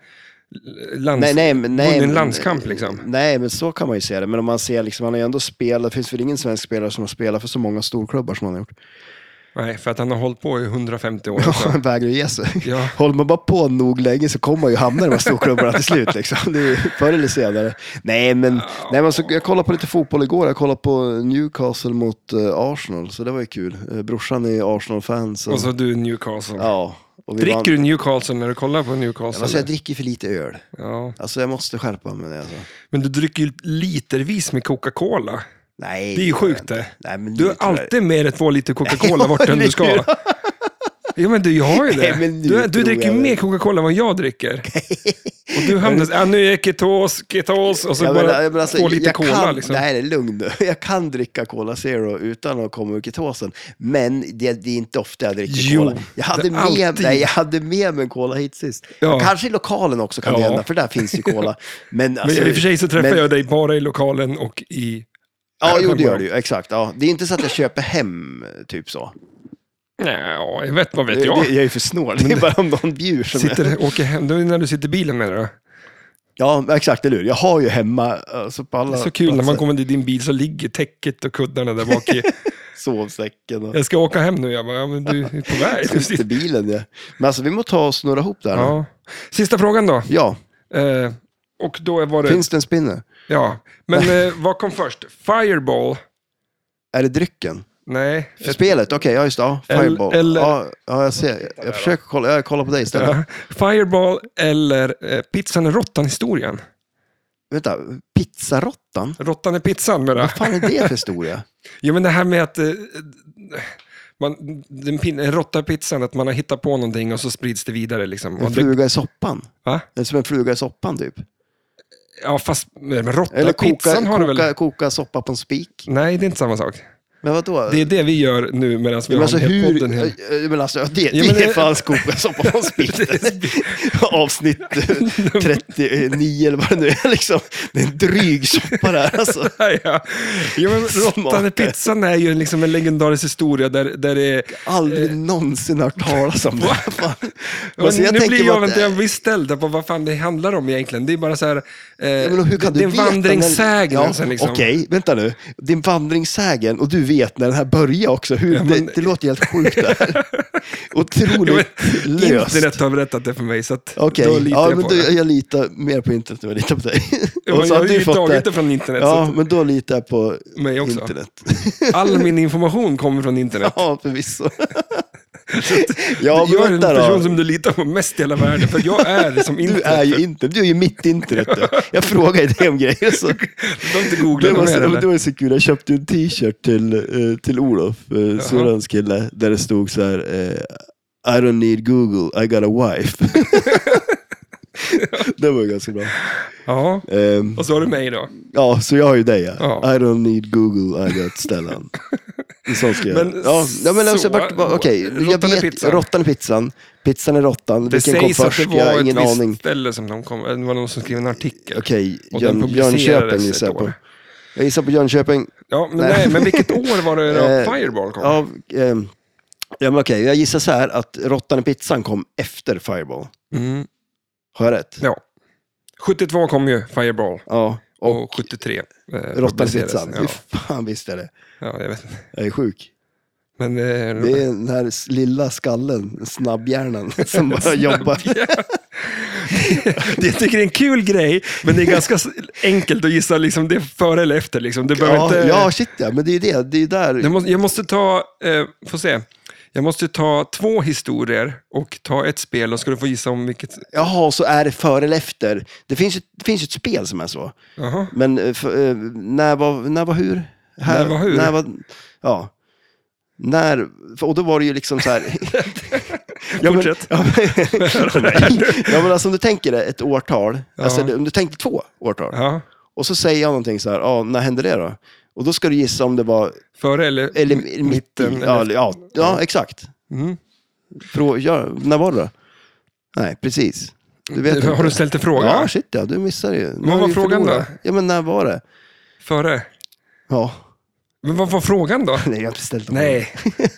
Speaker 1: lands...
Speaker 2: Eh. Nej, nej, men, nej,
Speaker 1: vunnit en
Speaker 2: men-
Speaker 1: landskamp liksom.
Speaker 2: Nej, men så kan man ju se det. Men om man ser, liksom, han har ju ändå spelat. Det finns väl ingen svensk spelare som har spelat för så många storklubbar som han har gjort.
Speaker 1: Nej, för att han har hållit på i 150 år.
Speaker 2: Ja,
Speaker 1: så.
Speaker 2: han *laughs* vägrar ju ge sig.
Speaker 1: Ja.
Speaker 2: Håller man bara på nog länge så kommer man ju hamna i de här storklubbarna
Speaker 1: *laughs*
Speaker 2: till slut. Liksom. Det är ju förr eller senare. Nej, men, nej, men alltså, jag kollade på lite fotboll igår. Jag kollade på Newcastle mot eh, Arsenal, så det var ju kul. Eh, brorsan är Arsenal-fans.
Speaker 1: Och så du Newcastle.
Speaker 2: Ja, och vi vann.
Speaker 1: Dricker du Newcastle när du kollar på Newcastle?
Speaker 2: Alltså, jag dricker för lite öl.
Speaker 1: ja.
Speaker 2: Alltså jag måste skärpa mig. Alltså.
Speaker 1: Men du dricker ju litervis med Coca-Cola.
Speaker 2: Nej,
Speaker 1: Det är ju
Speaker 2: gör jag
Speaker 1: sjukt
Speaker 2: inte.
Speaker 1: det.
Speaker 2: Nej, men
Speaker 1: Du
Speaker 2: nu
Speaker 1: har
Speaker 2: tror jag-
Speaker 1: alltid med dig två liter
Speaker 2: *laughs*
Speaker 1: Coca-Cola vart än du ska. Ja men du, jag har ju
Speaker 2: Nej,
Speaker 1: det.
Speaker 2: men nu
Speaker 1: Du, du
Speaker 2: tror
Speaker 1: dricker
Speaker 2: jag
Speaker 1: ju
Speaker 2: det.
Speaker 1: mer Coca-Cola än vad jag
Speaker 2: *laughs*
Speaker 1: dricker. Och du hamnar så- ja, nu är jag ketos, ketos och så
Speaker 2: Jag
Speaker 1: bara
Speaker 2: menar, jag menar, alltså,
Speaker 1: två liter
Speaker 2: jag
Speaker 1: cola.
Speaker 2: kan,
Speaker 1: liksom.
Speaker 2: Nej, det är lugn nu. Jag kan dricka Cola Zero utan att komma ur ketosen. Men det, det är inte ofta jag dricker
Speaker 1: Jo,
Speaker 2: Cola. Jag
Speaker 1: det
Speaker 2: hade,
Speaker 1: är
Speaker 2: med,
Speaker 1: alltid.
Speaker 2: nej, jag hade med mig en Cola hit sist.
Speaker 1: Ja.
Speaker 2: Kanske i lokalen också kan det
Speaker 1: Ja.
Speaker 2: hända, för där finns ju Cola. Men,
Speaker 1: Men
Speaker 2: alltså,
Speaker 1: i och för sig så träffar
Speaker 2: men-
Speaker 1: jag dig bara i lokalen och i...
Speaker 2: Ja, jo, det gör du ju. Exakt. Ja. Det är inte så att jag köper hem, typ så.
Speaker 1: Nej, ja, jag vet, vad
Speaker 2: Det,
Speaker 1: vet
Speaker 2: det,
Speaker 1: jag?
Speaker 2: jag är ju för snål. Det är bara om någon bjur som jag-
Speaker 1: Sitter, åker hem, det är när du sitter i bilen med det.
Speaker 2: Ja, exakt, eller hur? Jag har ju hemma, alltså på alla
Speaker 1: Det är så kul när man
Speaker 2: platser.
Speaker 1: kommer till din bil så ligger täcket och kuddarna där bak
Speaker 2: *laughs*
Speaker 1: i.
Speaker 2: Sovsäcken och...
Speaker 1: Jag ska åka hem nu. Jag bara, ja, men du är på *laughs* väg. Du
Speaker 2: Just i
Speaker 1: sitter.
Speaker 2: bilen, ja. Men alltså, vi måste ta och snurra ihop det här. Ja.
Speaker 1: Ja. Sista frågan då.
Speaker 2: ja.
Speaker 1: Eh, och då var det...
Speaker 2: Finns det en spinner?
Speaker 1: Ja, men eh, vad kom först? Fireball?
Speaker 2: Är det drycken?
Speaker 1: Nej.
Speaker 2: För spelet? Okej, ja just det. Ja,
Speaker 1: Eller-
Speaker 2: Fireball.
Speaker 1: eller-
Speaker 2: Ja, ja, jag ser. Jag försöker kolla. Jag kollar på dig istället.
Speaker 1: Ja. Fireball eller eh, pizzan är råttan-historien?
Speaker 2: Vänta, pizzarottan?
Speaker 1: Råttan är pizzan menar jag.
Speaker 2: Vad fan är det
Speaker 1: *laughs*
Speaker 2: för historia?
Speaker 1: Jo, men det här med att... Eh, man, den pin- en råtta i pizzan, att man har hittat på någonting och så sprids det vidare. Liksom.
Speaker 2: En
Speaker 1: Och det,
Speaker 2: fluga i soppan?
Speaker 1: va?
Speaker 2: Det är som en fluga i soppan typ.
Speaker 1: Ja, fast men råtta
Speaker 2: Eller
Speaker 1: i
Speaker 2: koka,
Speaker 1: pizzan har
Speaker 2: koka,
Speaker 1: du väl?
Speaker 2: koka soppa på en spik.
Speaker 1: Nej, det är inte samma sak.
Speaker 2: Men vadå?
Speaker 1: Det är det vi gör nu medan vi
Speaker 2: men
Speaker 1: har
Speaker 2: alltså
Speaker 1: den här
Speaker 2: hur...
Speaker 1: podden här.
Speaker 2: Ja, Men alltså, ja, det,
Speaker 1: Ja, men
Speaker 2: det är
Speaker 1: det-
Speaker 2: fan koka soppa på en
Speaker 1: *laughs*
Speaker 2: spik.
Speaker 1: Det är
Speaker 2: Avsnitt eh, 39 eller vad det nu är. Liksom. Det är en dryg soppa där alltså.
Speaker 1: Ja, *laughs* ja. Jo, men råttan i
Speaker 2: Smaka.
Speaker 1: pizzan är ju liksom en legendarisk historia där, där det är...
Speaker 2: Aldrig någonsin hört talas om det. Fan.
Speaker 1: Men
Speaker 2: Alltså,
Speaker 1: nu blir
Speaker 2: tänker
Speaker 1: jag,
Speaker 2: bara
Speaker 1: vänta, jag blir ställd på vad fan det handlar om egentligen. Det är bara så här... Eh,
Speaker 2: Ja, men hur kan
Speaker 1: det
Speaker 2: du
Speaker 1: är
Speaker 2: veta
Speaker 1: vandringssägnen.
Speaker 2: när- Ja,
Speaker 1: sen liksom.
Speaker 2: Okej, vänta nu. Din vandringssägen och du vet när den här börjar också. Hur,
Speaker 1: men-
Speaker 2: det, det låter helt sjukt
Speaker 1: *laughs*
Speaker 2: det här.
Speaker 1: Jo,
Speaker 2: Otroligt
Speaker 1: men
Speaker 2: *laughs* löst.
Speaker 1: Internet har berättat det för mig, så att
Speaker 2: Okej,
Speaker 1: då litar
Speaker 2: ja,
Speaker 1: jag
Speaker 2: men
Speaker 1: på
Speaker 2: du,
Speaker 1: det.
Speaker 2: jag litar mer på internet än jag litar
Speaker 1: *laughs*
Speaker 2: på dig.
Speaker 1: Jo, men
Speaker 2: Och så
Speaker 1: jag
Speaker 2: har
Speaker 1: har
Speaker 2: du
Speaker 1: ju
Speaker 2: fått
Speaker 1: tagit det från internet.
Speaker 2: Ja,
Speaker 1: Så
Speaker 2: men då litar jag på
Speaker 1: att, mig också. *laughs*
Speaker 2: internet. *laughs*
Speaker 1: All min information kommer från internet.
Speaker 2: Ja,
Speaker 1: *laughs*
Speaker 2: förvisso. ja,
Speaker 1: jag är den
Speaker 2: men vänta
Speaker 1: person
Speaker 2: då.
Speaker 1: som du litar på mest i hela världen, för jag är som
Speaker 2: Du
Speaker 1: internet.
Speaker 2: är ju internet, du är ju mitt internet.
Speaker 1: *laughs*
Speaker 2: Du. Jag frågar ju dig om grejer. Så.
Speaker 1: Du har inte googlat
Speaker 2: Det var,
Speaker 1: mer,
Speaker 2: så,
Speaker 1: eller?
Speaker 2: det var så kul, jag köpte ju en t-shirt till, eh, till Olof, eh, syrrans kille, där det stod så här eh, I don't need Google, I got a
Speaker 1: *laughs*
Speaker 2: wife. *laughs* det var ju ganska bra.
Speaker 1: Ja,
Speaker 2: Ehm,
Speaker 1: och så har du mig då.
Speaker 2: ja, så jag har ju dig ja.
Speaker 1: Ja.
Speaker 2: I don't need Google, I got Stellan. En sån ska jag.
Speaker 1: Men
Speaker 2: Ja, ja, men alltså,
Speaker 1: så,
Speaker 2: vart- var- okej. jag
Speaker 1: råttan i
Speaker 2: vet,
Speaker 1: pizzan.
Speaker 2: Råttan i pizzan. Pizzan i råttan.
Speaker 1: Det
Speaker 2: Vilken kom
Speaker 1: sägs att
Speaker 2: först?
Speaker 1: det
Speaker 2: Jag
Speaker 1: var
Speaker 2: har
Speaker 1: ett
Speaker 2: ingen
Speaker 1: visst
Speaker 2: aning.
Speaker 1: ställe som de kom, det var någon som skrev en artikel.
Speaker 2: Okej,
Speaker 1: Och den
Speaker 2: Jön,
Speaker 1: publicerades
Speaker 2: Jönköping
Speaker 1: ett
Speaker 2: gissar jag på.
Speaker 1: år.
Speaker 2: Jag gissar på Jönköping.
Speaker 1: Ja, men,
Speaker 2: Nej.
Speaker 1: nej, men vilket år var
Speaker 2: *laughs*
Speaker 1: det då
Speaker 2: Eh,
Speaker 1: Fireball kom?
Speaker 2: Ja, ehm, ja men okej. Jag gissar så här att Råttan i pizzan kom efter Fireball.
Speaker 1: Mm,
Speaker 2: Har jag rätt?
Speaker 1: ja. 72 kom ju Fireball
Speaker 2: Ja.
Speaker 1: och,
Speaker 2: Och
Speaker 1: 73 eh,
Speaker 2: Råttan i
Speaker 1: publicerades.
Speaker 2: pizzan.
Speaker 1: Ja,
Speaker 2: Hur fan visste jag det?
Speaker 1: ja, jag vet.
Speaker 2: Jag är sjuk.
Speaker 1: Men, eh,
Speaker 2: *laughs* Det är den här s- lilla skallen, snabbhjärnan, *laughs* som bara jobbar.
Speaker 1: *laughs* det jag tycker det är en kul grej, men det är ganska s- enkelt att gissa liksom, det är före eller efter. Liksom. Det behöver
Speaker 2: Ja,
Speaker 1: inte...
Speaker 2: ja, shit ja. Men det är ju det. Det är ju där.
Speaker 1: Jag måste, jag måste ta, eh, få se. Jag måste ta två historier och ta ett spel och ska du få gissa om vilket.
Speaker 2: Jaha, så är det före eller efter. Det finns ju det finns ju ett spel som är så.
Speaker 1: Jaha.
Speaker 2: Men eh, för, eh, när, var, när var hur?
Speaker 1: När var hur?
Speaker 2: När var, ja. När, för- och då var det ju liksom
Speaker 1: *laughs*
Speaker 2: så här... ja, men,
Speaker 1: Fortsätt.
Speaker 2: ja,
Speaker 1: *laughs*
Speaker 2: men, nej. ja, men alltså om du tänker det, ett årtal. Alltså,
Speaker 1: Ja.
Speaker 2: om du tänker två årtal.
Speaker 1: Ja.
Speaker 2: Och så säger jag någonting så här, ja, när hände det då? Och då ska du gissa om det var,
Speaker 1: Före eller?
Speaker 2: eller
Speaker 1: M-
Speaker 2: i mitten.
Speaker 1: eller-
Speaker 2: Ja, eller- ja, ja, exakt.
Speaker 1: Mm.
Speaker 2: Frå, ja, när var det då? Nej, precis. Du vet
Speaker 1: Har
Speaker 2: inte.
Speaker 1: du ställt en fråga?
Speaker 2: Ja, shit ja, du missar ju. Nu har
Speaker 1: var
Speaker 2: vi
Speaker 1: frågan
Speaker 2: förlorat.
Speaker 1: då?
Speaker 2: Ja, men när var det?
Speaker 1: Före.
Speaker 2: Ja, *laughs*
Speaker 1: Men vad var frågan då?
Speaker 2: nej, jag har inte ställt någon fråga.
Speaker 1: *laughs* Nej.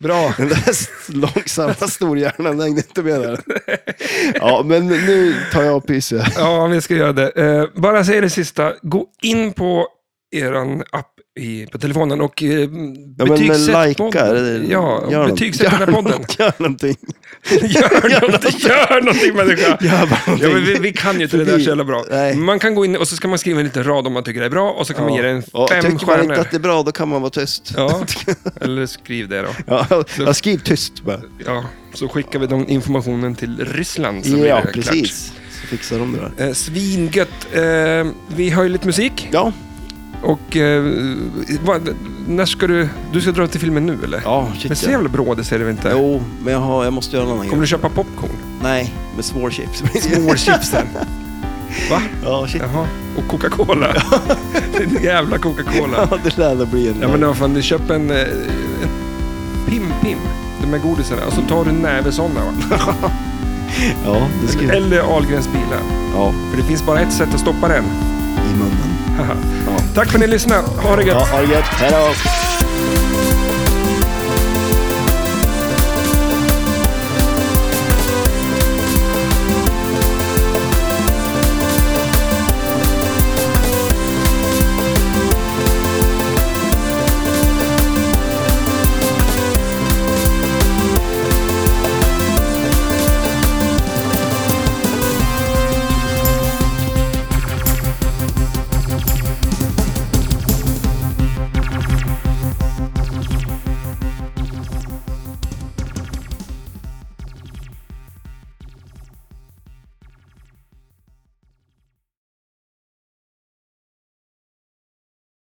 Speaker 1: Bra.
Speaker 2: Den där s-
Speaker 1: *laughs*
Speaker 2: långsamma storhjärnan hängde inte med där. Ja, men nu tar jag och pyser.
Speaker 1: Ja, vi ska göra det. Eh, bara säga det sista. Gå in på er app i, på telefonen och eh,
Speaker 2: Ja, men
Speaker 1: betygsätt
Speaker 2: likea,
Speaker 1: podden. Ja,
Speaker 2: gör något.
Speaker 1: betygsätt den här
Speaker 2: Gör
Speaker 1: podden. *laughs*
Speaker 2: något, *laughs* Gör någonting.
Speaker 1: Gör någonting, gör någonting människa.
Speaker 2: Gör bara
Speaker 1: Ja,
Speaker 2: någonting.
Speaker 1: men vi, vi kan ju inte det där
Speaker 2: Förbi.
Speaker 1: så jävla bra.
Speaker 2: Nej.
Speaker 1: Man kan gå in och så ska man skriva en liten rad om man tycker det är bra och så kan man ge det en
Speaker 2: Ja,
Speaker 1: fem
Speaker 2: Tycker man inte
Speaker 1: stjärnor.
Speaker 2: att det är bra, då kan man vara tyst.
Speaker 1: Ja, eller skriv det då.
Speaker 2: Ja, jag skriv tyst bara.
Speaker 1: Ja, så skickar vi den informationen till Ryssland. Så blir
Speaker 2: Ja,
Speaker 1: det Klart.
Speaker 2: precis. Så fixar de det där.
Speaker 1: Eh, Svingött. Eh, vi har ju lite musik.
Speaker 2: Ja,
Speaker 1: Och eh, vad, när ska du... Du ska dra till filmen nu eller?
Speaker 2: ja
Speaker 1: Men
Speaker 2: shit
Speaker 1: så
Speaker 2: ja.
Speaker 1: jävla brådis är det väl inte?
Speaker 2: Jo, men jag, har, jag måste göra någon annan
Speaker 1: Kommer
Speaker 2: grej.
Speaker 1: du köpa popcorn?
Speaker 2: Nej, med small chips.
Speaker 1: Vårchipsen? Va?
Speaker 2: *laughs* ja, shit.
Speaker 1: Jaha. Och Coca-Cola? *laughs* Din jävla Coca-Cola.
Speaker 2: Ja, *laughs* det lär det bli en
Speaker 1: Ja men vad fan, du köper en... eh, en Pim-Pim. De här godisarna. Och så tar du en näve sådana va?
Speaker 2: ja, det ska
Speaker 1: Eller Ahlgrens bilar.
Speaker 2: Ja,
Speaker 1: För det finns bara ett sätt att stoppa den.
Speaker 2: i munnen.
Speaker 1: Haha. Tack för att ni lyssnade. Ha det gött.
Speaker 2: Ja, ha det gött. Hej då.